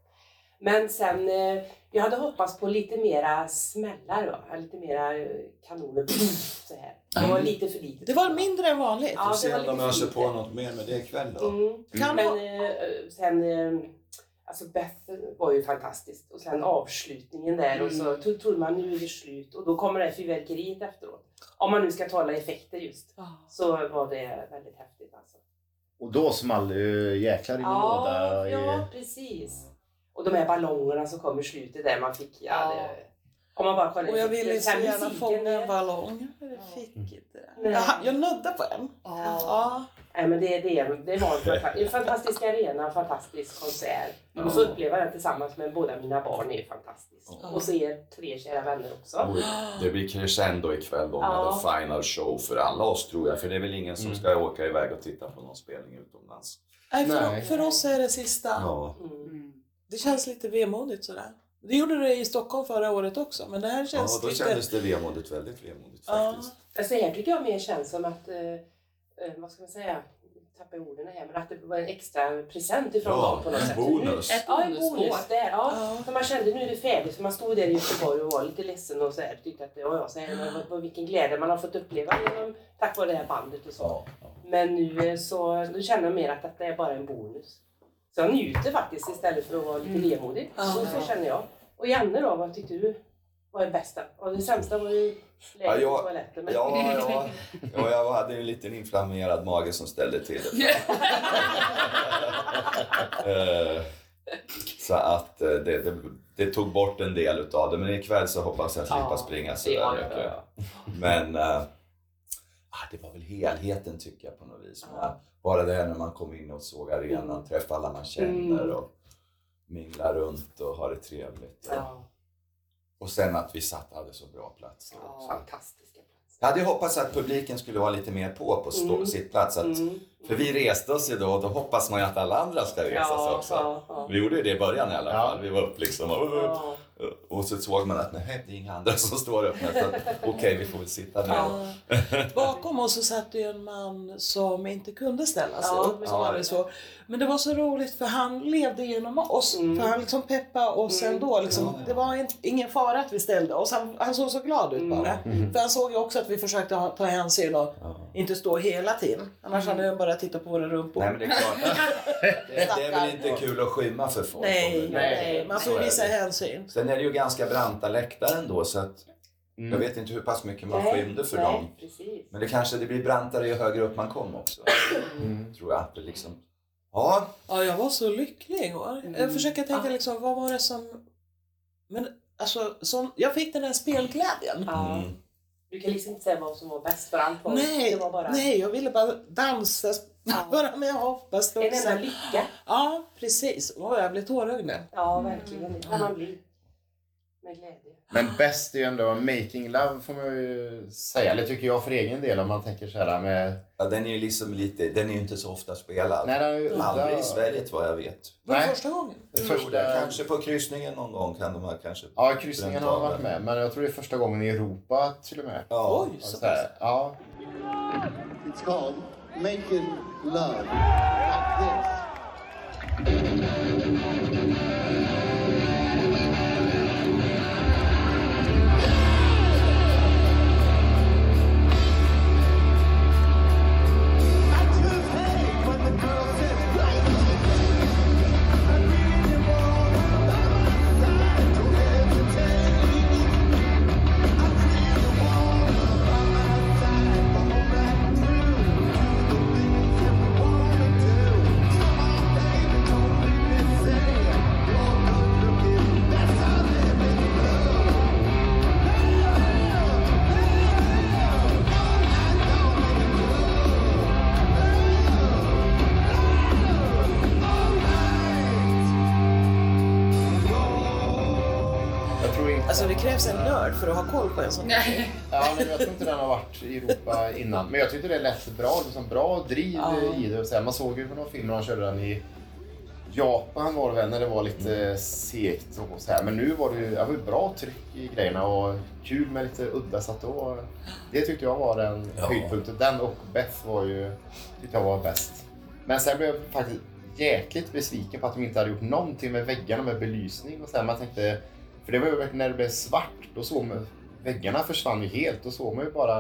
[SPEAKER 5] Men sen, eh, jag hade hoppats på lite mera smällar, va? lite mera eh, kanoner. <clears throat> Så här. Det var lite för lite.
[SPEAKER 3] Mm. Det var mindre än vanligt.
[SPEAKER 5] Ja, det var lite för lite.
[SPEAKER 2] något mer med det ikväll
[SPEAKER 5] Mm.
[SPEAKER 2] Kan
[SPEAKER 5] Men eh, sen, eh, alltså Beth var ju fantastiskt och sen avslutningen där och så
[SPEAKER 3] Mm.
[SPEAKER 5] tro- trodde man nu är det slut och då kommer det här fyrverkeriet efteråt. Om man nu ska tala effekter just. Så var det väldigt häftigt alltså.
[SPEAKER 4] Och då small det ju jäklar i min
[SPEAKER 5] Ja,
[SPEAKER 4] låda. i-
[SPEAKER 5] ja precis. Och de här ballongerna som kom i slutet där man fick, ja, det, om man bara kollar
[SPEAKER 3] Och jag
[SPEAKER 5] effekter.
[SPEAKER 3] ville så
[SPEAKER 5] Sen
[SPEAKER 3] gärna
[SPEAKER 5] musiken
[SPEAKER 3] fånga
[SPEAKER 5] där.
[SPEAKER 3] en ballong. Men jag fick
[SPEAKER 2] Mm.
[SPEAKER 3] inte det.
[SPEAKER 5] Nej.
[SPEAKER 3] Jag, jag nödde på en. Ja.
[SPEAKER 5] Nej, men det, det, det var en, fanta- en fantastisk arena, en fantastisk konsert. Och så uppleva den tillsammans med båda mina barn är fantastiskt. Och så er tre kära vänner också.
[SPEAKER 2] Oj, Det blir crescendo ikväll då med
[SPEAKER 5] Ja.
[SPEAKER 2] the final show för alla oss tror jag. För det är väl ingen som ska åka iväg och titta på någon spelning utomlands.
[SPEAKER 3] Nej, för,
[SPEAKER 2] Nej.
[SPEAKER 3] för oss är det sista.
[SPEAKER 2] Ja.
[SPEAKER 5] Mm.
[SPEAKER 3] Det känns lite vemodigt sådär. Det gjorde det i Stockholm förra året också men det här
[SPEAKER 2] Ja,
[SPEAKER 3] känns
[SPEAKER 2] då
[SPEAKER 3] lite...
[SPEAKER 2] kändes det vemodigt, väldigt vemodigt.
[SPEAKER 3] Ja.
[SPEAKER 5] Alltså här tycker jag mer känns som att, eh, eh, vad ska man säga, tappa orden här, men att det var en extra present ifrån
[SPEAKER 2] Ja,
[SPEAKER 5] dem på något
[SPEAKER 2] en
[SPEAKER 5] sätt.
[SPEAKER 2] bonus.
[SPEAKER 5] Nu,
[SPEAKER 2] Ett
[SPEAKER 5] ja, en
[SPEAKER 2] bonusår.
[SPEAKER 5] bonus där. Ja. För man kände nu är det färdigt, för man stod där i Göteborg och var lite ledsen och så här, tyckte att, ja, ja, så här, men vad, vad, vilken glädje man har fått uppleva genom, tack vare det här bandet och så. Men nu eh, så nu känner jag mer att detta är bara en bonus. Så jag njuter faktiskt istället för att vara lite
[SPEAKER 3] Mm.
[SPEAKER 5] vemodig.
[SPEAKER 3] Ja.
[SPEAKER 5] Så, så känner jag. Och Janne då, vad tyckte du var det bästa? Och det sämsta var ju
[SPEAKER 2] Ja,
[SPEAKER 5] läget på
[SPEAKER 2] jag,
[SPEAKER 5] toaletten. men-
[SPEAKER 2] ja,
[SPEAKER 5] <laughs>
[SPEAKER 2] ja, ja, jag hade ju en liten inflammerad mage som ställde till det. <laughs> Eh, Så att eh, det, det, det tog bort en del utav det. Men ikväll så hoppas jag slippa springa så
[SPEAKER 5] ja,
[SPEAKER 2] där
[SPEAKER 5] ja,
[SPEAKER 2] mycket. Men eh, ah, det var väl helheten tycker jag på något vis. Men bara det här när man kommer in och såg arenan, träffar alla man känner
[SPEAKER 5] Mm.
[SPEAKER 2] och minglar runt och har det trevligt. Och sen att vi satt och hade så bra plats.
[SPEAKER 5] Fantastiska.
[SPEAKER 2] Jag hade ju hoppats att publiken skulle vara lite mer på på stå,
[SPEAKER 5] Mm.
[SPEAKER 2] sittplats. Att, För vi reste oss ju då och då hoppas man ju att alla andra ska resa sig
[SPEAKER 5] Ja,
[SPEAKER 2] också.
[SPEAKER 5] ja, ja.
[SPEAKER 2] Vi gjorde ju det i början i alla fall. Vi var upp liksom och, och så såg man att nej, det är inga andra <laughs> som står upp. Men så att,
[SPEAKER 5] <laughs>
[SPEAKER 2] Okej, vi får väl sitta ner.
[SPEAKER 3] Bakom oss så satt det ju en man som inte kunde ställa sig
[SPEAKER 2] Ja,
[SPEAKER 3] upp. Som
[SPEAKER 2] ja.
[SPEAKER 3] hade så. Men det var så roligt för han levde genom oss.
[SPEAKER 2] Mm.
[SPEAKER 3] För han liksom peppade oss ändå. Liksom. Det var in, ingen fara att vi ställde oss. Han, han såg så glad ut bara.
[SPEAKER 2] Mm.
[SPEAKER 3] För han såg ju också att vi försökte ha, ta hänsyn och inte stå hela tiden. Annars hade
[SPEAKER 2] Mm.
[SPEAKER 3] han bara tittat på våra rumpor.
[SPEAKER 2] <laughs> Nej, men det är
[SPEAKER 5] <laughs>
[SPEAKER 2] klart. Det, det är väl inte kul att skymma för folk.
[SPEAKER 3] Nej,
[SPEAKER 2] Om det-
[SPEAKER 3] nej, man
[SPEAKER 2] Så
[SPEAKER 3] får
[SPEAKER 2] är
[SPEAKER 3] visa
[SPEAKER 2] det.
[SPEAKER 3] hänsyn.
[SPEAKER 2] Sen är det ju ganska branta läktare ändå så att
[SPEAKER 4] Mm.
[SPEAKER 2] jag vet inte hur pass mycket man skymde för dem.
[SPEAKER 5] Precis.
[SPEAKER 2] Men det kanske det blir brantare ju högre upp man kom också.
[SPEAKER 4] Mm.
[SPEAKER 2] Tror jag. Att det liksom... Ja,
[SPEAKER 3] Ja, jag var så lycklig igår.
[SPEAKER 5] Mm.
[SPEAKER 3] Jag försöker tänka liksom, vad var det som... Men alltså, sån... jag fick den här spelglädjen.
[SPEAKER 5] Du kan liksom inte säga vad som var bäst för allt. folk.
[SPEAKER 3] Nej,
[SPEAKER 5] det var bara
[SPEAKER 3] nej, jag ville bara dansa, <laughs> bara med hoppa,
[SPEAKER 5] en enda lycka.
[SPEAKER 3] Ja, precis. Åh, jag blev tårögd nu. Mm.
[SPEAKER 5] Ja, verkligen. Det kan man bli. Med glädje.
[SPEAKER 4] Men bäst är ju ändå Making Love får man ju säga. Eller tycker jag för egen del om man tänker så här med...
[SPEAKER 2] Ja, den är ju liksom lite... Den är ju inte så ofta spelad.
[SPEAKER 4] Nej, den är ju
[SPEAKER 2] Aldrig i
[SPEAKER 4] udda.
[SPEAKER 2] Sverige vad jag vet.
[SPEAKER 4] Var det Nej.
[SPEAKER 3] första gången?
[SPEAKER 2] Jag
[SPEAKER 4] Första-
[SPEAKER 2] tror det. Kanske på kryssningen någon gång kan de här kanske...
[SPEAKER 4] Ja, kryssningen har varit
[SPEAKER 2] med.
[SPEAKER 4] med. Men jag tror det är första gången i Europa till och med.
[SPEAKER 2] Ja.
[SPEAKER 4] Oj, så pass. Ja.
[SPEAKER 10] It's called Making Love.
[SPEAKER 4] Jag tror inte...
[SPEAKER 3] Alltså det krävs en nörd för att ha koll på en sån
[SPEAKER 13] Nej.
[SPEAKER 4] Ja, men jag tror inte den har varit i Europa innan. Men jag tyckte det lät bra. Liksom bra driv i det. Och så här, man såg ju på någon film när de körde den i Japan var det väl, när det var lite segt och så här. Men nu var det ju ja, det var ju bra tryck i grejerna och kul med lite udda. Så att då, det tyckte jag var den höjdpunkten. Den och Beth var ju, tyckte jag var bäst. Men sen blev jag faktiskt jäkligt besviken på att de inte hade gjort någonting med väggarna med belysning och så här. Man tänkte, för det var ju verkligen när det blev svart, då såg man, väggarna försvann ju helt. Då såg man ju bara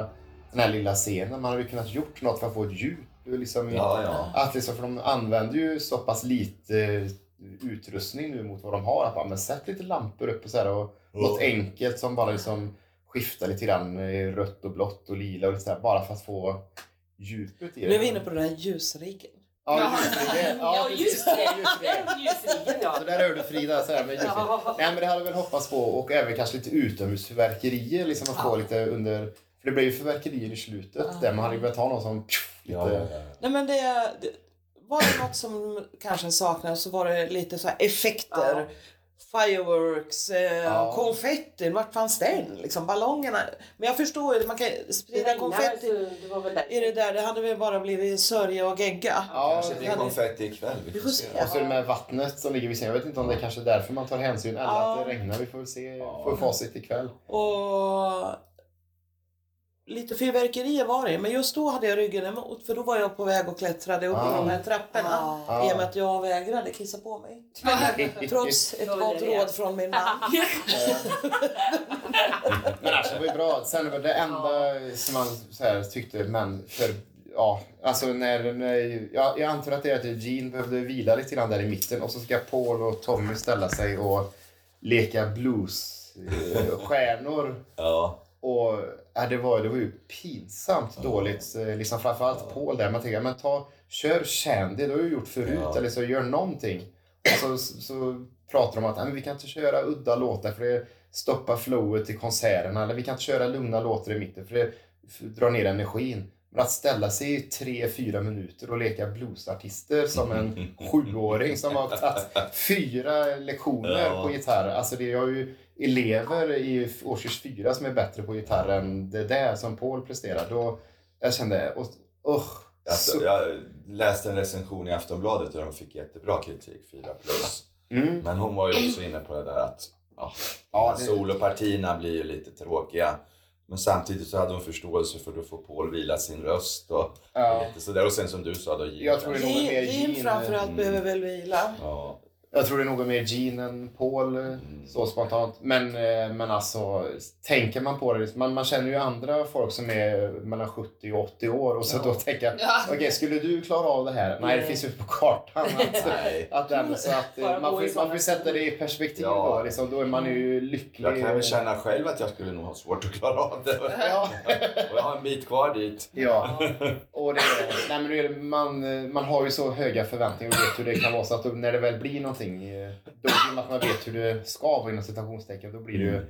[SPEAKER 4] den här lilla scenen. Man hade ju kunnat gjort något för att få ett djup. Det var Liksom,
[SPEAKER 2] Ja, ja.
[SPEAKER 4] Att liksom, för de använder ju så pass lite eh, utrustning nu mot vad de har. Att bara, men sätt lite lampor upp och så här och
[SPEAKER 2] Mm.
[SPEAKER 4] något enkelt som bara liksom skiftar lite grann i rött och blått och lila och lite så här, bara för att få djupet i det.
[SPEAKER 3] Nu är vi inne på den här ljusriggen.
[SPEAKER 4] Ja, just det. Ja,
[SPEAKER 5] Ja, just det. Den ljusringen, ja.
[SPEAKER 4] Så där hör du Frida. Så här, men just det. Nej, men det hade jag väl hoppats på. Och även kanske lite utomhusfyrverkerier. Liksom att få lite under... För det blev ju fyrverkerier i slutet. Där man hade ju velat ha någon som... Pff, lite...
[SPEAKER 3] Nej, men det, det, var det något som kanske saknades så var det lite så här effekter. Fireworks, eh,
[SPEAKER 4] Ja.
[SPEAKER 3] konfetti, vart fanns den? Liksom, ballongerna. Men jag förstår ju, man kan sprida
[SPEAKER 5] regnade,
[SPEAKER 3] konfetti.
[SPEAKER 5] Det var väl
[SPEAKER 3] Är det där, det hade väl bara blivit sörja och gegga.
[SPEAKER 2] Kanske blir konfetti ikväll. Vi får se.
[SPEAKER 4] Och så det med vattnet som ligger vid sidan. Jag vet inte om det är kanske är därför man tar hänsyn. Eller att det regnar. Vi får väl se. Får facit ikväll.
[SPEAKER 3] Och lite fyrverkerier var det men just då hade jag ryggen emot för då var jag på väg och klättrade upp i
[SPEAKER 4] Ah.
[SPEAKER 3] de här trapporna
[SPEAKER 4] Ah.
[SPEAKER 3] i och med att jag vägrade kissa på
[SPEAKER 4] <laughs>
[SPEAKER 3] mig. Trots ett
[SPEAKER 4] Då vill
[SPEAKER 3] gott
[SPEAKER 4] jag veta.
[SPEAKER 3] råd från min man.
[SPEAKER 4] Men alltså det var ju bra. Sen var det enda som man så här, tyckte, men för... Ja, alltså när, när, ja, jag antar att det är att Gene behövde vila lite grann där i mitten och så ska Paul och Tommy ställa sig och leka eh, bluesstjärnor.
[SPEAKER 2] Ja.
[SPEAKER 4] Och ja, det, var, det var ju pinsamt dåligt. eh, Liksom framförallt Paul där. Man tänker, men ta, kör Candy, det har du gjort förut.
[SPEAKER 2] Ja.
[SPEAKER 4] Eller så gör någonting. Och så, så pratar de om att "Nej, men vi kan inte köra udda låtar för det stoppar flowet i konserterna. Eller vi kan inte köra lugna låtar i mitten för det f- drar ner energin. Men att ställa sig i tre, fyra minuter och leka bluesartister som
[SPEAKER 2] <laughs>
[SPEAKER 4] en sjuåring som har tagit fyra lektioner
[SPEAKER 2] Ja.
[SPEAKER 4] på gitarr. Alltså det, jag har ju elever i årskurs fyra som är bättre på gitarr än det där som Paul presterar. Då, jag kände, och, usch.
[SPEAKER 2] Alltså, jag läste en recension i Aftonbladet där de fick jättebra kritik, 4 plus.
[SPEAKER 4] Mm.
[SPEAKER 2] Men hon var ju också inne på det där att ja,
[SPEAKER 4] det-
[SPEAKER 2] solopartierna blir ju lite tråkiga. Men samtidigt så hade hon förståelse för att då får Paul vila sin röst och, och lite sådär. Och sen som du sa då,
[SPEAKER 4] Jag tror det är någon mer
[SPEAKER 3] Jim
[SPEAKER 4] gin-
[SPEAKER 3] framförallt behöver väl vila.
[SPEAKER 2] Ja. Mm.
[SPEAKER 4] Jag tror det är något mer Gene än Paul, eh, så spontant. Men, eh, men alltså, tänker man på det, man, man känner ju andra folk som är mellan 70 och 80 år och så då tänker jag,
[SPEAKER 2] Ja.
[SPEAKER 4] okej, skulle du klara av det här? Nej, det
[SPEAKER 2] Nej.
[SPEAKER 4] finns ju på kartan.
[SPEAKER 2] <laughs>
[SPEAKER 4] Att, att, den, så att eh,
[SPEAKER 2] Bara
[SPEAKER 4] man
[SPEAKER 2] gå
[SPEAKER 4] får,
[SPEAKER 2] i Mm.
[SPEAKER 4] ju- man får ju sätta det i perspektiv då, liksom, då är man ju lycklig.
[SPEAKER 2] Jag kan väl känna själv att jag skulle nog ha svårt att klara av det.
[SPEAKER 4] Ja.
[SPEAKER 2] Och jag har en bit kvar dit.
[SPEAKER 4] Ja. Och det, nej, men det är, man, eh, man har ju så höga förväntningar och vet hur det kan vara så att då, när det väl blir någonting, eh, då i och med att man vet hur det ska vara inom citationstecken, då blir det ju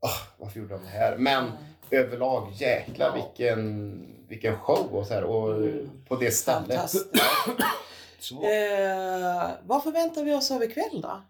[SPEAKER 4] "Åh, varför gjorde de det här? Men överlag, jäklar vilken, vilken show och så här, och
[SPEAKER 3] Mm.
[SPEAKER 4] på det stället. <clears throat>
[SPEAKER 3] Eh, vad förväntar vi oss av ikväll då?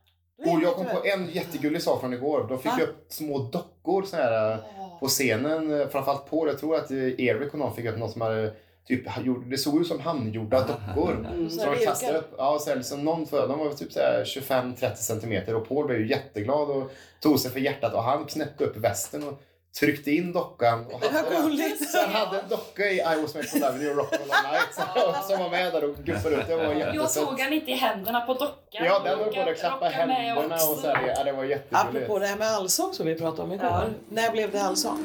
[SPEAKER 4] Och jag kom på en jättegullig sak från igår. De fick
[SPEAKER 3] Va?
[SPEAKER 4] upp små dockor så här, eh, på scenen. eh, Framförallt på Jag tror att eh, Eric och någon fick upp något som hade Typ, ha- gjorde- det såg ut som handgjorda dockor.
[SPEAKER 3] Mm.
[SPEAKER 4] Så
[SPEAKER 3] Så här
[SPEAKER 4] de kastade
[SPEAKER 3] virkar.
[SPEAKER 4] upp. Ja, så här, liksom någon för, de var väl typ så här 25-30 centimeter och Paul blev ju jätteglad och tog sig för hjärtat och han knäppte upp västen och tryckte in dockan. Och
[SPEAKER 3] Det var gulligt.
[SPEAKER 4] så han hade en docka i I was made for loving you, rock and roll all night så- som var med där och guppade runt. Det var jättesött.
[SPEAKER 7] Jag såg alltså- han inte i händerna på dockan.
[SPEAKER 4] Ja, den höll
[SPEAKER 7] Rocka-
[SPEAKER 4] på att klappa
[SPEAKER 7] rocka med
[SPEAKER 4] händerna och
[SPEAKER 7] också.
[SPEAKER 4] så här. Ja, det var jätteroligt.
[SPEAKER 3] Apropå det här med allsång som vi pratade om igår. När blev det allsång?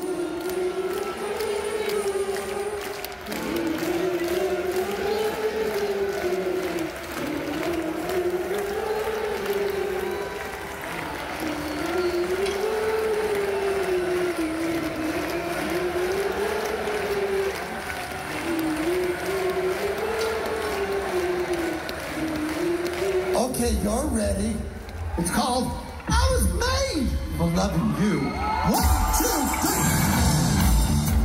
[SPEAKER 10] Okay, you're ready. It's called I Was Made for Loving You. One, two, three.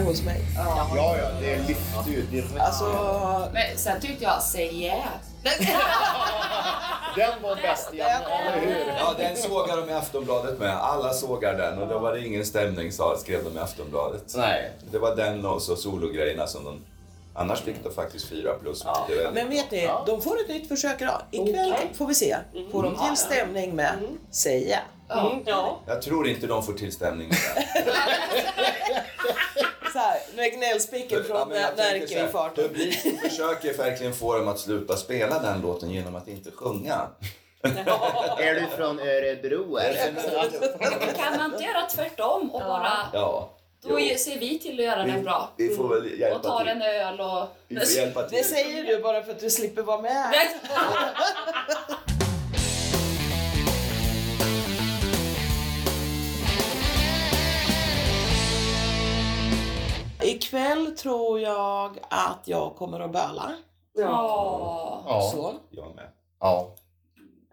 [SPEAKER 3] I was made.
[SPEAKER 4] Ja, ja, det lyfte ju direkt.
[SPEAKER 7] Alltså-
[SPEAKER 25] Men sen tyckte jag, say yeah.
[SPEAKER 4] Den var bäst igen, eller hur?
[SPEAKER 2] Ja, den sågar de i Aftonbladet med. Alla sågar den och då var det ingen stämning, sa, skrev de i Aftonbladet.
[SPEAKER 4] Nej.
[SPEAKER 2] Det var den och så sologrejerna som de... Annars fick de faktiskt fyra plus. Ja.
[SPEAKER 3] Men vet ni, de får ett nytt försök idag. Ikväll får vi se. Får de till stämning med säga.
[SPEAKER 2] Mm, Jag tror inte de får till stämning.
[SPEAKER 3] <laughs> Så här, nu är gnällspiken från
[SPEAKER 2] men jag tänker så
[SPEAKER 3] Närke
[SPEAKER 2] här,
[SPEAKER 3] i farten.
[SPEAKER 2] Publiken försöker verkligen få dem att sluta spela den låten genom att inte sjunga.
[SPEAKER 4] Är du från Örebro
[SPEAKER 7] Kan man inte göra tvärtom och bara...
[SPEAKER 2] Ja.
[SPEAKER 7] Då ge- ser vi till att göra den bra.
[SPEAKER 2] Vi får
[SPEAKER 3] Mm.
[SPEAKER 2] väl
[SPEAKER 7] Och tar en öl och...
[SPEAKER 2] Vi får hjälpa till.
[SPEAKER 3] Det säger du bara för att du slipper vara med. Ikväll tror jag att jag kommer att böla.
[SPEAKER 1] Ja.
[SPEAKER 3] Så.
[SPEAKER 1] Oh.
[SPEAKER 2] Jag med.
[SPEAKER 4] Ja.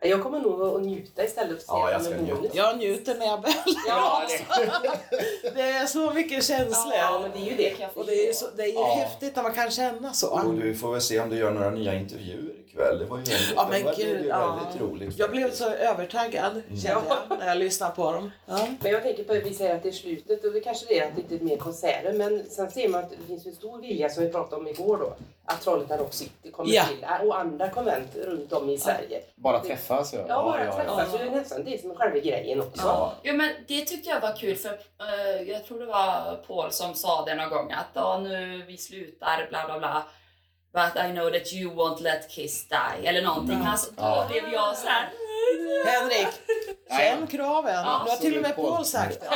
[SPEAKER 5] Jag kommer nog att njuta istället för att se det som en bonus.
[SPEAKER 3] Jag njuter när jag bölar.
[SPEAKER 5] Ja, alltså.
[SPEAKER 3] det är så mycket känslor.
[SPEAKER 5] Ja, men det är ju det. Kan jag
[SPEAKER 3] och det är ju, så, det är ju
[SPEAKER 2] Ja.
[SPEAKER 3] häftigt när man kan känna så.
[SPEAKER 2] Och du får väl se om du gör några nya intervjuer ikväll. Det var ju väldigt,
[SPEAKER 3] Ja,
[SPEAKER 2] det
[SPEAKER 3] men
[SPEAKER 2] var, det är
[SPEAKER 3] gud,
[SPEAKER 2] ju
[SPEAKER 3] ja.
[SPEAKER 2] väldigt roligt.
[SPEAKER 3] Jag blev så övertaggad kände jag när jag lyssnade på dem. Ja.
[SPEAKER 5] Men jag tänker på, vi säger att det är slutet och det kanske det är att det inte är mer konserter men sen ser man att det finns en stor vilja som vi pratade om igår då att Trollhättan Rock City kommer
[SPEAKER 4] Ja.
[SPEAKER 5] till här och andra konvent runt om i Sverige.
[SPEAKER 4] Bara
[SPEAKER 5] Det-
[SPEAKER 4] träffas.
[SPEAKER 5] Ja, bara träffas. Det är nästan det som är själva grejen också.
[SPEAKER 4] Ja.
[SPEAKER 7] Jo, men det tyckte jag var kul för eh, jag tror det var Paul som sa det någon gång att ja nu vi slutar bla bla bla. But I know that you won't let Kiss die eller någonting.
[SPEAKER 3] Mm.
[SPEAKER 7] Alltså, då
[SPEAKER 3] Ja.
[SPEAKER 7] blev jag så här. "Mm."
[SPEAKER 3] Henrik, känn kraven.
[SPEAKER 7] Ja,
[SPEAKER 3] nu har till och med
[SPEAKER 2] absolut.
[SPEAKER 3] Paul sagt det.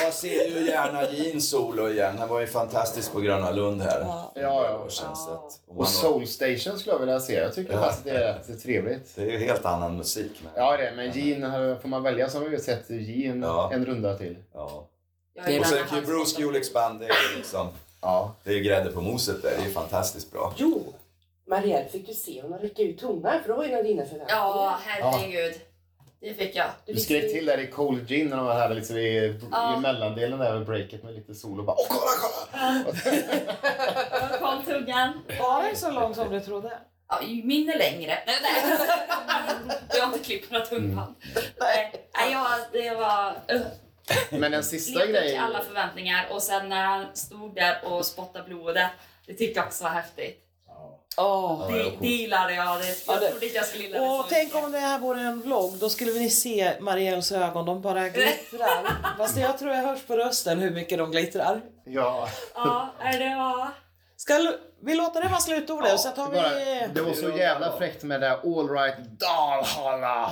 [SPEAKER 2] Jag ser ju gärna Jean solo igen. Han var ju fantastisk på Gröna Lund här. Ja, ja.
[SPEAKER 4] Och Soul Station skulle jag vilja se. Jag tycker faktiskt det är rätt trevligt.
[SPEAKER 2] Det är ju helt annan musik. Men...
[SPEAKER 4] Ja, det, är- men Jean, här får man välja så har vi ju sett Jean en runda till.
[SPEAKER 2] Ja.
[SPEAKER 4] Jag är
[SPEAKER 2] Och
[SPEAKER 4] gärna
[SPEAKER 2] sen Bruce Kulicks band, det är ju liksom...
[SPEAKER 4] Ja.
[SPEAKER 2] Det är ju grädde på moset där. Det är ju fantastiskt bra.
[SPEAKER 5] Jo, Marielle fick du se hon har räckt ut tungan för det var ju en av dina förväntningar. <laughs>
[SPEAKER 7] Ja, herregud. Det fick jag.
[SPEAKER 4] Du skrek till där i Cold Gin när de var här liksom i,
[SPEAKER 7] Ja.
[SPEAKER 4] i mellandelen där med breaket med lite sol och bara Åh, kolla, kolla!
[SPEAKER 7] Jag kom tungan.
[SPEAKER 3] Var den så lång som du trodde?
[SPEAKER 7] Ja, min är längre. <laughs> Nej, nej. Jag har inte klippt några tungband.
[SPEAKER 3] Mm.
[SPEAKER 7] Nej, nej, jag, det var... <laughs>
[SPEAKER 4] Men den sista
[SPEAKER 7] levde upp till
[SPEAKER 4] grejen.
[SPEAKER 7] alla förväntningar och sen när han stod där och spottade blodet, det tyckte jag också var häftigt.
[SPEAKER 3] Oh.
[SPEAKER 7] det, det gillade jag. Det, jag
[SPEAKER 3] det-
[SPEAKER 7] trodde inte jag skulle gilla det.
[SPEAKER 3] Och tänk om det här vore en vlogg, då skulle ni se Marielles ögon, de bara <laughs> glittrar. Fast jag tror jag hörs på rösten hur mycket de glittrar.
[SPEAKER 4] Ja.
[SPEAKER 7] Ja, är det var...
[SPEAKER 3] Ska vi låta det vara slutordet? så tar vi...
[SPEAKER 4] Bara, det var så jävla fräckt med det där All right Dalhalla.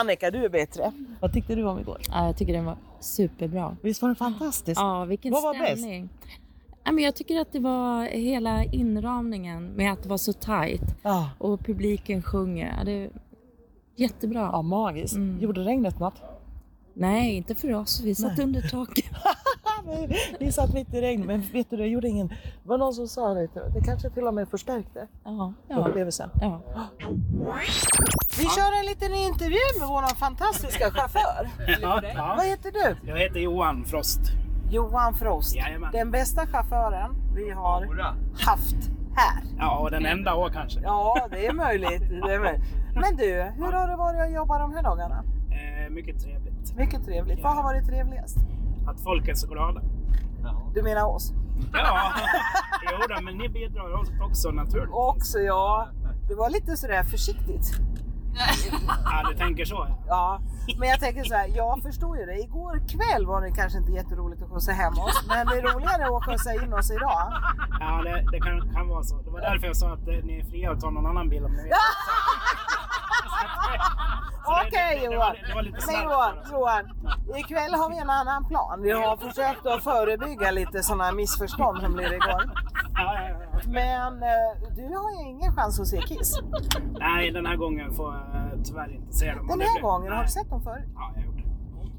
[SPEAKER 3] Annika, du är bättre. Vad tyckte du om igår?
[SPEAKER 26] Ja, jag tycker den var superbra.
[SPEAKER 3] Visst var den fantastisk?
[SPEAKER 26] Ja, vilken
[SPEAKER 3] Vad var
[SPEAKER 26] stämning. Nej, men jag tycker att det var hela inramningen med att det var så tajt och publiken sjunger. Ja, Det är jättebra. Ja,
[SPEAKER 3] magiskt. Gjorde regnet något?
[SPEAKER 26] Nej, inte för oss. Vi satt
[SPEAKER 3] Nej.
[SPEAKER 26] under taket.
[SPEAKER 3] <laughs> Men Vi satt mitt i regn, men vet du, det gjorde ingen... Det var någon som sa det, det kanske till och med förstärkte
[SPEAKER 26] Ja,
[SPEAKER 3] upplevelsen.
[SPEAKER 26] Ja.
[SPEAKER 3] Vi kör en liten intervju med vår fantastiska chaufför. Vad heter du?
[SPEAKER 6] Jag heter Johan Frost.
[SPEAKER 3] Johan Frost. Den bästa chauffören vi har haft här.
[SPEAKER 6] Ja, och den enda år kanske.
[SPEAKER 3] Ja, det är möjligt. Det är möjligt. Men du, hur har det varit att jobba de här dagarna?
[SPEAKER 6] Eh, mycket trevligt.
[SPEAKER 3] Mycket trevligt. Vad har varit trevligast?
[SPEAKER 6] Att folk är så glada.
[SPEAKER 3] Du menar oss?
[SPEAKER 6] Ja, jo då, men ni bidrar också- också naturligt.
[SPEAKER 3] Också ja. Det var lite sådär försiktigt.
[SPEAKER 6] Ja, du tänker så. ja.
[SPEAKER 3] Ja, men jag tänker så här, jag förstår ju det. Igår kväll var det kanske inte jätteroligt att skjutsa hem oss, men det är roligare att skjutsa in oss idag.
[SPEAKER 6] Ja, det, det kan, kan vara så. Det var därför jag sa att eh, ni är fria att ta någon annan bil om
[SPEAKER 3] <laughs>
[SPEAKER 6] ni vill.
[SPEAKER 3] Okej Johan.
[SPEAKER 6] det var lite
[SPEAKER 3] Men
[SPEAKER 6] slarvigt
[SPEAKER 3] Johan, Johan, ikväll har vi en annan plan. Vi har försökt att förebygga lite sådana missförstånd som blev igår. Men eh, du har ju ingen chans att se Kiss.
[SPEAKER 6] Nej, den här gången får jag tyvärr inte se dem.
[SPEAKER 3] Den
[SPEAKER 6] Det
[SPEAKER 3] här
[SPEAKER 6] blir-
[SPEAKER 3] gången, har
[SPEAKER 6] nej.
[SPEAKER 3] du sett dem förr?
[SPEAKER 6] Ja, jag gjorde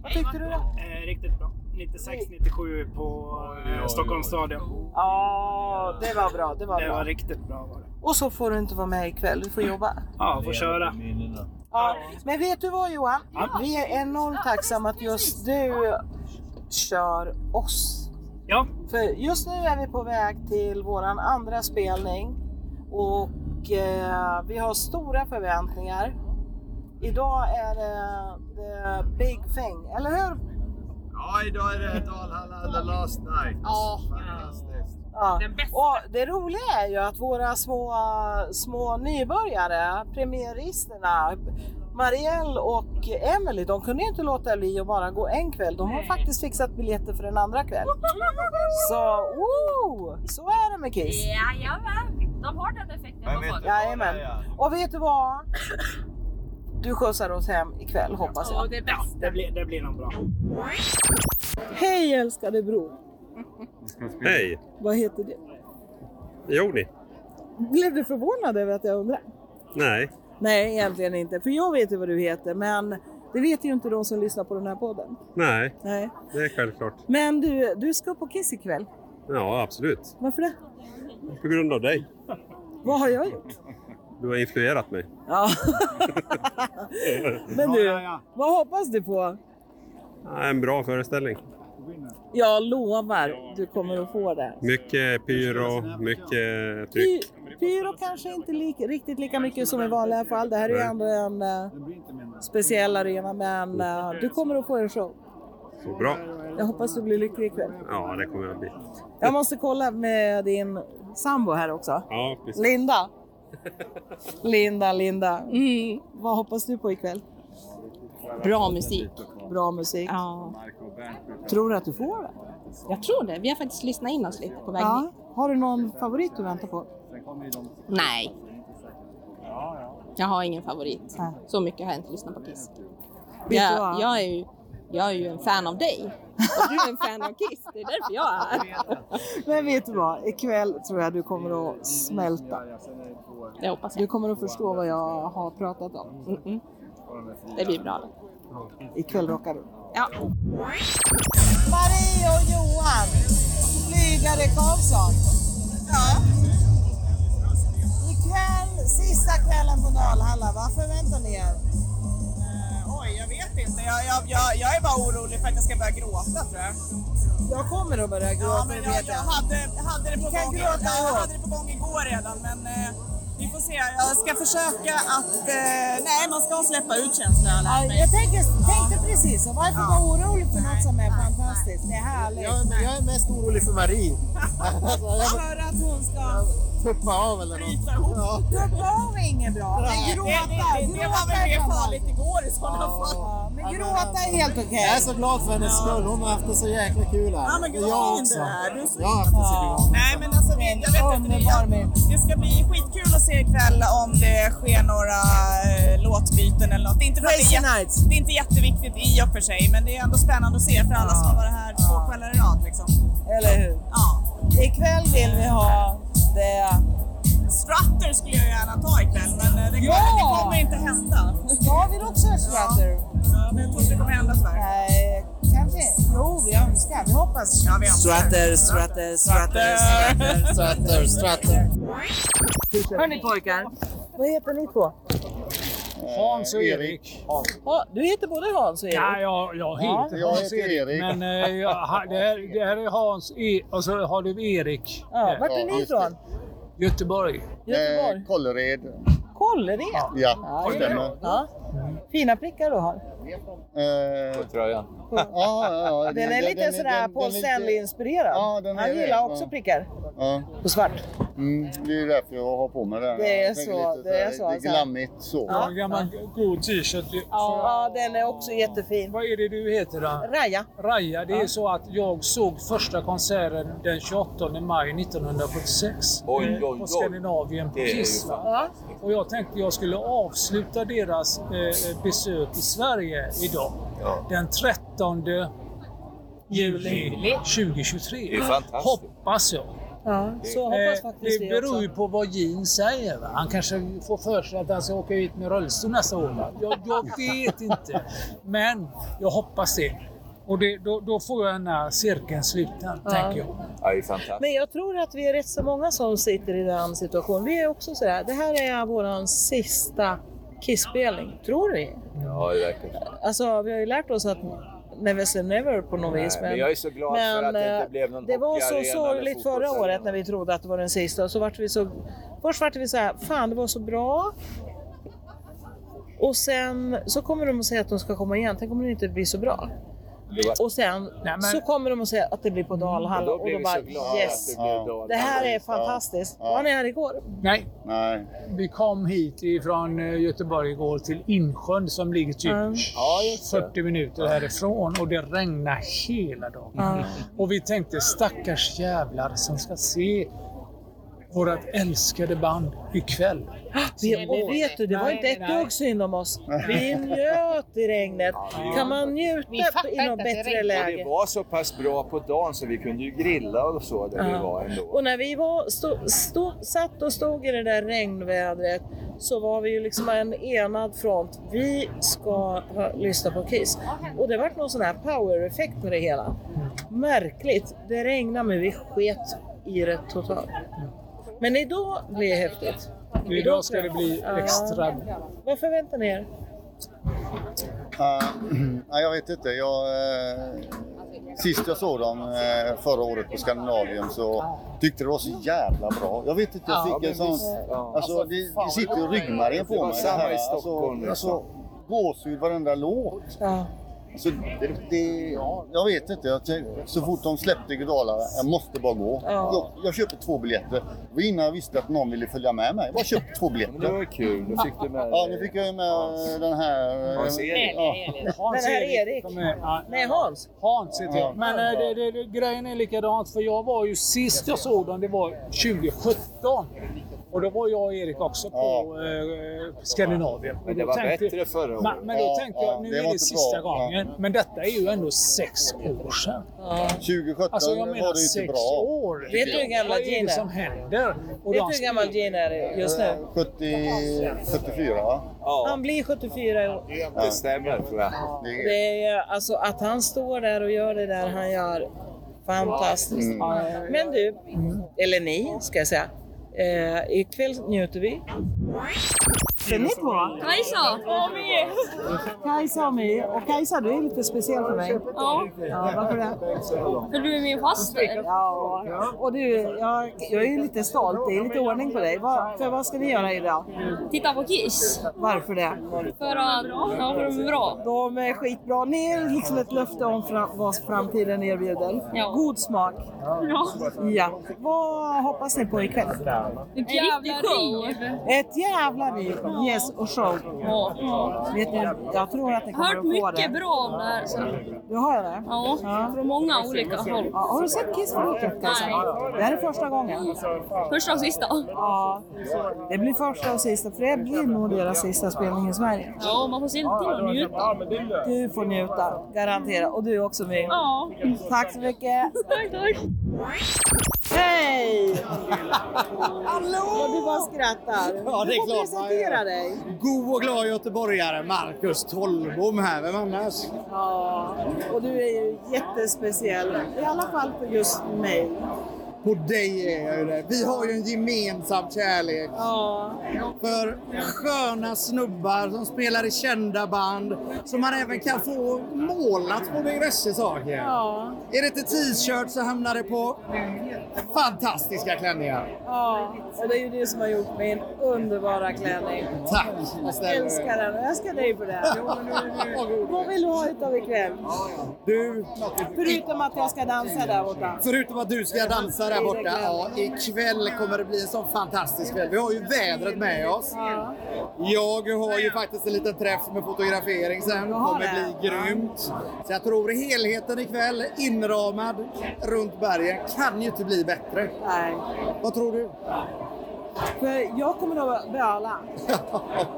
[SPEAKER 3] Vad tyckte du då?
[SPEAKER 6] Eh, riktigt bra. 96-97 på eh, Stockholms stadion.
[SPEAKER 3] Ja, det var bra. Det var
[SPEAKER 6] det
[SPEAKER 3] bra.
[SPEAKER 6] var riktigt bra. Var det.
[SPEAKER 3] Och så får du inte vara med ikväll, du får jobba.
[SPEAKER 6] Ja, får köra.
[SPEAKER 3] Ja. Men vet du vad Johan? Vi är enormt tacksamma att just du kör oss.
[SPEAKER 6] Ja.
[SPEAKER 3] För just nu är vi på väg till våran andra spelning och eh, vi har stora förväntningar. Idag är det the big thing, eller hur?
[SPEAKER 27] Ja, idag är det Dalhalla the last night.
[SPEAKER 3] Ja.
[SPEAKER 27] Fantastiskt.
[SPEAKER 3] Ja. Och det roliga är ju att våra små, små nybörjare, premieristerna, Marielle och Emily, de kunde ju inte låta bli att bara gå en kväll. De har faktiskt fixat biljetter för en andra kväll. Så, woo, så är det med Kiss.
[SPEAKER 28] Jajamän, de har den effekten på folk.
[SPEAKER 3] Jajamän. Och vet du vad? Du skjutsar oss hem ikväll hoppas jag.
[SPEAKER 6] det, ja, det, blir, det blir nog bra.
[SPEAKER 3] Hej älskade bror!
[SPEAKER 11] Hej!
[SPEAKER 3] Vad heter du?
[SPEAKER 11] Joni?
[SPEAKER 3] Blev du förvånad över att jag undrar?
[SPEAKER 11] Nej.
[SPEAKER 3] Nej, egentligen inte. För jag vet ju vad du heter, men det vet ju inte de som lyssnar på den här podden.
[SPEAKER 11] Nej,
[SPEAKER 3] Nej.
[SPEAKER 11] det är självklart.
[SPEAKER 3] Men du, du ska på Kiss ikväll.
[SPEAKER 11] Ja, absolut.
[SPEAKER 3] Varför det?
[SPEAKER 11] På grund av dig.
[SPEAKER 3] Vad har jag gjort?
[SPEAKER 11] Du har influerat mig.
[SPEAKER 3] Ja. Men du, vad hoppas du på?
[SPEAKER 11] Ja, En bra föreställning.
[SPEAKER 3] Jag lovar, du kommer att få det.
[SPEAKER 11] Mycket pyro, mycket tryck.
[SPEAKER 3] Py, pyro kanske inte lik, riktigt lika mycket som i vanliga fall. Det här är ju
[SPEAKER 11] Nej.
[SPEAKER 3] ändå en eh, speciell arena, men eh, du kommer att få en show.
[SPEAKER 11] Så bra.
[SPEAKER 3] Jag hoppas du blir lycklig ikväll.
[SPEAKER 11] Ja, det kommer jag bli.
[SPEAKER 3] Jag måste kolla med din sambo här också.
[SPEAKER 11] Ja, precis.
[SPEAKER 3] Linda. Linda, Linda.
[SPEAKER 20] Mm.
[SPEAKER 3] Vad hoppas du på ikväll? Bra musik. Bra musik.
[SPEAKER 20] Ja.
[SPEAKER 3] Tror du att du får det?
[SPEAKER 20] Jag tror det. Vi har faktiskt lyssnat in oss lite på vägen
[SPEAKER 3] Ja. Har du någon favorit du väntar på?
[SPEAKER 20] Nej. Jag har ingen favorit. Så mycket har jag inte lyssnat på Kiss.
[SPEAKER 3] Vet du
[SPEAKER 20] Jag,
[SPEAKER 3] vad?
[SPEAKER 20] jag, är ju, jag är ju en fan av dig. Och du är en fan av Kiss. Det är därför jag är här.
[SPEAKER 3] Men vet du vad? Ikväll tror jag du kommer att smälta.
[SPEAKER 20] Jag hoppas
[SPEAKER 3] Du kommer att förstå vad jag har pratat om.
[SPEAKER 20] Det blir bra.
[SPEAKER 3] Ikväll rockar du.
[SPEAKER 20] Ja.
[SPEAKER 3] Marie och Johan. Flygare Karlsson. Ja. Ikväll, sista kvällen på Dalhalla. Vad förväntar ni er?
[SPEAKER 17] Oj, jag vet inte. Jag, jag, jag, jag är bara orolig för att jag ska börja gråta tror jag.
[SPEAKER 3] Jag kommer att börja gråta,
[SPEAKER 17] Ja, men jag,
[SPEAKER 3] vet
[SPEAKER 17] jag hade, hade, det på
[SPEAKER 3] Vi kan
[SPEAKER 17] gång,
[SPEAKER 3] gråta
[SPEAKER 17] jag
[SPEAKER 3] ihop.
[SPEAKER 17] hade det på gång igår redan, men eh, vi får se. Jag ska försöka att... Eh, nej, man ska släppa ut känslor har jag lärt
[SPEAKER 3] Ja,
[SPEAKER 17] mig.
[SPEAKER 3] jag tänker, tänkte precis, så varför vara orolig för något som är fantastiskt? Det är härligt.
[SPEAKER 17] Jag är- jag är
[SPEAKER 3] <laughs> mest orolig för Marie.
[SPEAKER 17] För att hon ska...
[SPEAKER 3] Tuppa av eller något.
[SPEAKER 17] Bryta ihop.
[SPEAKER 3] Tuppa av är inget bra, men
[SPEAKER 17] Nej.
[SPEAKER 3] gråta.
[SPEAKER 17] Det- det- det- det var väl
[SPEAKER 3] gråta
[SPEAKER 17] mer
[SPEAKER 3] kan man.
[SPEAKER 17] farligt igår i sådana
[SPEAKER 3] Ja,
[SPEAKER 17] fall.
[SPEAKER 3] Men gråta är helt okej.
[SPEAKER 17] Jag är så glad för hennes skull.
[SPEAKER 3] Hon har haft det så jäkla kul
[SPEAKER 17] Ja, men gud
[SPEAKER 3] Jag
[SPEAKER 17] vad fin
[SPEAKER 3] också.
[SPEAKER 17] du är. Du är så
[SPEAKER 3] Jag har haft det så
[SPEAKER 17] Ja.
[SPEAKER 3] bra.
[SPEAKER 17] Nej, men alltså, vi, jag vet inte. Det, det ska bli skitkul att se ikväll om det sker några eh, låtbyten eller något. Det är, inte för att det, är
[SPEAKER 3] Crazy
[SPEAKER 17] jätte- det är inte jätteviktigt i och för sig, men det är ändå spännande att se för alla som har varit här två kvällar i rad. Liksom.
[SPEAKER 3] Eller hur?
[SPEAKER 17] Ja.
[SPEAKER 3] Ikväll vill vi ha det...
[SPEAKER 17] Strutter skulle jag gärna ta ikväll, men eh, det kommer,
[SPEAKER 3] Ja!
[SPEAKER 17] det kommer inte hända.
[SPEAKER 3] Ja, vi vill också ha strutter.
[SPEAKER 17] Ja. Ja, men jag tror inte det kommer hända tyvärr.
[SPEAKER 3] Nej, kanske. Jo, vi önskar. Vi hoppas.
[SPEAKER 17] Ja, vi önskar.
[SPEAKER 3] Strutter, strutter, strutter, strutter, strutter, strutter. Hörni pojkar, vad heter ni två?
[SPEAKER 18] Hans och Erik.
[SPEAKER 3] Ja, du heter både Hans och Erik?
[SPEAKER 18] Nej, jag, jag
[SPEAKER 3] Ja,
[SPEAKER 18] heter
[SPEAKER 3] jag
[SPEAKER 18] Hans
[SPEAKER 3] heter
[SPEAKER 18] Erik.
[SPEAKER 3] Erik.
[SPEAKER 18] Men eh, jag, ha- det, här, det här är Hans E och så har du Erik.
[SPEAKER 3] Ja, vart är ni ifrån?
[SPEAKER 18] Göteborg.
[SPEAKER 21] Eh,
[SPEAKER 3] Göteborg.
[SPEAKER 18] Kållered.
[SPEAKER 3] Kållered? Ja,
[SPEAKER 18] det
[SPEAKER 3] det är
[SPEAKER 18] stämmer.
[SPEAKER 3] bra. Ja. Fina prickar du har.
[SPEAKER 18] På tröjan.
[SPEAKER 3] Ja,
[SPEAKER 18] Eh, ja, ja.
[SPEAKER 3] Den är
[SPEAKER 18] Den-
[SPEAKER 3] lite
[SPEAKER 18] den är-
[SPEAKER 3] sådär
[SPEAKER 18] den-
[SPEAKER 3] Paul
[SPEAKER 18] den är lite-
[SPEAKER 3] Stanley-inspirerad.
[SPEAKER 18] är
[SPEAKER 3] Han
[SPEAKER 18] det,
[SPEAKER 3] gillar
[SPEAKER 18] ja.
[SPEAKER 3] också prickar.
[SPEAKER 18] Ja.
[SPEAKER 3] På svart.
[SPEAKER 18] Mm, det är ju därför jag har på mig den.
[SPEAKER 3] Det är
[SPEAKER 18] Jag tänker
[SPEAKER 3] så,
[SPEAKER 18] lite
[SPEAKER 3] det är
[SPEAKER 18] här,
[SPEAKER 3] så,
[SPEAKER 18] Lite
[SPEAKER 3] så här.
[SPEAKER 18] glammigt så.
[SPEAKER 3] Ja,
[SPEAKER 18] en gammal god t-shirt. ju.
[SPEAKER 3] Ja, den är också jättefin.
[SPEAKER 18] Vad är det du heter då?
[SPEAKER 3] Raja.
[SPEAKER 18] Raja, det är så att jag såg första konserten den 28 maj 1976
[SPEAKER 19] Oj,
[SPEAKER 18] eh,
[SPEAKER 19] oj, oj.
[SPEAKER 18] på Skandinavien på
[SPEAKER 19] Det är ju
[SPEAKER 18] Kiss. va? Och jag tänkte jag skulle avsluta deras eh, besök i Sverige idag. Den 13 juli 2023.
[SPEAKER 19] Det är fantastiskt.
[SPEAKER 18] Hoppas jag. Eh,
[SPEAKER 3] Ja, så hoppas faktiskt
[SPEAKER 18] det
[SPEAKER 3] vi också.
[SPEAKER 18] beror ju på vad Gene säger. Va? Han kanske får för sig att han ska åka ut med rullstol nästa år. Va? Jag,
[SPEAKER 19] <laughs>
[SPEAKER 18] jag vet inte. Men jag hoppas det. Och det, då, då får jag den här cirkeln sluten,
[SPEAKER 3] Ja.
[SPEAKER 18] tänker jag.
[SPEAKER 19] Ja, det är fantastiskt.
[SPEAKER 3] Men jag tror att vi är rätt så många som sitter i den situationen. Vi är också sådär, det här är vår sista Kiss-spelning, tror vi.
[SPEAKER 19] Ja, det verkar så.
[SPEAKER 3] Alltså, vi har ju lärt oss att never say never på något
[SPEAKER 19] Nej,
[SPEAKER 3] vis.
[SPEAKER 19] men jag är så glad för att det inte
[SPEAKER 3] eh,
[SPEAKER 19] blev någon
[SPEAKER 3] Det var så
[SPEAKER 19] hockeyarena eller
[SPEAKER 3] sorgligt förra
[SPEAKER 19] fotbollsarena.
[SPEAKER 3] året när vi trodde att det var den sista. Och så vart vi så, först vart vi så här, fan det var så bra. Och sen så kommer de att säga att de ska komma igen. Tänk om det inte blir så bra. Och sen så kommer de att säga att det blir
[SPEAKER 19] Mm,
[SPEAKER 3] på Dalhalla.
[SPEAKER 18] Och
[SPEAKER 3] Och
[SPEAKER 18] då blir
[SPEAKER 3] då
[SPEAKER 18] vi
[SPEAKER 3] bara
[SPEAKER 18] så glada att
[SPEAKER 3] yes!
[SPEAKER 18] det blir Dalhalla.
[SPEAKER 3] Det här är
[SPEAKER 18] Ja.
[SPEAKER 3] fantastiskt.
[SPEAKER 18] Ja.
[SPEAKER 3] Var ni här igår?
[SPEAKER 18] Nej. Vi kom hit ifrån eh, Göteborg igår till Insjön som ligger typ
[SPEAKER 3] Mm.
[SPEAKER 18] 40 minuter härifrån och det regnar hela dagen.
[SPEAKER 3] Mm.
[SPEAKER 18] Och vi tänkte stackars jävlar som ska se vårt älskade band ikväll.
[SPEAKER 3] Vi, och vet du, Ah, det var inte ett dugg synd om oss. Vi njöt i regnet. Kan man njuta i något bättre
[SPEAKER 19] Och det
[SPEAKER 3] läge?
[SPEAKER 19] var så pass bra på dagen så vi kunde ju grilla och så där vi
[SPEAKER 3] Ja.
[SPEAKER 19] var ändå.
[SPEAKER 3] Och när vi var, stå, stå, satt och stod i det där regnvädret så var vi ju liksom en enad front. Vi ska ha, lyssna på Kiss. Och det vart någon sån här power-effekt med det hela. Märkligt. Det regnade men vi sket i det totalt. Men idag blir det häftigt.
[SPEAKER 18] Idag ska det bli extra...
[SPEAKER 1] Vad förväntar ni er?
[SPEAKER 21] Eh, <clears throat> nej, jag vet inte. Jag, eh, sist jag såg dem eh, förra året på Skandinavien så tyckte det var så jävla bra. Jag vet inte, jag
[SPEAKER 10] Ja,
[SPEAKER 21] fick en
[SPEAKER 10] men
[SPEAKER 21] sån...
[SPEAKER 10] visst. Ja.
[SPEAKER 21] Alltså, det, det sitter ju ryggmärgen på
[SPEAKER 10] Det
[SPEAKER 21] mig.
[SPEAKER 10] var samma i
[SPEAKER 21] alltså,
[SPEAKER 10] Stockholm, liksom.
[SPEAKER 21] Alltså, gåshud varenda låt. Så det, det, jag vet inte. Jag, tänkte- så fort de släppte Gudala, jag måste bara gå.
[SPEAKER 10] Ja.
[SPEAKER 21] Jag, jag köpte två biljetter. Det var innan jag visste att någon ville följa med mig. Jag bara köpte två biljetter.
[SPEAKER 19] det var kul. Då fick du med
[SPEAKER 21] Ja, nu fick jag ju med den här... eh,
[SPEAKER 18] Hans-Erik.
[SPEAKER 21] Ja.
[SPEAKER 18] Hans
[SPEAKER 1] Den här
[SPEAKER 18] Erik
[SPEAKER 1] Erik.
[SPEAKER 18] som är- ja,
[SPEAKER 1] Nej, Hans.
[SPEAKER 18] Hans
[SPEAKER 21] Ja.
[SPEAKER 18] heter jag. Men eh, det, det, det, grejen är likadant, för jag var ju sist jag såg dem, det var 2017. Och då var jag och Erik också på eh, Skandinavien.
[SPEAKER 19] Men
[SPEAKER 18] Och
[SPEAKER 19] det
[SPEAKER 18] då
[SPEAKER 19] var
[SPEAKER 18] tänkte-
[SPEAKER 19] bättre förra året.
[SPEAKER 18] Men, men då
[SPEAKER 21] Ja,
[SPEAKER 18] tänkte
[SPEAKER 21] ja,
[SPEAKER 18] jag, nu
[SPEAKER 21] det var
[SPEAKER 18] är det
[SPEAKER 21] inte
[SPEAKER 18] sista
[SPEAKER 21] bra. Ja.
[SPEAKER 18] gången. Men detta är ju ändå sex år sedan.
[SPEAKER 21] 2017
[SPEAKER 18] Alltså jag menar
[SPEAKER 21] var det ju inte
[SPEAKER 18] sex
[SPEAKER 21] bra.
[SPEAKER 18] år.
[SPEAKER 21] Vet
[SPEAKER 18] tycker
[SPEAKER 21] du
[SPEAKER 18] jag.
[SPEAKER 21] hur gammal
[SPEAKER 18] Vad är
[SPEAKER 21] Gene
[SPEAKER 18] det
[SPEAKER 21] är?
[SPEAKER 18] som händer? Och
[SPEAKER 1] Vet
[SPEAKER 18] de
[SPEAKER 1] du hur gammal Gene är just nu?
[SPEAKER 21] 70, 74 va?
[SPEAKER 1] Han blir 74 i år.
[SPEAKER 21] Det stämmer tror jag. Det
[SPEAKER 1] Det är, alltså, att han står där och gör det där han gör, fantastiskt.
[SPEAKER 21] Mm.
[SPEAKER 1] Men du, eller ni ska jag säga, eh, ikväll njuter vi.
[SPEAKER 3] Ser ni på?
[SPEAKER 13] Kajsa!
[SPEAKER 3] Kajsa och My. Och Kajsa, du är lite speciell för mig.
[SPEAKER 13] Ja.
[SPEAKER 3] Ja, varför det?
[SPEAKER 13] För du är min faster.
[SPEAKER 3] Ja, och du, jag, jag är lite stolt. Det är lite ordning på dig. Vad, för vad ska ni göra idag?
[SPEAKER 13] Titta på Kiss.
[SPEAKER 3] Varför det?
[SPEAKER 13] För att... Ja, för de är bra.
[SPEAKER 3] De är skitbra. Ni är liksom ett löfte om fra- vad framtiden erbjuder.
[SPEAKER 13] Ja.
[SPEAKER 3] God smak.
[SPEAKER 13] Ja.
[SPEAKER 3] ja. Vad hoppas ni på ikväll?
[SPEAKER 13] En riktig show.
[SPEAKER 3] Ett jävla liv! Yes, och show. Vet ni, jag tror att ni kommer
[SPEAKER 13] Hört
[SPEAKER 3] att få
[SPEAKER 13] mycket
[SPEAKER 3] det.
[SPEAKER 13] bra om det här. Så.
[SPEAKER 3] Du har det?
[SPEAKER 13] Ja, från många olika håll.
[SPEAKER 3] Ja, har du sett Kiss förut? Kajsa?
[SPEAKER 13] Nej.
[SPEAKER 3] Det här är första gången.
[SPEAKER 13] Första och sista.
[SPEAKER 3] Ja. Det blir första och sista, för det blir nog deras sista spelning i Sverige.
[SPEAKER 13] Ja, man får se till att njuta.
[SPEAKER 3] Du får njuta, garanterat. Och du också My.
[SPEAKER 13] Ja.
[SPEAKER 3] Tack så mycket.
[SPEAKER 13] Tack, tack.
[SPEAKER 3] Hej! Hallå! Och du bara skrattar.
[SPEAKER 6] Ja, det
[SPEAKER 3] du
[SPEAKER 6] är
[SPEAKER 3] får
[SPEAKER 6] klart man
[SPEAKER 3] presentera
[SPEAKER 6] gör.
[SPEAKER 3] dig.
[SPEAKER 6] God och glad göteborgare, Marcus Tollbom här. Vem annars?
[SPEAKER 3] Ja, och du är ju jättespeciell. I alla fall för just mig.
[SPEAKER 6] På dig är jag ju det. Vi har ju en gemensam kärlek.
[SPEAKER 3] Ja.
[SPEAKER 6] För sköna snubbar som spelar i kända band som man även kan få målat på diverse saker.
[SPEAKER 3] Ja.
[SPEAKER 6] Är det inte t-shirt så hamnar det på fantastiska klänningar.
[SPEAKER 3] Ja, och det är ju du som har gjort min underbara klänning.
[SPEAKER 6] Tack!
[SPEAKER 3] Jag älskar den och jag älskar dig för det. Vad vill du ha utav ikväll?
[SPEAKER 6] Du,
[SPEAKER 3] Förutom att jag ska dansa där borta.
[SPEAKER 6] Förutom att du ska dansa där borta, ja, ikväll kommer det bli en sån fantastisk kväll. Vi har ju vädret med oss.
[SPEAKER 3] Ja.
[SPEAKER 6] Jag har ju faktiskt en liten träff med fotografering sen. Det
[SPEAKER 3] har
[SPEAKER 6] kommer
[SPEAKER 3] det.
[SPEAKER 6] bli grymt. Så jag tror helheten ikväll, inramad runt bergen, kan ju inte bli bättre.
[SPEAKER 3] Nej.
[SPEAKER 6] Vad tror du?
[SPEAKER 3] För jag kommer att
[SPEAKER 6] <laughs>
[SPEAKER 3] böla.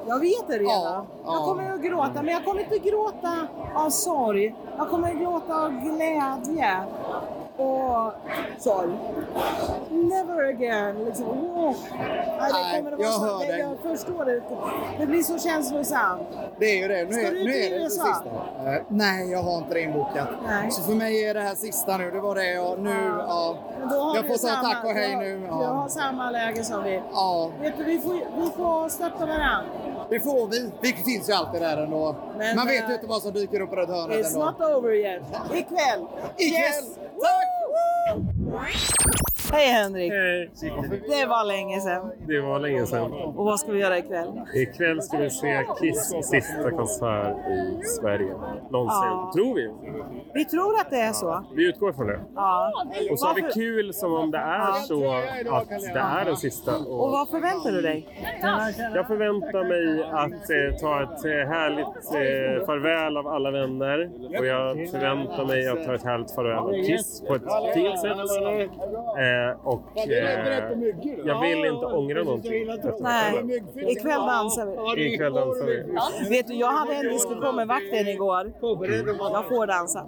[SPEAKER 3] Jag vet det redan. Jag kommer att gråta, men jag kommer inte gråta av sorg. Jag kommer att gråta av glädje och sorg. Never again. Liksom. Åh. Nej, det
[SPEAKER 6] Nej,
[SPEAKER 3] kommer att vara
[SPEAKER 6] jag
[SPEAKER 3] så.
[SPEAKER 6] hör
[SPEAKER 3] Det,
[SPEAKER 6] dig.
[SPEAKER 3] jag förstår det. Det blir så känslosamt.
[SPEAKER 6] Det är ju det. Nu
[SPEAKER 3] Ska
[SPEAKER 6] är,
[SPEAKER 3] du
[SPEAKER 6] nu
[SPEAKER 3] till
[SPEAKER 6] är det det
[SPEAKER 3] USA?
[SPEAKER 6] sista. Eh, nej, jag har inte det inbokat.
[SPEAKER 3] Nej.
[SPEAKER 6] Så för mig är det här sista nu. Det var det jag... Nu, ja.
[SPEAKER 3] Men då har
[SPEAKER 6] Jag
[SPEAKER 3] vi
[SPEAKER 6] får säga
[SPEAKER 3] samma-
[SPEAKER 6] tack och hej
[SPEAKER 3] då-
[SPEAKER 6] nu.
[SPEAKER 3] Jag
[SPEAKER 6] Ja.
[SPEAKER 3] har samma läge som vi.
[SPEAKER 6] Ja.
[SPEAKER 3] Vet du, vi får, vi får stötta varandra.
[SPEAKER 6] Det får vi. Det finns ju alltid där ändå.
[SPEAKER 3] Men,
[SPEAKER 6] Man vet
[SPEAKER 3] eh,
[SPEAKER 6] ju inte vad som dyker upp runt hörnet
[SPEAKER 3] It's
[SPEAKER 6] ändå.
[SPEAKER 3] not over yet.
[SPEAKER 6] <laughs>
[SPEAKER 3] Ikväll!
[SPEAKER 6] Ikväll.
[SPEAKER 3] Tack! Hej Henrik! Det var länge sedan.
[SPEAKER 29] Det var länge sedan.
[SPEAKER 3] Och vad ska vi göra ikväll?
[SPEAKER 29] Ikväll ska vi se Kiss sista konsert i Sverige. Någonsin.
[SPEAKER 3] Ja.
[SPEAKER 29] Tror vi.
[SPEAKER 3] Vi tror att det är så.
[SPEAKER 29] Vi utgår från det.
[SPEAKER 3] Ja.
[SPEAKER 29] Och så har vi
[SPEAKER 3] Varför-
[SPEAKER 29] kul som om det är
[SPEAKER 3] Ja.
[SPEAKER 29] så att det är den sista.
[SPEAKER 3] Och vad förväntar du dig?
[SPEAKER 29] Jag förväntar mig att eh, ta ett eh, härligt eh, farväl av alla vänner. Och jag förväntar mig att ta ett härligt farväl av Kiss på ett fint sätt. Eh, och eh, jag vill inte ångra någonting. efter detta.
[SPEAKER 3] Nej, ikväll dansar vi.
[SPEAKER 29] Ikväll dansar vi.
[SPEAKER 3] Vet du, jag hade en diskussion med vakten igår. Jag får dansa.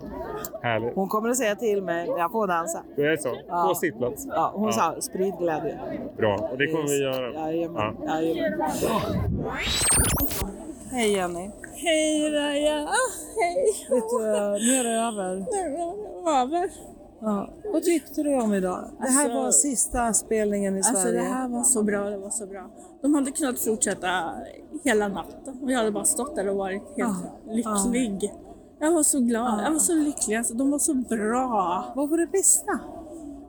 [SPEAKER 29] Härligt.
[SPEAKER 3] Hon kommer att säga till mig, jag får dansa.
[SPEAKER 29] Det är så.
[SPEAKER 3] Ja.
[SPEAKER 29] På sittplats.
[SPEAKER 3] Ja, hon sa sprid glädje.
[SPEAKER 29] Bra, och det kommer vi göra.
[SPEAKER 3] Jajamän.
[SPEAKER 29] Ja.
[SPEAKER 3] Jajamän. Hej Jenny.
[SPEAKER 22] Hej Raja! Ah, Hej!
[SPEAKER 3] Vet du, eh, nu är det över.
[SPEAKER 22] Nu är det över.
[SPEAKER 3] Ja. Vad tyckte du om idag? Det här
[SPEAKER 15] Alltså-
[SPEAKER 3] var sista spelningen i
[SPEAKER 15] Alltså
[SPEAKER 3] Sverige.
[SPEAKER 15] det här var så bra, det var så bra. De hade kunnat fortsätta hela natten och jag hade bara stått där och varit helt
[SPEAKER 3] Ah,
[SPEAKER 15] lycklig. Jag var så glad, jag var så lycklig. Alltså, de var så bra. Vad var det bästa?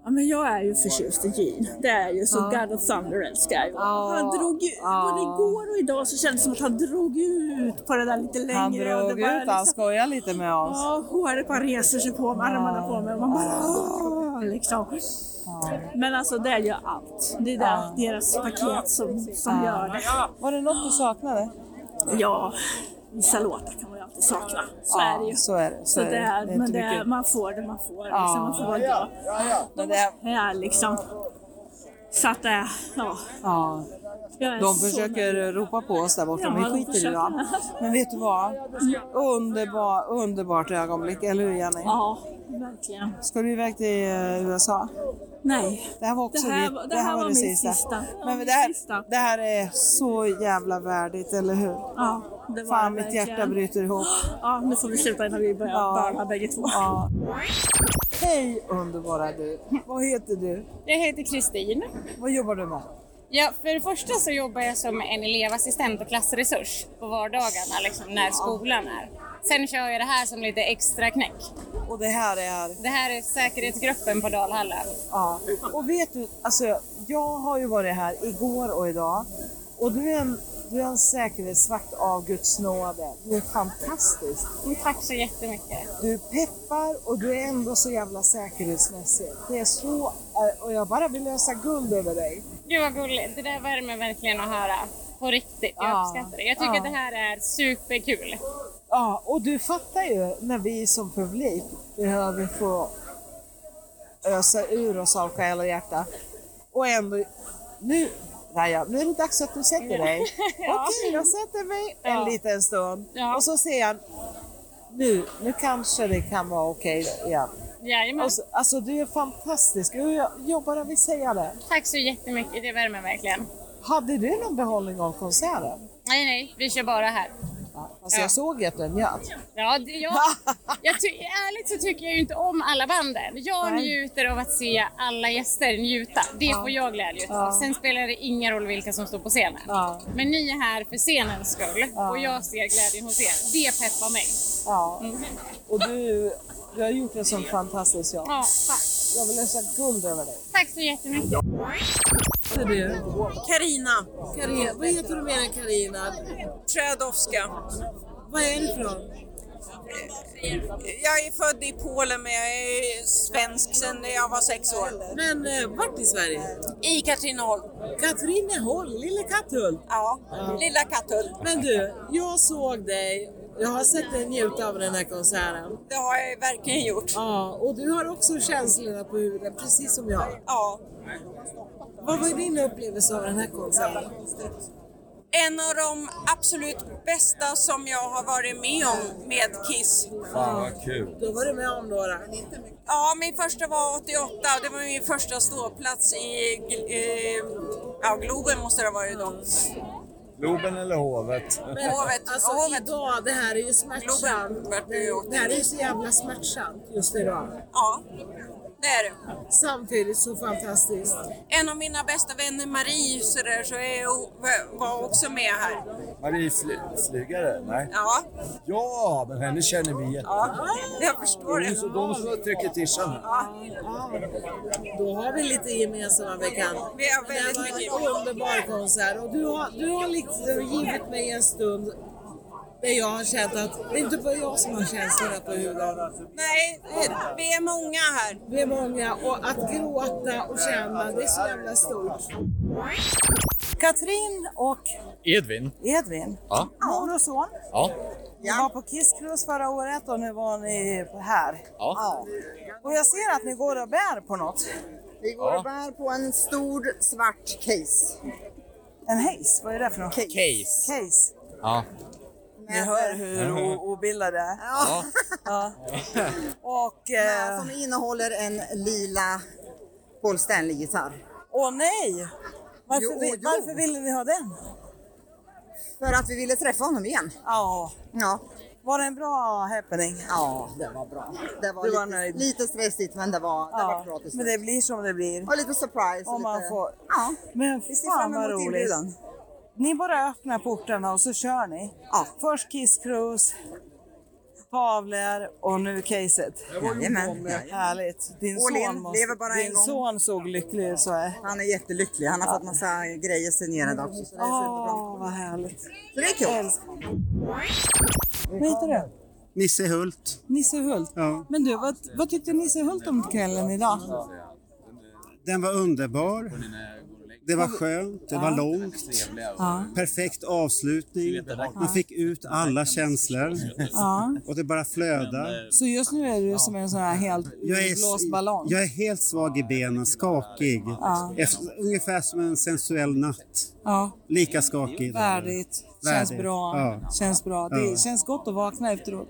[SPEAKER 15] Ja, men jag är ju förtjust i Gene. Det är ju så.
[SPEAKER 3] Ja.
[SPEAKER 15] God of Thunder älskar jag ju.
[SPEAKER 3] Ja.
[SPEAKER 15] Han drog ju,
[SPEAKER 3] Ja.
[SPEAKER 15] både igår och idag så kändes det som att han drog ut på det där lite längre.
[SPEAKER 3] han
[SPEAKER 15] och
[SPEAKER 3] drog
[SPEAKER 15] det
[SPEAKER 3] ut,
[SPEAKER 15] bara
[SPEAKER 3] han
[SPEAKER 15] liksom-
[SPEAKER 3] skojade lite med oss.
[SPEAKER 15] Ja, håret bara reser sig på mig, armarna på mig och man bara "Åh", liksom. Men alltså det är ju allt. Det är det,
[SPEAKER 3] Ja.
[SPEAKER 15] deras paket som, som
[SPEAKER 3] Ja.
[SPEAKER 15] gör det.
[SPEAKER 3] Var det något du saknade?
[SPEAKER 15] Ja, vissa låtar kan man ju alltid sakna. Så
[SPEAKER 3] Ja,
[SPEAKER 15] är det ju.
[SPEAKER 3] så är det, så
[SPEAKER 15] Så
[SPEAKER 3] är det.
[SPEAKER 15] det är,
[SPEAKER 3] Det är
[SPEAKER 15] men
[SPEAKER 3] inte
[SPEAKER 15] det är,
[SPEAKER 3] mycket.
[SPEAKER 15] man får det man får.
[SPEAKER 3] Ja.
[SPEAKER 15] Liksom, man får vara glad. De är här liksom. Så att det är, ja.
[SPEAKER 3] Ja.
[SPEAKER 15] Jag är
[SPEAKER 3] De
[SPEAKER 15] så
[SPEAKER 3] försöker ropa på oss där borta,
[SPEAKER 15] Ja,
[SPEAKER 3] men
[SPEAKER 15] de
[SPEAKER 3] vi skiter i
[SPEAKER 15] försöker.
[SPEAKER 3] dem. Men vet du vad? Underbar, underbart ögonblick, eller hur Jenny?
[SPEAKER 15] Ja, verkligen.
[SPEAKER 3] Ska du iväg till eh, USA?
[SPEAKER 15] Nej.
[SPEAKER 3] Det här var också
[SPEAKER 15] Det här
[SPEAKER 3] ditt-
[SPEAKER 15] var- det här var min sista. Ja,
[SPEAKER 3] Men
[SPEAKER 15] min
[SPEAKER 3] det, här, det här är så jävla värdigt, eller hur?
[SPEAKER 15] Ja, det var
[SPEAKER 3] Fan,
[SPEAKER 15] det
[SPEAKER 3] mitt
[SPEAKER 15] verkligen.
[SPEAKER 3] hjärta bryter ihop.
[SPEAKER 15] Ja, nu får vi sluta innan vi börjar
[SPEAKER 3] Ja.
[SPEAKER 15] böla bägge två.
[SPEAKER 3] Ja. Hej underbara du! Vad heter du?
[SPEAKER 13] Jag heter Kristin.
[SPEAKER 3] Vad jobbar du med?
[SPEAKER 13] <laughs> Ja, för det första så jobbar jag som en elevassistent och klassresurs på vardagarna liksom, när skolan är. Sen kör jag det här som lite extra knäck.
[SPEAKER 3] Och det här är?
[SPEAKER 13] Det här är säkerhetsgruppen på Dalhalla.
[SPEAKER 3] Ja. Och vet du, alltså, jag har ju varit här igår och idag och du är en, du är en säkerhetsvakt av Guds nåde. Du är fantastisk.
[SPEAKER 13] Mm, Tack så jättemycket.
[SPEAKER 3] Du peppar och du är ändå så jävla säkerhetsmässig. Det är så, eh, och jag bara vill lösa guld över dig.
[SPEAKER 13] Gud vad gulligt. Det där värmer verkligen att höra. På riktigt. Jag
[SPEAKER 3] Ja.
[SPEAKER 13] uppskattar det. Jag tycker
[SPEAKER 3] Ja.
[SPEAKER 13] att det här är superkul.
[SPEAKER 3] Ja, och du fattar ju när vi som publik behöver få ösa ur oss av själ och hjärta. Och ändå, nu, Raja, nu är det dags att du sätter dig.
[SPEAKER 15] <laughs> Ja.
[SPEAKER 3] Okej, jag sätter mig
[SPEAKER 15] Ja.
[SPEAKER 3] en liten stund. Och så ser jag, nu, nu kanske det kan vara okej igen.
[SPEAKER 13] Jajamän.
[SPEAKER 3] Alltså, alltså du är fantastisk, jag, jag, jag bara vill säga det.
[SPEAKER 13] Tack så jättemycket. Det värmer verkligen.
[SPEAKER 3] Hade du någon behållning av konserten?
[SPEAKER 13] Nej, nej. Vi kör bara här.
[SPEAKER 3] Alltså jag såg att du njöt.
[SPEAKER 13] Ja, det, jag, jag ty, ärligt så tycker jag ju inte om alla banden. Jag
[SPEAKER 3] Nej.
[SPEAKER 13] njuter av att se alla gäster njuta. Det
[SPEAKER 3] Ja.
[SPEAKER 13] får jag glädje utav.
[SPEAKER 3] Ja.
[SPEAKER 13] Sen spelar det ingen roll vilka som står på scenen.
[SPEAKER 3] Ja.
[SPEAKER 13] Men ni är här för scenens skull
[SPEAKER 3] Ja.
[SPEAKER 13] och jag ser glädjen hos er. Det peppar mig.
[SPEAKER 3] Ja. Och du, du har gjort en sån fantastisk jobb.
[SPEAKER 13] Ja, tack.
[SPEAKER 3] Jag vill lösa guld över dig.
[SPEAKER 13] Tack så jättemycket.
[SPEAKER 15] Karina.
[SPEAKER 3] Karina. Vad heter du mer än Karina?
[SPEAKER 15] Trädowska.
[SPEAKER 3] Vad är du för någon?
[SPEAKER 15] Jag är född i Polen men jag är svensk sedan jag var sex år.
[SPEAKER 3] Men eh, vart i Sverige?
[SPEAKER 15] I Katrineholm.
[SPEAKER 3] Katrineholm, Lilla Katthult?
[SPEAKER 15] Ja, Lilla Katthult.
[SPEAKER 3] Men du, jag såg dig. Jag har sett dig njuta av den här konserten.
[SPEAKER 15] Det har jag verkligen gjort.
[SPEAKER 3] Ja, och du har också känslorna på huvudet, precis som jag.
[SPEAKER 15] Ja.
[SPEAKER 3] Vad var din upplevelse av den här konserten?
[SPEAKER 15] En av de absolut bästa som jag har varit med om med Kiss.
[SPEAKER 6] Fan vad kul.
[SPEAKER 3] Då var du med om några.
[SPEAKER 15] Ja, min första var 88 och det var min första ståplats i gl- eh, ja, Globen måste det ha varit då.
[SPEAKER 6] Globen eller hovet?
[SPEAKER 3] Men
[SPEAKER 2] <laughs>
[SPEAKER 15] Hovet,
[SPEAKER 3] alltså
[SPEAKER 15] hovet.
[SPEAKER 3] idag, det här är ju smärtsamt. Det här är ju så jävla smärtsamt just idag.
[SPEAKER 15] Ja, det är det.
[SPEAKER 3] Samtidigt så fantastiskt.
[SPEAKER 15] En av mina bästa vänner Marie så där, så är, var också med här.
[SPEAKER 6] Marie fly, Flygare? Nej.
[SPEAKER 15] Ja,
[SPEAKER 6] Ja, men henne känner vi jättebra.
[SPEAKER 15] ja jag förstår
[SPEAKER 6] Hon
[SPEAKER 15] det.
[SPEAKER 6] så- De som trycker till sig här.
[SPEAKER 3] Då har vi lite gemensamma veckan.
[SPEAKER 15] Vi har väldigt
[SPEAKER 3] Det
[SPEAKER 15] mycket.
[SPEAKER 3] var en underbar konsert och du har, du har liksom givit mig en stund där jag har känt att det är inte bara jag som har känslorna på huvudet.
[SPEAKER 15] Nej, vi- vi är många här.
[SPEAKER 3] Vi är många och att gråta och känna, det är så jävla stort. Katrin och
[SPEAKER 30] Edvin?
[SPEAKER 3] Edvin,
[SPEAKER 30] Ja.
[SPEAKER 3] mor och son.
[SPEAKER 30] Ja.
[SPEAKER 3] Ni var på Kiss Cruise förra året och nu var ni här.
[SPEAKER 30] Ja.
[SPEAKER 3] Och jag ser att ni går och bär på något.
[SPEAKER 31] Vi går
[SPEAKER 30] Ja.
[SPEAKER 31] och bär på en stor svart case.
[SPEAKER 3] En hejs, vad är det för något?
[SPEAKER 30] Case.
[SPEAKER 3] Case.
[SPEAKER 30] ja.
[SPEAKER 3] Ni hör hur o- obildade jag är.
[SPEAKER 31] Ja.
[SPEAKER 3] Ja. Och...
[SPEAKER 31] Eh, Som innehåller en lila Paul Stanley-gitarr.
[SPEAKER 3] Åh nej! Varför,
[SPEAKER 31] Jo,
[SPEAKER 3] vi,
[SPEAKER 31] jo.
[SPEAKER 3] varför ville ni ha den?
[SPEAKER 31] För att vi ville träffa honom igen.
[SPEAKER 3] Ja.
[SPEAKER 31] ja.
[SPEAKER 26] Var det en bra happening?
[SPEAKER 6] Ja, det var bra. Det var,
[SPEAKER 26] Du var
[SPEAKER 6] lite,
[SPEAKER 26] nöjd?
[SPEAKER 6] lite stressigt men det var, det var bra till
[SPEAKER 26] men
[SPEAKER 6] slut.
[SPEAKER 26] det blir som det blir.
[SPEAKER 6] Och lite surprise. och
[SPEAKER 26] Om man
[SPEAKER 6] lite-
[SPEAKER 26] får...
[SPEAKER 6] Ja.
[SPEAKER 26] Men
[SPEAKER 6] Vi ser
[SPEAKER 26] fan
[SPEAKER 6] fram
[SPEAKER 26] vad
[SPEAKER 6] emot
[SPEAKER 26] roligt.
[SPEAKER 6] inbjudan.
[SPEAKER 26] Ni bara öppnar portarna och så kör ni. Först Kiss Cruise, Pavler och nu caset.
[SPEAKER 6] Jajamän.
[SPEAKER 26] Härligt. Din
[SPEAKER 6] All
[SPEAKER 26] son,
[SPEAKER 6] in, lever bara en
[SPEAKER 26] din
[SPEAKER 6] gång.
[SPEAKER 26] son såg lycklig ut så är.
[SPEAKER 6] Han är jättelycklig. Han har fått massa grejer signerade också. Så det är superbra.
[SPEAKER 26] vad härligt. Så
[SPEAKER 6] det är kul.
[SPEAKER 26] Vad heter du?
[SPEAKER 12] Nisse Hult.
[SPEAKER 26] Nisse Hult. Men du, vad, vad tyckte Nisse Hult om kvällen idag?
[SPEAKER 12] Den var underbar. Det var skönt, det var
[SPEAKER 26] Ja.
[SPEAKER 12] långt.
[SPEAKER 26] Ja.
[SPEAKER 12] Perfekt avslutning. Man fick ut alla känslor.
[SPEAKER 26] Ja.
[SPEAKER 12] Och det bara
[SPEAKER 3] eh,
[SPEAKER 12] flödade.
[SPEAKER 26] Så just nu är du som en sån här helt utblåst ballong?
[SPEAKER 12] jag är helt svag i benen, skakig.
[SPEAKER 26] Ja.
[SPEAKER 12] Efter, ungefär som en sensuell natt.
[SPEAKER 26] Ja.
[SPEAKER 12] Lika skakig.
[SPEAKER 26] Värdigt. Känns
[SPEAKER 12] Värdigt.
[SPEAKER 26] bra.
[SPEAKER 12] Ja.
[SPEAKER 26] Känns bra. Det
[SPEAKER 12] Ja.
[SPEAKER 26] känns gott att vakna efteråt.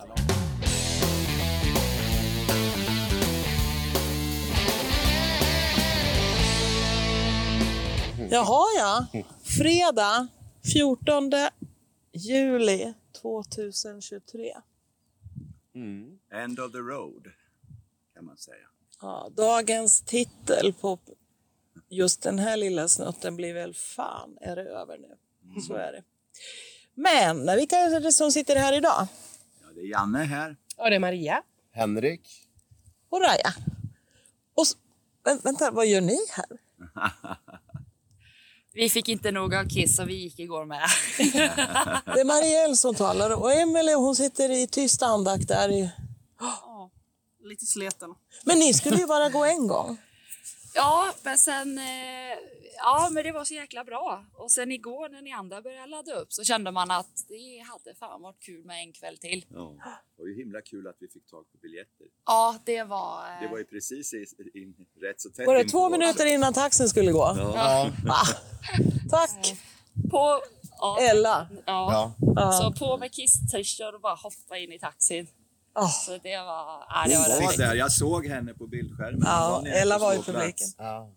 [SPEAKER 3] Jaha ja. Fredag 14 juli 2023.
[SPEAKER 2] Mm. End of the road, kan man säga.
[SPEAKER 3] Ja, dagens titel på just den här lilla snutten blir väl Fan är det över nu. Så
[SPEAKER 12] Mm.
[SPEAKER 3] är det. Men vilka är det som sitter här idag?
[SPEAKER 2] Ja, det är Janne här.
[SPEAKER 3] Ja, det är Maria.
[SPEAKER 2] <laughs>
[SPEAKER 4] Henrik.
[SPEAKER 3] Och Raja. Och s- vä- vänta, vad gör ni här?
[SPEAKER 32] Vi fick inte nog av Kiss så vi gick igår
[SPEAKER 7] <laughs>
[SPEAKER 32] med. <laughs>
[SPEAKER 3] Det är Marielle som talar och Emelie hon sitter i tyst andakt där. I...
[SPEAKER 7] Lite sleten.
[SPEAKER 3] Men ni skulle ju bara gå en gång.
[SPEAKER 7] Ja, men sen... eh, Ja, men det var så jäkla bra. Och sen igår när ni andra började ladda upp så kände man att det hade fan varit kul med en kväll till.
[SPEAKER 2] Ja, det var ju himla kul att vi fick tag på biljetter.
[SPEAKER 7] Ja, det var... eh,
[SPEAKER 2] Det var ju precis i- in, rätt så tätt
[SPEAKER 3] Var det
[SPEAKER 2] in på
[SPEAKER 3] två
[SPEAKER 2] oss.
[SPEAKER 3] minuter innan taxin skulle gå?
[SPEAKER 2] Ja.
[SPEAKER 3] Va? Tack!
[SPEAKER 7] eh, På, ja,
[SPEAKER 3] Ella.
[SPEAKER 7] Ja.
[SPEAKER 3] Ja.
[SPEAKER 7] Så på med kisströjor och bara hoppa in i taxin. Så det var... eh, Ja,
[SPEAKER 2] Hon
[SPEAKER 7] det var
[SPEAKER 2] var,
[SPEAKER 7] roligt.
[SPEAKER 2] där, jag såg henne på bildskärmen.
[SPEAKER 3] Ja,
[SPEAKER 2] Hon nere
[SPEAKER 3] Ella
[SPEAKER 2] på
[SPEAKER 3] var i
[SPEAKER 2] små plats.
[SPEAKER 3] publiken.
[SPEAKER 4] Ja.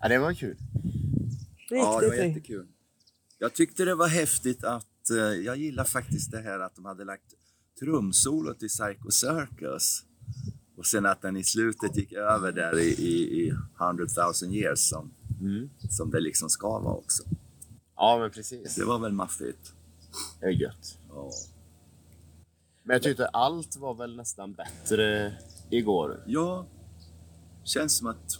[SPEAKER 4] Ja, det var kul.
[SPEAKER 2] Ja, det var
[SPEAKER 4] Riktigt.
[SPEAKER 2] jättekul. Jag tyckte det var häftigt att... eh, Jag gillar faktiskt det här att de hade lagt trumsolot i Psycho Circus. Och sen att den i slutet gick över där i, i, i 100 000 years som,
[SPEAKER 4] Mm.
[SPEAKER 2] som det liksom ska vara också.
[SPEAKER 4] Ja, men precis.
[SPEAKER 2] Det var väl maffigt.
[SPEAKER 4] Det är gött. Men jag tyckte allt var väl nästan bättre igår.
[SPEAKER 2] Ja, känns som att...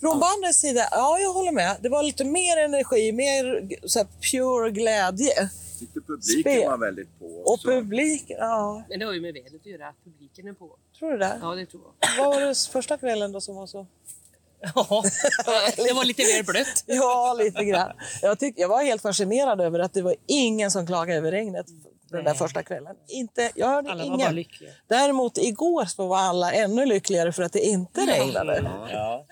[SPEAKER 3] Från bandets sida, ja jag håller med. Det var lite mer energi, mer så här, pure glädje.
[SPEAKER 2] Tyckte publiken
[SPEAKER 3] Spe-
[SPEAKER 2] var väldigt på.
[SPEAKER 3] Och publiken, ja.
[SPEAKER 5] Men det har ju med vädret att göra, att publiken är på. <laughs>
[SPEAKER 3] Tror du det?
[SPEAKER 5] Ja, det tror jag.
[SPEAKER 3] Vad var det första kvällen då som var så?
[SPEAKER 5] Det var lite mer blött.
[SPEAKER 3] Ja, lite grann. Jag, tyck, jag var helt fascinerad över att det var ingen som klagade över regnet den där första kvällen. Inte, jag hörde
[SPEAKER 5] Alla var
[SPEAKER 3] ingen.
[SPEAKER 5] bara lyckliga.
[SPEAKER 3] Däremot igår så var alla ännu lyckligare för att det inte regnade.
[SPEAKER 2] Ja.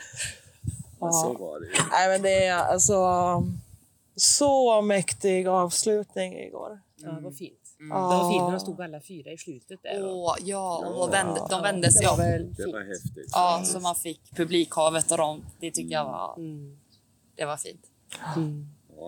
[SPEAKER 2] Men så var det ju.
[SPEAKER 3] Nej, men det är alltså så mäktig avslutning igår.
[SPEAKER 5] Ja, vad fint.
[SPEAKER 3] Mm.
[SPEAKER 5] Det var fint när
[SPEAKER 3] Ja.
[SPEAKER 5] de stod alla fyra i slutet där.
[SPEAKER 3] Åh, ja,
[SPEAKER 5] och
[SPEAKER 7] vände- de vände sig
[SPEAKER 5] det var
[SPEAKER 7] om.
[SPEAKER 5] väl
[SPEAKER 2] Det
[SPEAKER 5] fint.
[SPEAKER 2] var häftigt.
[SPEAKER 7] Ja, så man fick publikhavet och dem. Det tycker jag var...
[SPEAKER 3] Mm.
[SPEAKER 7] Det var fint.
[SPEAKER 2] Ja,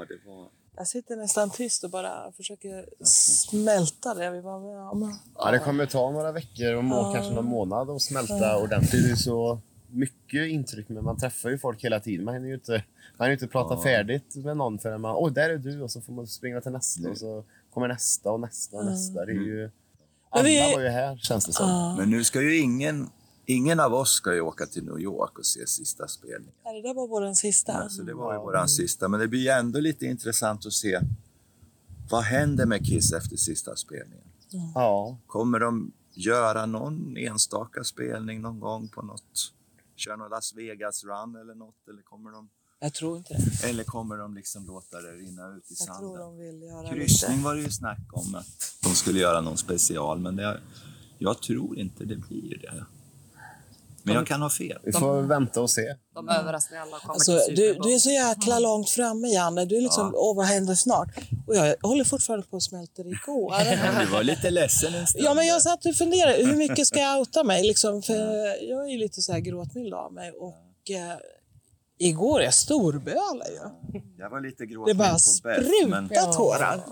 [SPEAKER 2] det var...
[SPEAKER 3] Jag sitter nästan tyst och bara försöker smälta det vi var med om.
[SPEAKER 4] Ja, det kommer ta några veckor och må,
[SPEAKER 3] Ja.
[SPEAKER 4] kanske någon månad att smälta
[SPEAKER 3] Ja.
[SPEAKER 4] ordentligt. Det är så mycket intryck, men man träffar ju folk hela tiden. Man hinner ju inte, man hinner ju inte prata
[SPEAKER 2] Ja.
[SPEAKER 4] färdigt med någon förrän man... Oj, där är du! Och så får man springa till nästa och så kommer nästa och nästa och
[SPEAKER 3] Ja.
[SPEAKER 4] nästa. Det är ju...
[SPEAKER 3] Men
[SPEAKER 4] Alla
[SPEAKER 3] vi-
[SPEAKER 4] var ju här, känns det som.
[SPEAKER 3] Ja.
[SPEAKER 2] Men nu ska ju ingen... Ingen av oss ska ju åka till New York och se sista spelningen.
[SPEAKER 3] Ja, Det där var vår sista.
[SPEAKER 2] Så det var ju våran sista. Men det blir ju ändå lite intressant att se vad händer med Kiss efter sista spelningen.
[SPEAKER 4] Ja.
[SPEAKER 2] Kommer de göra någon enstaka spelning någon gång på något? Köra någon Las Vegas-run eller något? Eller kommer de,
[SPEAKER 3] Jag tror inte det.
[SPEAKER 2] eller kommer de liksom låta det rinna ut i
[SPEAKER 3] Jag tror
[SPEAKER 2] sanden?
[SPEAKER 3] de vill göra
[SPEAKER 2] Kryssning
[SPEAKER 3] lite.
[SPEAKER 2] var det ju snack om att de skulle göra någon special, men det, jag tror inte det blir det. Men jag kan ha fel.
[SPEAKER 4] Vi får vänta och se.
[SPEAKER 5] De överraskar alla och kommer
[SPEAKER 3] Alltså,
[SPEAKER 5] till Mm.
[SPEAKER 3] du,
[SPEAKER 5] Super
[SPEAKER 3] du är så jäkla långt framme, Janne. Du är liksom,
[SPEAKER 2] Ja.
[SPEAKER 3] åh, vad händer snart? Och jag håller fortfarande på och smälter igår.
[SPEAKER 2] <laughs> Men Du var lite ledsen en stund.
[SPEAKER 3] Ja, men jag satt och funderade, hur mycket ska jag outa mig? Liksom, för jag är ju lite så här gråtmild av mig och eh, Igår jag storbölade ju.
[SPEAKER 2] Jag var lite
[SPEAKER 3] Det
[SPEAKER 2] gråtmild
[SPEAKER 3] bara
[SPEAKER 2] på bärs. Men,
[SPEAKER 3] sprutade tårar.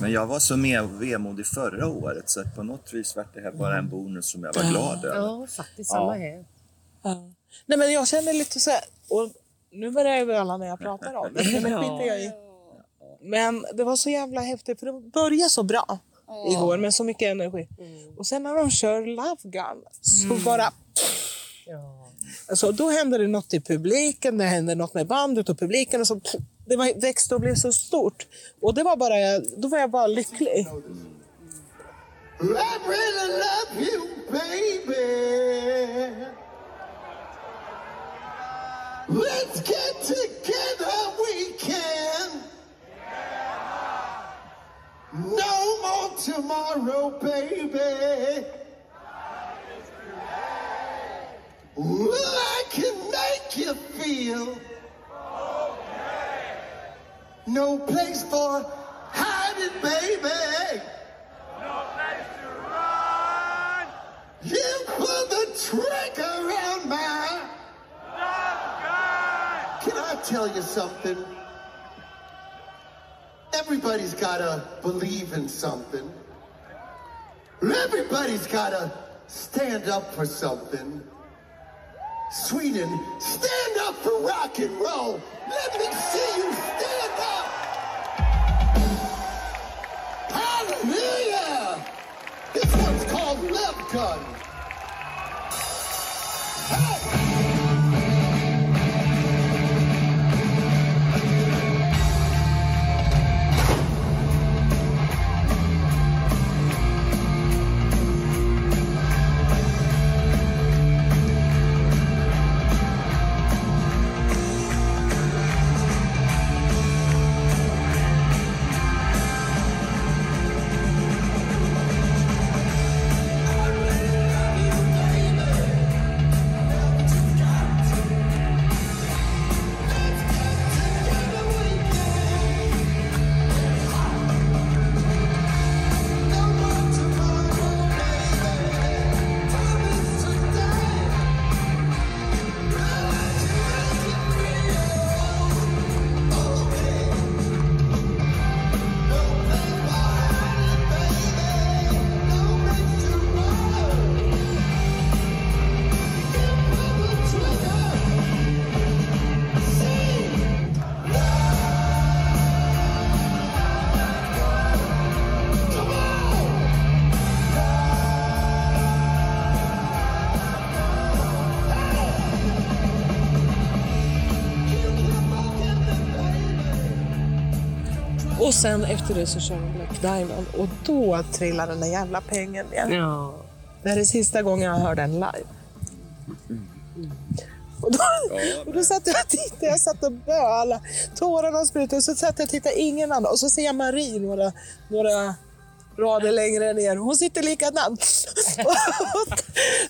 [SPEAKER 2] men jag var så mer vemodig förra året så att på något vis var det här bara en bonus som jag var glad över.
[SPEAKER 3] Ja, faktiskt.
[SPEAKER 2] samma
[SPEAKER 3] här. Ja. Nej, men jag känner lite så här... Och nu börjar jag böla när jag
[SPEAKER 2] <laughs>
[SPEAKER 3] pratar om det. Men, det skiter jag i. men det var så jävla häftigt, för det började så bra igår med så mycket energi. Och sen när de kör Love Gun så bara... Alltså, då händer det något i publiken, det händer något med bandet och publiken. Och så, det var, växte och blev så stort. Och det var bara, då var jag bara lycklig.
[SPEAKER 10] I really love you, baby. Let's get together, we can. No more tomorrow, baby. Well, I can make you feel no place for hiding, baby. You pull the trigger on my. Can I tell you something? Everybody's gotta believe in something. Everybody's gotta stand up for something. Sweden, stand up for rock and roll. Let me see you stand up. Hallelujah! This one's called Love Gun.
[SPEAKER 3] Och sen efter det så kör de Black Diamond och då trillar den där jävla pengen ner.
[SPEAKER 5] Ja.
[SPEAKER 3] Det här är sista gången jag hör den live. Och då, och då satt jag och tittade, jag satt och bölade. Tårarna sprutade och så satt jag och tittade, ingen annan. Och så ser jag Marie några, några rader längre ner. Hon sitter likadant. <laughs> Och-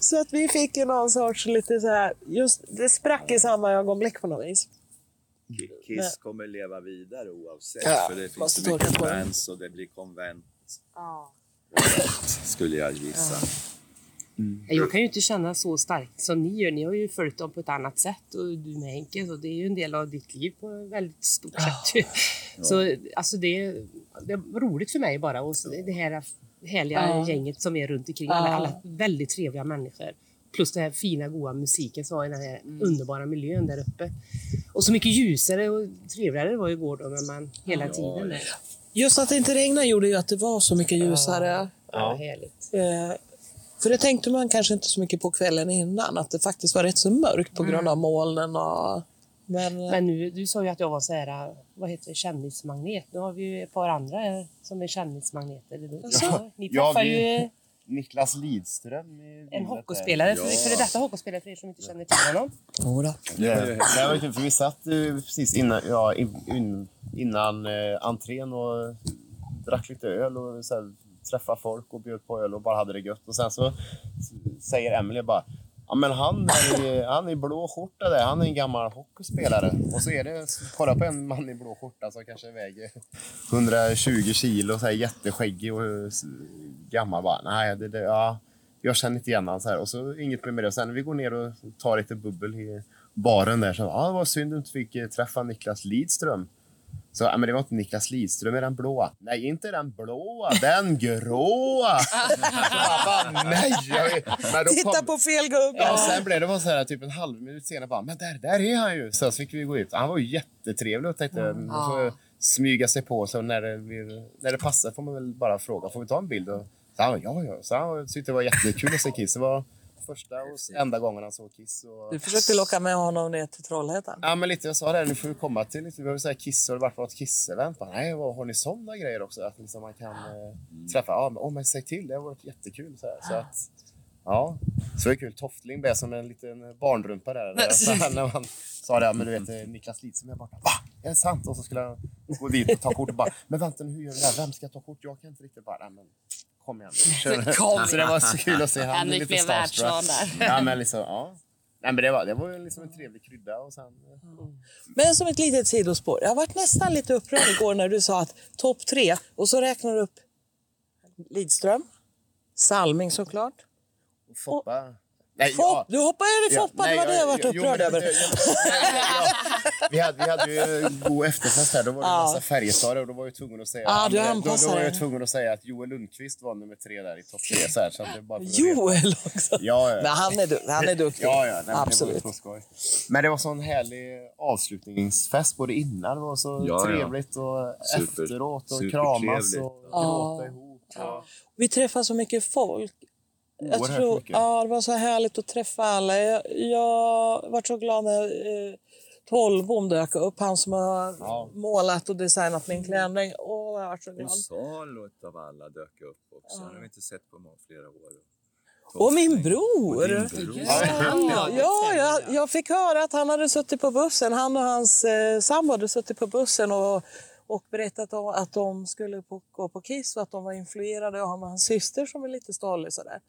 [SPEAKER 3] så att vi fick ju någon sorts lite så här, just, det sprack i samma ögonblick på något vis.
[SPEAKER 2] Kiss kommer leva vidare oavsett.
[SPEAKER 3] Ja,
[SPEAKER 2] för det finns
[SPEAKER 3] måste
[SPEAKER 2] så mycket
[SPEAKER 3] torka på den.
[SPEAKER 2] fans och det blir konvent. Skulle jag gissa.
[SPEAKER 5] Jag kan ju inte känna så starkt som ni gör. Ni har ju följt dem på ett annat sätt och du med Henke, så det är ju en del av ditt liv på ett väldigt stort sätt. Så alltså det, det var roligt för mig bara och så det här härliga
[SPEAKER 7] Ja.
[SPEAKER 5] gänget som är runt omkring.
[SPEAKER 7] Ja.
[SPEAKER 5] Alla, alla väldigt trevliga människor. Plus den här fina goa musiken som var i den här underbara miljön där uppe. Och så mycket ljusare och trevligare det var ju igår då när man hela
[SPEAKER 3] Ja,
[SPEAKER 5] tiden
[SPEAKER 3] ja.
[SPEAKER 5] där.
[SPEAKER 3] Just att det inte regnade gjorde ju att det var så mycket ljusare.
[SPEAKER 5] Ja, härligt.
[SPEAKER 3] Eh, För det tänkte man kanske inte så mycket på kvällen innan, att det faktiskt var rätt så mörkt på grund
[SPEAKER 4] Mm.
[SPEAKER 3] av molnen. Och...
[SPEAKER 4] eh,
[SPEAKER 3] Men,
[SPEAKER 5] Men nu, du sa ju att jag var så här, eh, vad heter det, kändismagnet. Nu har vi ju ett par andra här som är kändismagneter. Ja, ni
[SPEAKER 4] Ja,
[SPEAKER 5] träffar
[SPEAKER 4] vi-
[SPEAKER 5] ju
[SPEAKER 4] Niklas Lidström. i
[SPEAKER 5] en
[SPEAKER 4] bilden
[SPEAKER 5] hockeyspelare,
[SPEAKER 4] där.
[SPEAKER 5] för före detta hockeyspelare för er som inte känner till honom.
[SPEAKER 3] Jodå.
[SPEAKER 4] Nej, det var kul, för vi satt eh, precis innan, ja, in, in, innan eh, entrén och drack lite öl och så här, träffade folk och bjöd på öl och bara hade det gött. Och sen så s- säger Emelie bara Ja, men han är, i- han är i blå skjorta där. Han är en gammal hockeyspelare. Och så är det, kolla på en man i blå skjorta som kanske väger 120 kilo, så här, jätteskäggig och eh, s- gammal. Bara, Nej, det, det, ja, jag känner inte igen honom. Så här. Och så inget mer med det. Och sen vi går ner och tar lite bubbel i baren där. Så, ah, det var synd att du inte fick eh, träffa Niklas Lidström. Så, ah, men det var inte Niklas Lidström i den blåa. Nej, inte den
[SPEAKER 2] <laughs>
[SPEAKER 4] blåa, den gråa. Jag bara, nej! Jag vet. Men då
[SPEAKER 33] Titta
[SPEAKER 4] kom-
[SPEAKER 33] på fel gubbe.
[SPEAKER 4] Ja, sen blev det bara så här, typ en halv minut senare. Bara, men där, där är han ju! Sen så fick vi gå ut. Han var ju jättetrevlig och tänkte
[SPEAKER 6] Mm.
[SPEAKER 4] man får smyga sig på. Så när det, blir, när det passar får man väl bara fråga. Får vi ta en bild? Och, så han, ja, ja. Så han tyckte det var jättekul att se Kiss. Det var första och enda gången han såg Kiss. Och...
[SPEAKER 3] Du försökte locka med honom ner till Trollhättan.
[SPEAKER 4] Ja, men lite. Jag sa det, här, nu får vi komma till lite. Vi behöver säga Kiss. Har det varit något Kiss-event? Bara, Nej, vad, har ni sådana grejer också? Att liksom man kan eh, träffa. Ja, men, oh, men säg till. Det har varit jättekul. Så, här, så att, Ja, så det är kul. Toftling blev som en liten barnrumpa
[SPEAKER 3] <laughs>
[SPEAKER 4] där. där. Så här, när man sa det, men du vet eh, Niklas Lidström är borta. Va? Är det sant? Och så skulle han gå dit och ta kort och bara, men vänta nu, hur gör vi det här? Vem ska ta kort? Jag kan inte riktigt bara, "Nej, men kom igen. nu."
[SPEAKER 6] Men kom
[SPEAKER 4] så det var
[SPEAKER 6] igen.
[SPEAKER 4] så kul att se. Han
[SPEAKER 6] Henrik
[SPEAKER 4] blev lite
[SPEAKER 6] blev
[SPEAKER 4] starstruck.
[SPEAKER 6] världsvan där.
[SPEAKER 4] Ja, men liksom, ja. Nej, men det var, det var ju liksom en trevlig krydda och sen...
[SPEAKER 3] eh, Men som ett litet sidospår. Jag varit nästan lite upprörd igår när du sa att topp tre och så räknar du upp Lidström, Salming såklart.
[SPEAKER 4] Och Foppa. Nej,
[SPEAKER 3] Fopp,
[SPEAKER 4] ja.
[SPEAKER 3] Du hoppar över Foppa,
[SPEAKER 4] nej,
[SPEAKER 3] det var det jag
[SPEAKER 4] ja,
[SPEAKER 3] varit
[SPEAKER 4] jo,
[SPEAKER 3] upprörd
[SPEAKER 4] men-
[SPEAKER 3] över.
[SPEAKER 4] Vi hade, vi hade ju god efterfest här. Då var det en
[SPEAKER 3] Ja.
[SPEAKER 4] massa färjestadare och då var jag tvungen att säga...
[SPEAKER 3] Ja,
[SPEAKER 4] men
[SPEAKER 3] du
[SPEAKER 4] det- då,
[SPEAKER 3] anpassar
[SPEAKER 4] då var jag
[SPEAKER 3] dig.
[SPEAKER 4] tvungen att säga att Joel Lundqvist var nummer tre där i topp tre. Så här, så att det är bara för att-
[SPEAKER 2] <laughs>
[SPEAKER 3] Joel också.
[SPEAKER 4] Ja, ja.
[SPEAKER 3] Men han är, du- han är duktig.
[SPEAKER 4] Ja, ja. Nej, men det var ju
[SPEAKER 3] Absolut.
[SPEAKER 4] så skoj. Men det var sån härlig avslutningsfest både innan. Det var så
[SPEAKER 2] Ja, ja.
[SPEAKER 4] trevligt och
[SPEAKER 2] Super-
[SPEAKER 4] efteråt och kramas
[SPEAKER 2] supertrevligt.
[SPEAKER 4] och
[SPEAKER 3] Ja.
[SPEAKER 4] gråta ihop. Och...
[SPEAKER 3] Vi träffar så mycket folk. Jag
[SPEAKER 4] Oerhört
[SPEAKER 3] tror,
[SPEAKER 4] mycket.
[SPEAKER 3] ja, det var så härligt att träffa alla. Jag, jag var så glad när eh, Tollbom dök upp, han som har målat och designat min klänning. Åh, jag var så glad.
[SPEAKER 2] Och Salo av alla dök upp också. Han har vi inte sett på många- flera år.
[SPEAKER 3] Och min bror!
[SPEAKER 2] Och din bror.
[SPEAKER 3] Ja, ja jag, jag fick höra att han hade suttit på bussen. Han och hans eh, sambo hade suttit på bussen och, och berättat om att de skulle på, gå på Kiss och att de var influerade av hans syster som är lite stollig. Sådär.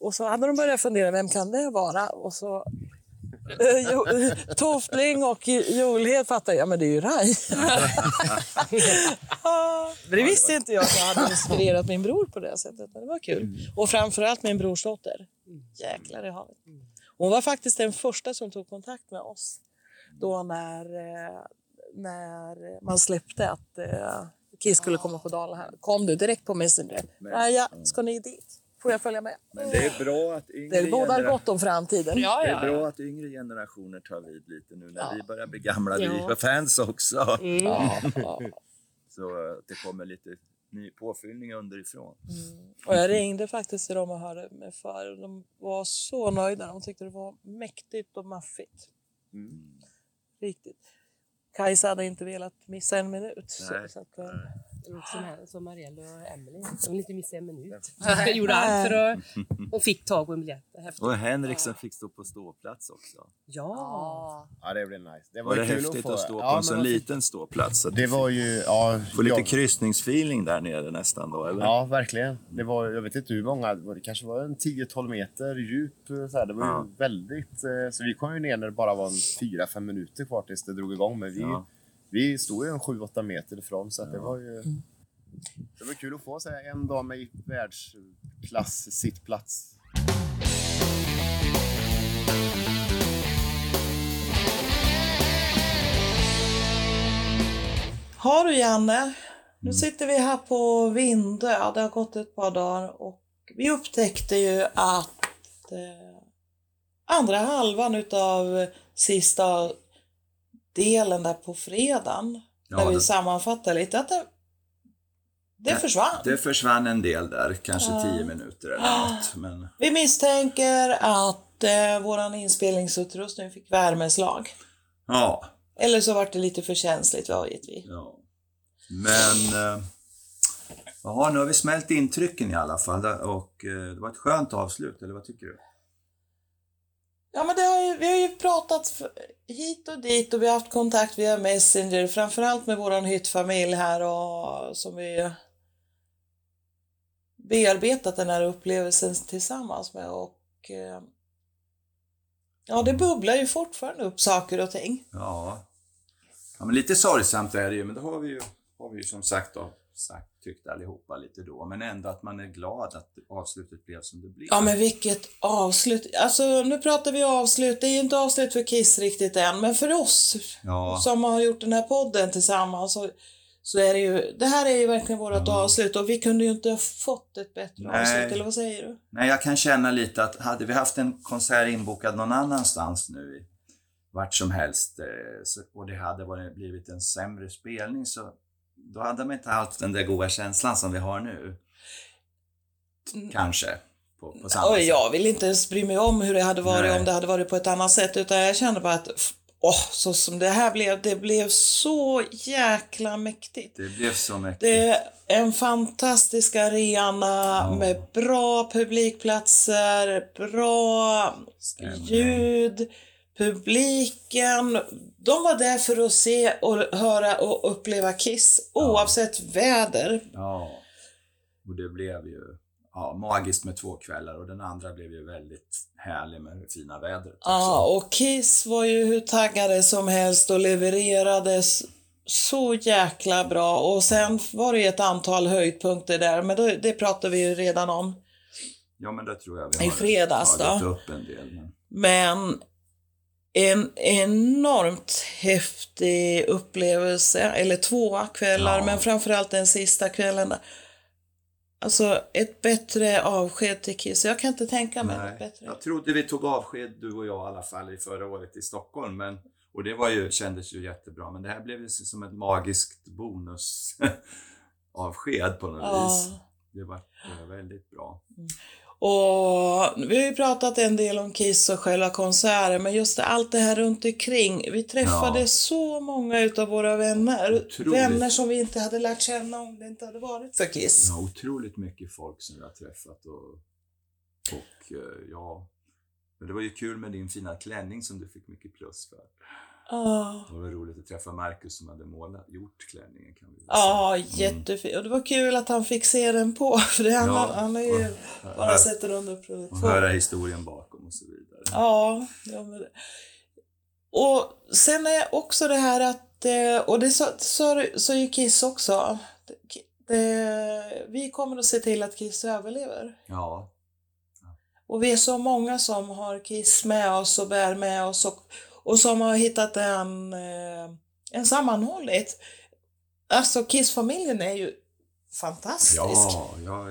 [SPEAKER 3] Och så hade de börjat fundera, vem kan det vara? Och så eh, jo, eh, Toftling och Julhed fattade, ja men det är ju Rai. <laughs> Ah, <laughs> men det visste inte jag att jag hade inspirerat min bror på det sättet. Men det var kul. Och framförallt min brors dotter. Jäklar i havet. Hon var faktiskt den första som tog kontakt med oss då när, eh, när man släppte att eh, Kiss skulle komma på Dala här. Kom du direkt på Messenger?
[SPEAKER 2] Men-
[SPEAKER 3] Ja, ja, ska ni dit? Får jag följa med?
[SPEAKER 2] Men det är bra att yngre
[SPEAKER 3] Det bådar
[SPEAKER 2] genera-
[SPEAKER 3] gott om framtiden.
[SPEAKER 2] Det är bra att yngre generationer tar vid lite nu när vi börjar bli gamla. Vi
[SPEAKER 3] Ja.
[SPEAKER 2] var fans också.
[SPEAKER 3] Mm. Ja.
[SPEAKER 2] Så att det kommer lite ny påfyllning underifrån.
[SPEAKER 3] Mm. Och jag ringde faktiskt till dem och hörde mig för. och De var så nöjda. De tyckte det var mäktigt och maffigt.
[SPEAKER 5] Mm.
[SPEAKER 3] Riktigt. Kajsa hade inte velat missa en minut. Så,
[SPEAKER 5] Nej.
[SPEAKER 3] så att, eh,
[SPEAKER 5] Som, som Marielle och Emily. De vill inte missa
[SPEAKER 4] <laughs>
[SPEAKER 5] en minut.
[SPEAKER 3] Nej.
[SPEAKER 5] Jag gjorde allt för att... Och fick tag på en biljett. Det är häftigt.
[SPEAKER 2] Och Henrik som fick stå på ståplats också.
[SPEAKER 5] Ja.
[SPEAKER 4] Ja, det blev nice. Det
[SPEAKER 2] Det
[SPEAKER 4] var,
[SPEAKER 2] var, det
[SPEAKER 4] ju kul
[SPEAKER 2] häftigt
[SPEAKER 4] få-
[SPEAKER 2] att, stå på
[SPEAKER 4] Ja,
[SPEAKER 2] en så
[SPEAKER 4] men vad-
[SPEAKER 2] liten ståplats. Så att
[SPEAKER 4] Det var ju... Ja,
[SPEAKER 2] Få lite
[SPEAKER 4] jag-
[SPEAKER 2] kryssningsfeeling där nere nästan då, eller?
[SPEAKER 4] Ja, verkligen. Det var, jag vet inte hur många, det var- det kanske var en 10-12 meter djup. eh, Så här. Det var
[SPEAKER 2] Ja.
[SPEAKER 4] ju väldigt... eh, Så vi kom ju ner när det bara var en 4-5 minuter kvar tills det drog igång. Men vi,
[SPEAKER 2] Ja.
[SPEAKER 4] vi stod ju en 7-8 meter ifrån så att det var ju...
[SPEAKER 2] Mm.
[SPEAKER 4] Det var kul att få så här, en dag med världsklass sittplats.
[SPEAKER 3] Har du Janne?
[SPEAKER 2] Mm.
[SPEAKER 3] Nu sitter vi här på Vindö. Det har gått ett par dagar och vi upptäckte ju att eh, andra halvan utav sista delen där på fredagen,
[SPEAKER 2] Ja,
[SPEAKER 3] när vi
[SPEAKER 2] det-
[SPEAKER 3] sammanfattar lite, att det, det försvann.
[SPEAKER 2] Det försvann en del där, kanske
[SPEAKER 3] Ja.
[SPEAKER 2] tio minuter eller något. Men
[SPEAKER 3] Vi misstänker att eh, våran inspelningsutrustning fick värmeslag.
[SPEAKER 2] ja,
[SPEAKER 3] Eller så vart det lite för känsligt, vad vet vi?
[SPEAKER 2] Ja. Men... eh, Jaha, nu har vi smält intrycken i alla fall och eh, det var ett skönt avslut, eller vad tycker du?
[SPEAKER 3] Ja, men det har ju, vi har ju pratat f- hit och dit och vi har haft kontakt via Messenger, framförallt med våran hyttfamilj här och som vi bearbetat den här upplevelsen tillsammans med och eh, ja, det bubblar ju fortfarande upp saker och ting.
[SPEAKER 2] Ja. ja men lite sorgsamt är det ju, men det har vi ju, har vi ju som sagt då, sagt tyckte allihopa lite då. Men ändå att man är glad att avslutet blev som det blev.
[SPEAKER 3] Ja, men vilket avslut. Alltså, nu pratar vi avslut. Det är ju inte avslut för Kiss riktigt än, men för oss
[SPEAKER 2] Ja.
[SPEAKER 3] som har gjort den här podden tillsammans så, så är det ju, det här är ju verkligen vårt avslut och vi kunde ju inte ha fått ett bättre
[SPEAKER 2] Mm. Nej.
[SPEAKER 3] avslut, eller vad säger du?
[SPEAKER 2] Nej, jag kan känna lite att hade vi haft en konsert inbokad någon annanstans nu, i- vart som helst, eh, så, och det hade varit, blivit en sämre spelning, så då hade man inte haft den där goda känslan som vi har nu. Kanske. På, på samma
[SPEAKER 3] Mm. Oj,
[SPEAKER 2] sätt.
[SPEAKER 3] jag vill inte ens bry mig om hur det hade varit
[SPEAKER 2] Nej.
[SPEAKER 3] om det hade varit på ett annat sätt utan jag känner bara att f- åh, så som det här blev, det blev så jäkla mäktigt.
[SPEAKER 2] Det blev så mycket.
[SPEAKER 3] Det är en fantastisk arena med bra publikplatser, bra ljud, publiken. De var där för att se och höra och uppleva Kiss oavsett väder.
[SPEAKER 2] Ja. Och det blev ju ja, magiskt med två kvällar och den andra blev ju väldigt härlig med det fina vädret.
[SPEAKER 3] Ja, och Kiss var ju hur taggade som helst och levererades så jäkla bra. Och sen var det ju ett antal höjdpunkter där, men då, det pratade vi ju redan om.
[SPEAKER 2] Ja, men det tror jag vi
[SPEAKER 3] I
[SPEAKER 2] har
[SPEAKER 3] fredags
[SPEAKER 2] tagit
[SPEAKER 3] då?
[SPEAKER 2] upp en del. Men...
[SPEAKER 3] Men en enormt häftig upplevelse, eller två kvällar, men framförallt den sista kvällen. där. Alltså ett bättre avsked till Kiss. Jag kan inte tänka mig något
[SPEAKER 2] Nej,
[SPEAKER 3] bättre.
[SPEAKER 2] jag trodde vi tog avsked, du och jag i alla fall, i förra året i Stockholm. Men, och det var ju, kändes ju jättebra, men det här blev ju som ett magiskt bonusavsked på något
[SPEAKER 3] Ja.
[SPEAKER 2] vis. Det var eh, väldigt bra.
[SPEAKER 3] Och vi har ju pratat en del om Kiss och själva konserten, men just det- allt det här runt omkring. Vi träffade
[SPEAKER 2] Ja.
[SPEAKER 3] så många utav våra vänner.
[SPEAKER 2] Otroligt.
[SPEAKER 3] Vänner som vi inte hade lärt känna om det inte hade varit för Kiss.
[SPEAKER 2] Ja, otroligt mycket folk som jag har träffat. Och, och eh, ja, men det var ju kul med din fina klänning som du fick mycket plus för.
[SPEAKER 3] Ja.
[SPEAKER 2] Det var roligt att träffa Marcus som hade målat, gjort klänningen kan vi väl
[SPEAKER 3] Ja, jättefint. Och det var kul att han fick se den på, <laughs> för det, han,
[SPEAKER 2] Ja.
[SPEAKER 3] han har ju bara sett den under provet.
[SPEAKER 2] Och höra historien bakom och så vidare.
[SPEAKER 3] Ja, ja men... Och sen är också det här att, eh, och det sa, sa, sa ju Kiss också, Ki- det, vi kommer att se till att Kiss överlever.
[SPEAKER 2] Ja,
[SPEAKER 3] Och vi är så många som har Kiss med oss och bär med oss och, och som har hittat en, eh, en sammanhållit. Alltså Kiss-familjen är ju fantastisk.
[SPEAKER 2] ja, ja, ja,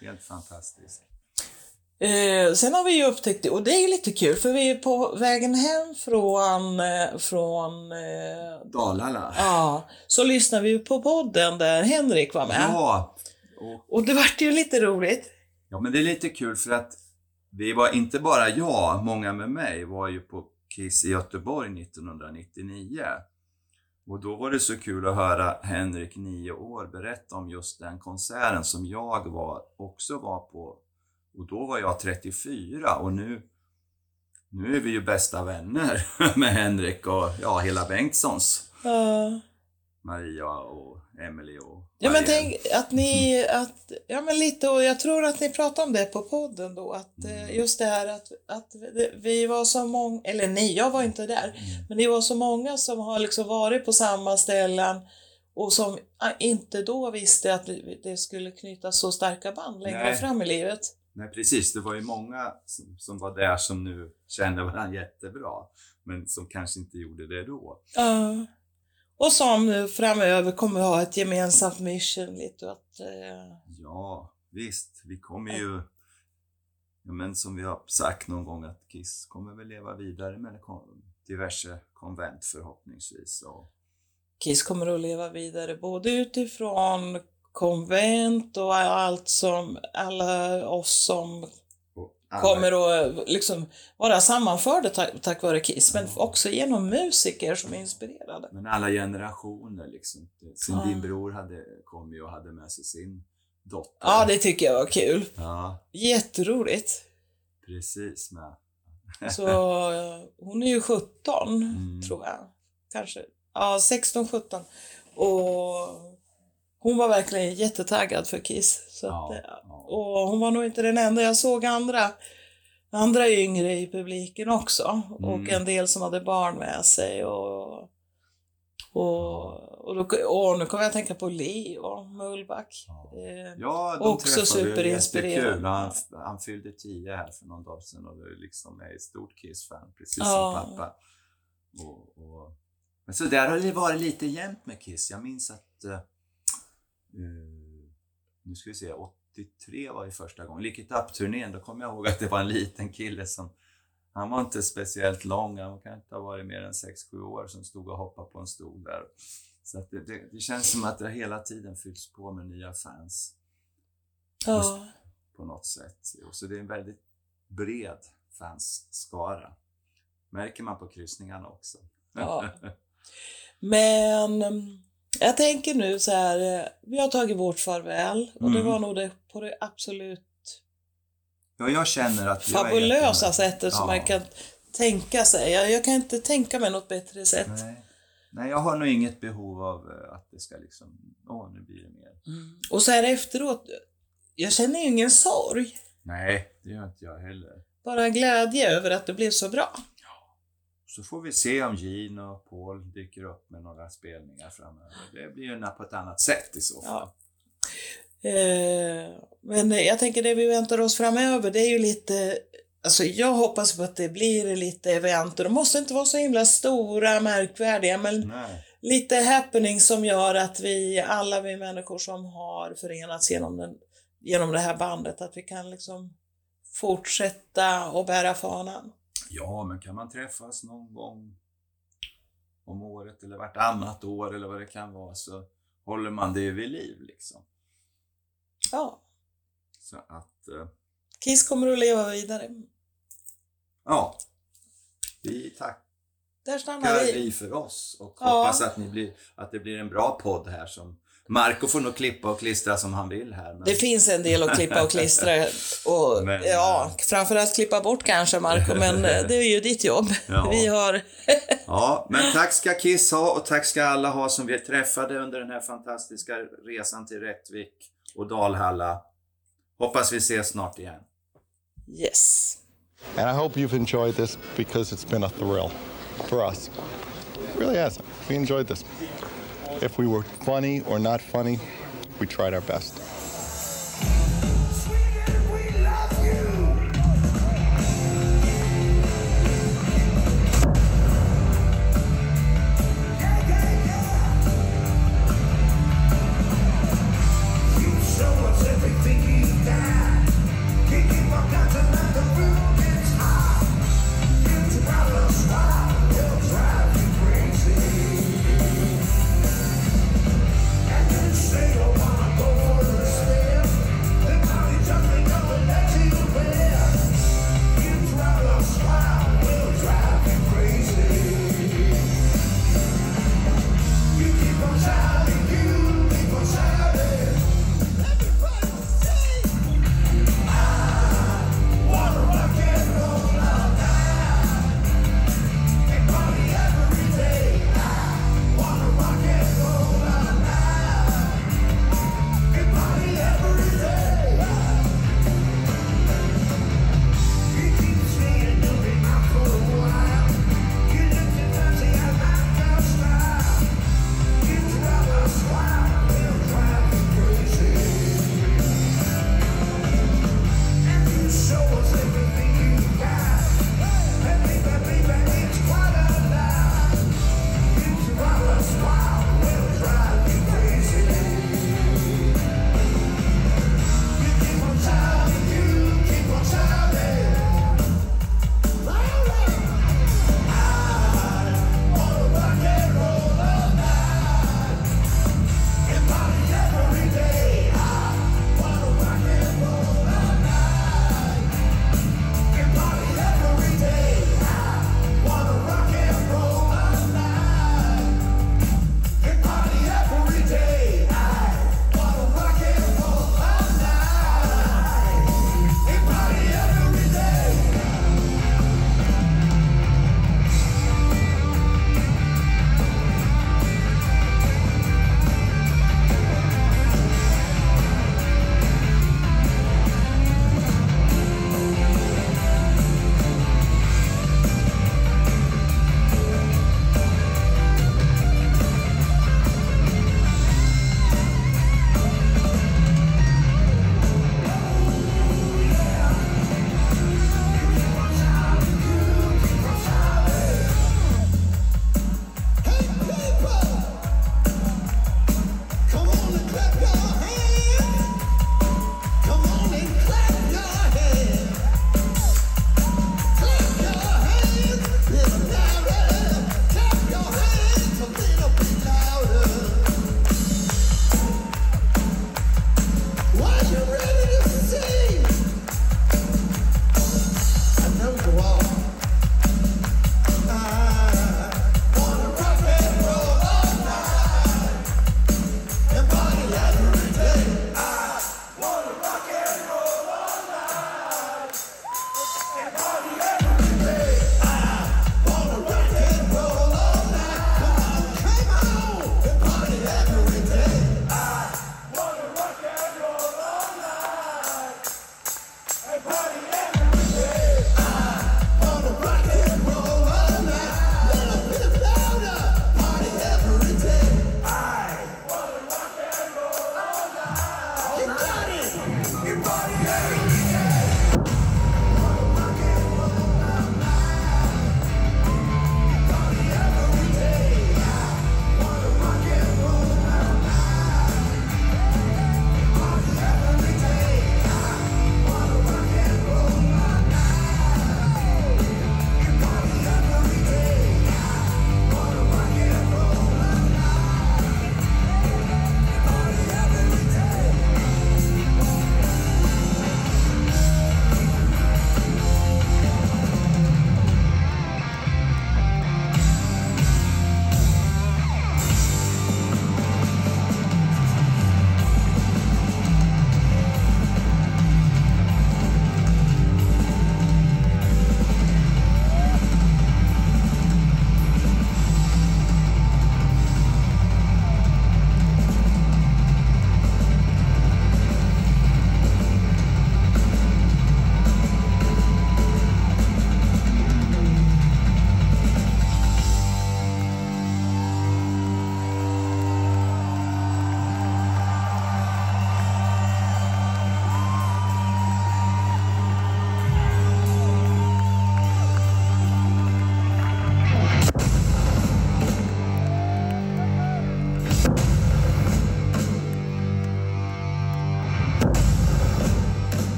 [SPEAKER 2] ja. helt fantastiskt.
[SPEAKER 3] Eh, sen har vi ju upptäckt, och det är ju lite kul, för vi är på vägen hem från, eh, från eh,
[SPEAKER 2] Dalarna.
[SPEAKER 3] Ja, så lyssnar vi ju på podden där Henrik var med.
[SPEAKER 2] Ja,
[SPEAKER 3] Och det vart ju lite roligt.
[SPEAKER 2] Ja, men det är lite kul för att vi var inte bara jag, många med mig var ju på Kiss i Göteborg 1999. Och då var det så kul att höra Henrik, nio år, berätta om just den konserten som jag var, också var på. Och då var jag 34 och nu, nu är vi ju bästa vänner <laughs> med Henrik och ja, hela Bengtssons.
[SPEAKER 3] Ja.
[SPEAKER 2] Maria och Emily och
[SPEAKER 3] Ja men tänk att ni, att, ja men lite och jag tror att ni pratade om det på podden då, att eh, just det här att, att vi- vi var så många, eller ni, jag var inte där, men ni var så många som har liksom varit på samma ställen och som eh, inte då visste att vi- det skulle knytas så starka band längre
[SPEAKER 2] Nej.
[SPEAKER 3] fram i livet.
[SPEAKER 2] Nej precis, det var ju många som, som var där som nu kände varandra jättebra, men som kanske inte gjorde det då.
[SPEAKER 3] Ja. Och som nu framöver kommer ha ett gemensamt mission lite och att eh,
[SPEAKER 2] Ja, visst, vi kommer ju... Ja, men som vi har sagt någon gång att Kiss kommer väl leva vidare med kon- diverse konvent förhoppningsvis. Och,
[SPEAKER 3] Kiss kommer att leva vidare både utifrån konvent och allt som alla oss som
[SPEAKER 2] alla-
[SPEAKER 3] kommer att liksom vara sammanförda tack, tack vare Kiss, men också genom musiker som är inspirerade.
[SPEAKER 2] men alla generationer liksom. Sin,
[SPEAKER 3] Ja.
[SPEAKER 2] Din bror hade, kom ju och hade med sig sin dotter.
[SPEAKER 3] Ja, det tycker jag var kul.
[SPEAKER 2] Ja,
[SPEAKER 3] Jätteroligt.
[SPEAKER 2] precis. Med.
[SPEAKER 3] Så eh, hon är ju 17, tror jag. Kanske. Ja, 16, 17. Och hon var verkligen jättetaggad för Kiss. Så att, eh, Och hon var nog inte den enda. Jag såg andra, andra yngre i publiken också. Och
[SPEAKER 2] Mm.
[SPEAKER 3] en del som hade barn med sig. Och, Och, och, då, och nu kommer jag att tänka på Leo Mullback. Eh,
[SPEAKER 2] Ja, de
[SPEAKER 3] också
[SPEAKER 2] träffade ju jättekul.
[SPEAKER 3] superinspirerande.
[SPEAKER 2] Han, han fyllde 10 här för någon dag sedan och det liksom är ett stort Kiss-fan, precis
[SPEAKER 3] Ja.
[SPEAKER 2] som pappa. Och, och... Men så där har det varit lite jämnt med Kiss. Jag minns att, eh, eh, nu ska vi se, 83 var ju första gången. Lick It Up-turnén, då kommer jag ihåg att det var en liten kille som han var inte speciellt lång, han kan inte ha varit mer än 6-7 år som stod och hoppade på en stol där. Så att det, det, det känns som att det hela tiden fylls på med nya fans
[SPEAKER 10] Oh.
[SPEAKER 3] Ja.
[SPEAKER 2] på något sätt. Och Så det är en väldigt bred fansskara. Märker man på kryssningarna också.
[SPEAKER 3] Ja. Men mm, jag tänker nu så här, eh, vi har tagit vårt farväl och det
[SPEAKER 2] Mm.
[SPEAKER 3] var nog det på det absolut
[SPEAKER 2] <laughs> ja, jag känner att jag är
[SPEAKER 3] fabulösa sättet som
[SPEAKER 2] Ja.
[SPEAKER 3] man kan tänka sig. Jag, jag kan inte tänka mig något bättre sätt.
[SPEAKER 2] Nej, jag har nog inget behov av eh, att det ska liksom, åh nu blir det mer.
[SPEAKER 3] Och så här efteråt, jag känner ju ingen sorg,
[SPEAKER 2] Nej, det gör inte jag heller.
[SPEAKER 3] bara glädje över att det blev så bra.
[SPEAKER 2] Så får vi se om Gene och Paul dyker upp med några spelningar framöver. Det blir ju på ett annat sätt i så fall.
[SPEAKER 3] Eh, Men jag tänker det vi väntar oss framöver, det är ju lite Alltså jag hoppas på att det blir lite event och de måste inte vara så himla stora, märkvärdiga, men lite happening som gör att vi, alla vi människor som har förenats genom, den, genom det här bandet, att vi kan liksom fortsätta och bära fanan.
[SPEAKER 2] Ja, men kan man träffas någon gång om året eller vartannat år eller vad det kan vara så håller man det vid liv liksom.
[SPEAKER 3] Ja,
[SPEAKER 2] Så att, eh,
[SPEAKER 3] Kiss kommer att leva vidare.
[SPEAKER 2] ja. Vi tackar
[SPEAKER 3] Där stannar vi.
[SPEAKER 2] vi för oss och
[SPEAKER 3] Ja.
[SPEAKER 2] hoppas att, ni blir, att det blir en bra podd här som Marco får nog klippa och klistra som han vill här. men-
[SPEAKER 3] Det finns en del att klippa och klistra
[SPEAKER 2] <laughs>
[SPEAKER 3] och
[SPEAKER 2] Men, eh,
[SPEAKER 3] ja, framförallt klippa bort kanske Marco, men eh, det är ju ditt jobb.
[SPEAKER 2] <laughs> Ja.
[SPEAKER 3] Vi har...
[SPEAKER 2] Ja, men tack ska Kiss ha och tack ska alla ha som vi träffade under den här fantastiska resan till Rättvik och Dalhalla. Hoppas vi ses snart igen.
[SPEAKER 3] Yes.
[SPEAKER 1] And I hope you've enjoyed this because it's been a thrill for us. It really has. We enjoyed this. If we were funny or not funny, we tried our best.
[SPEAKER 6] Say you wanna go for the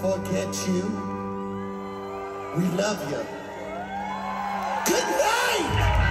[SPEAKER 10] forget you. We love you. Good night!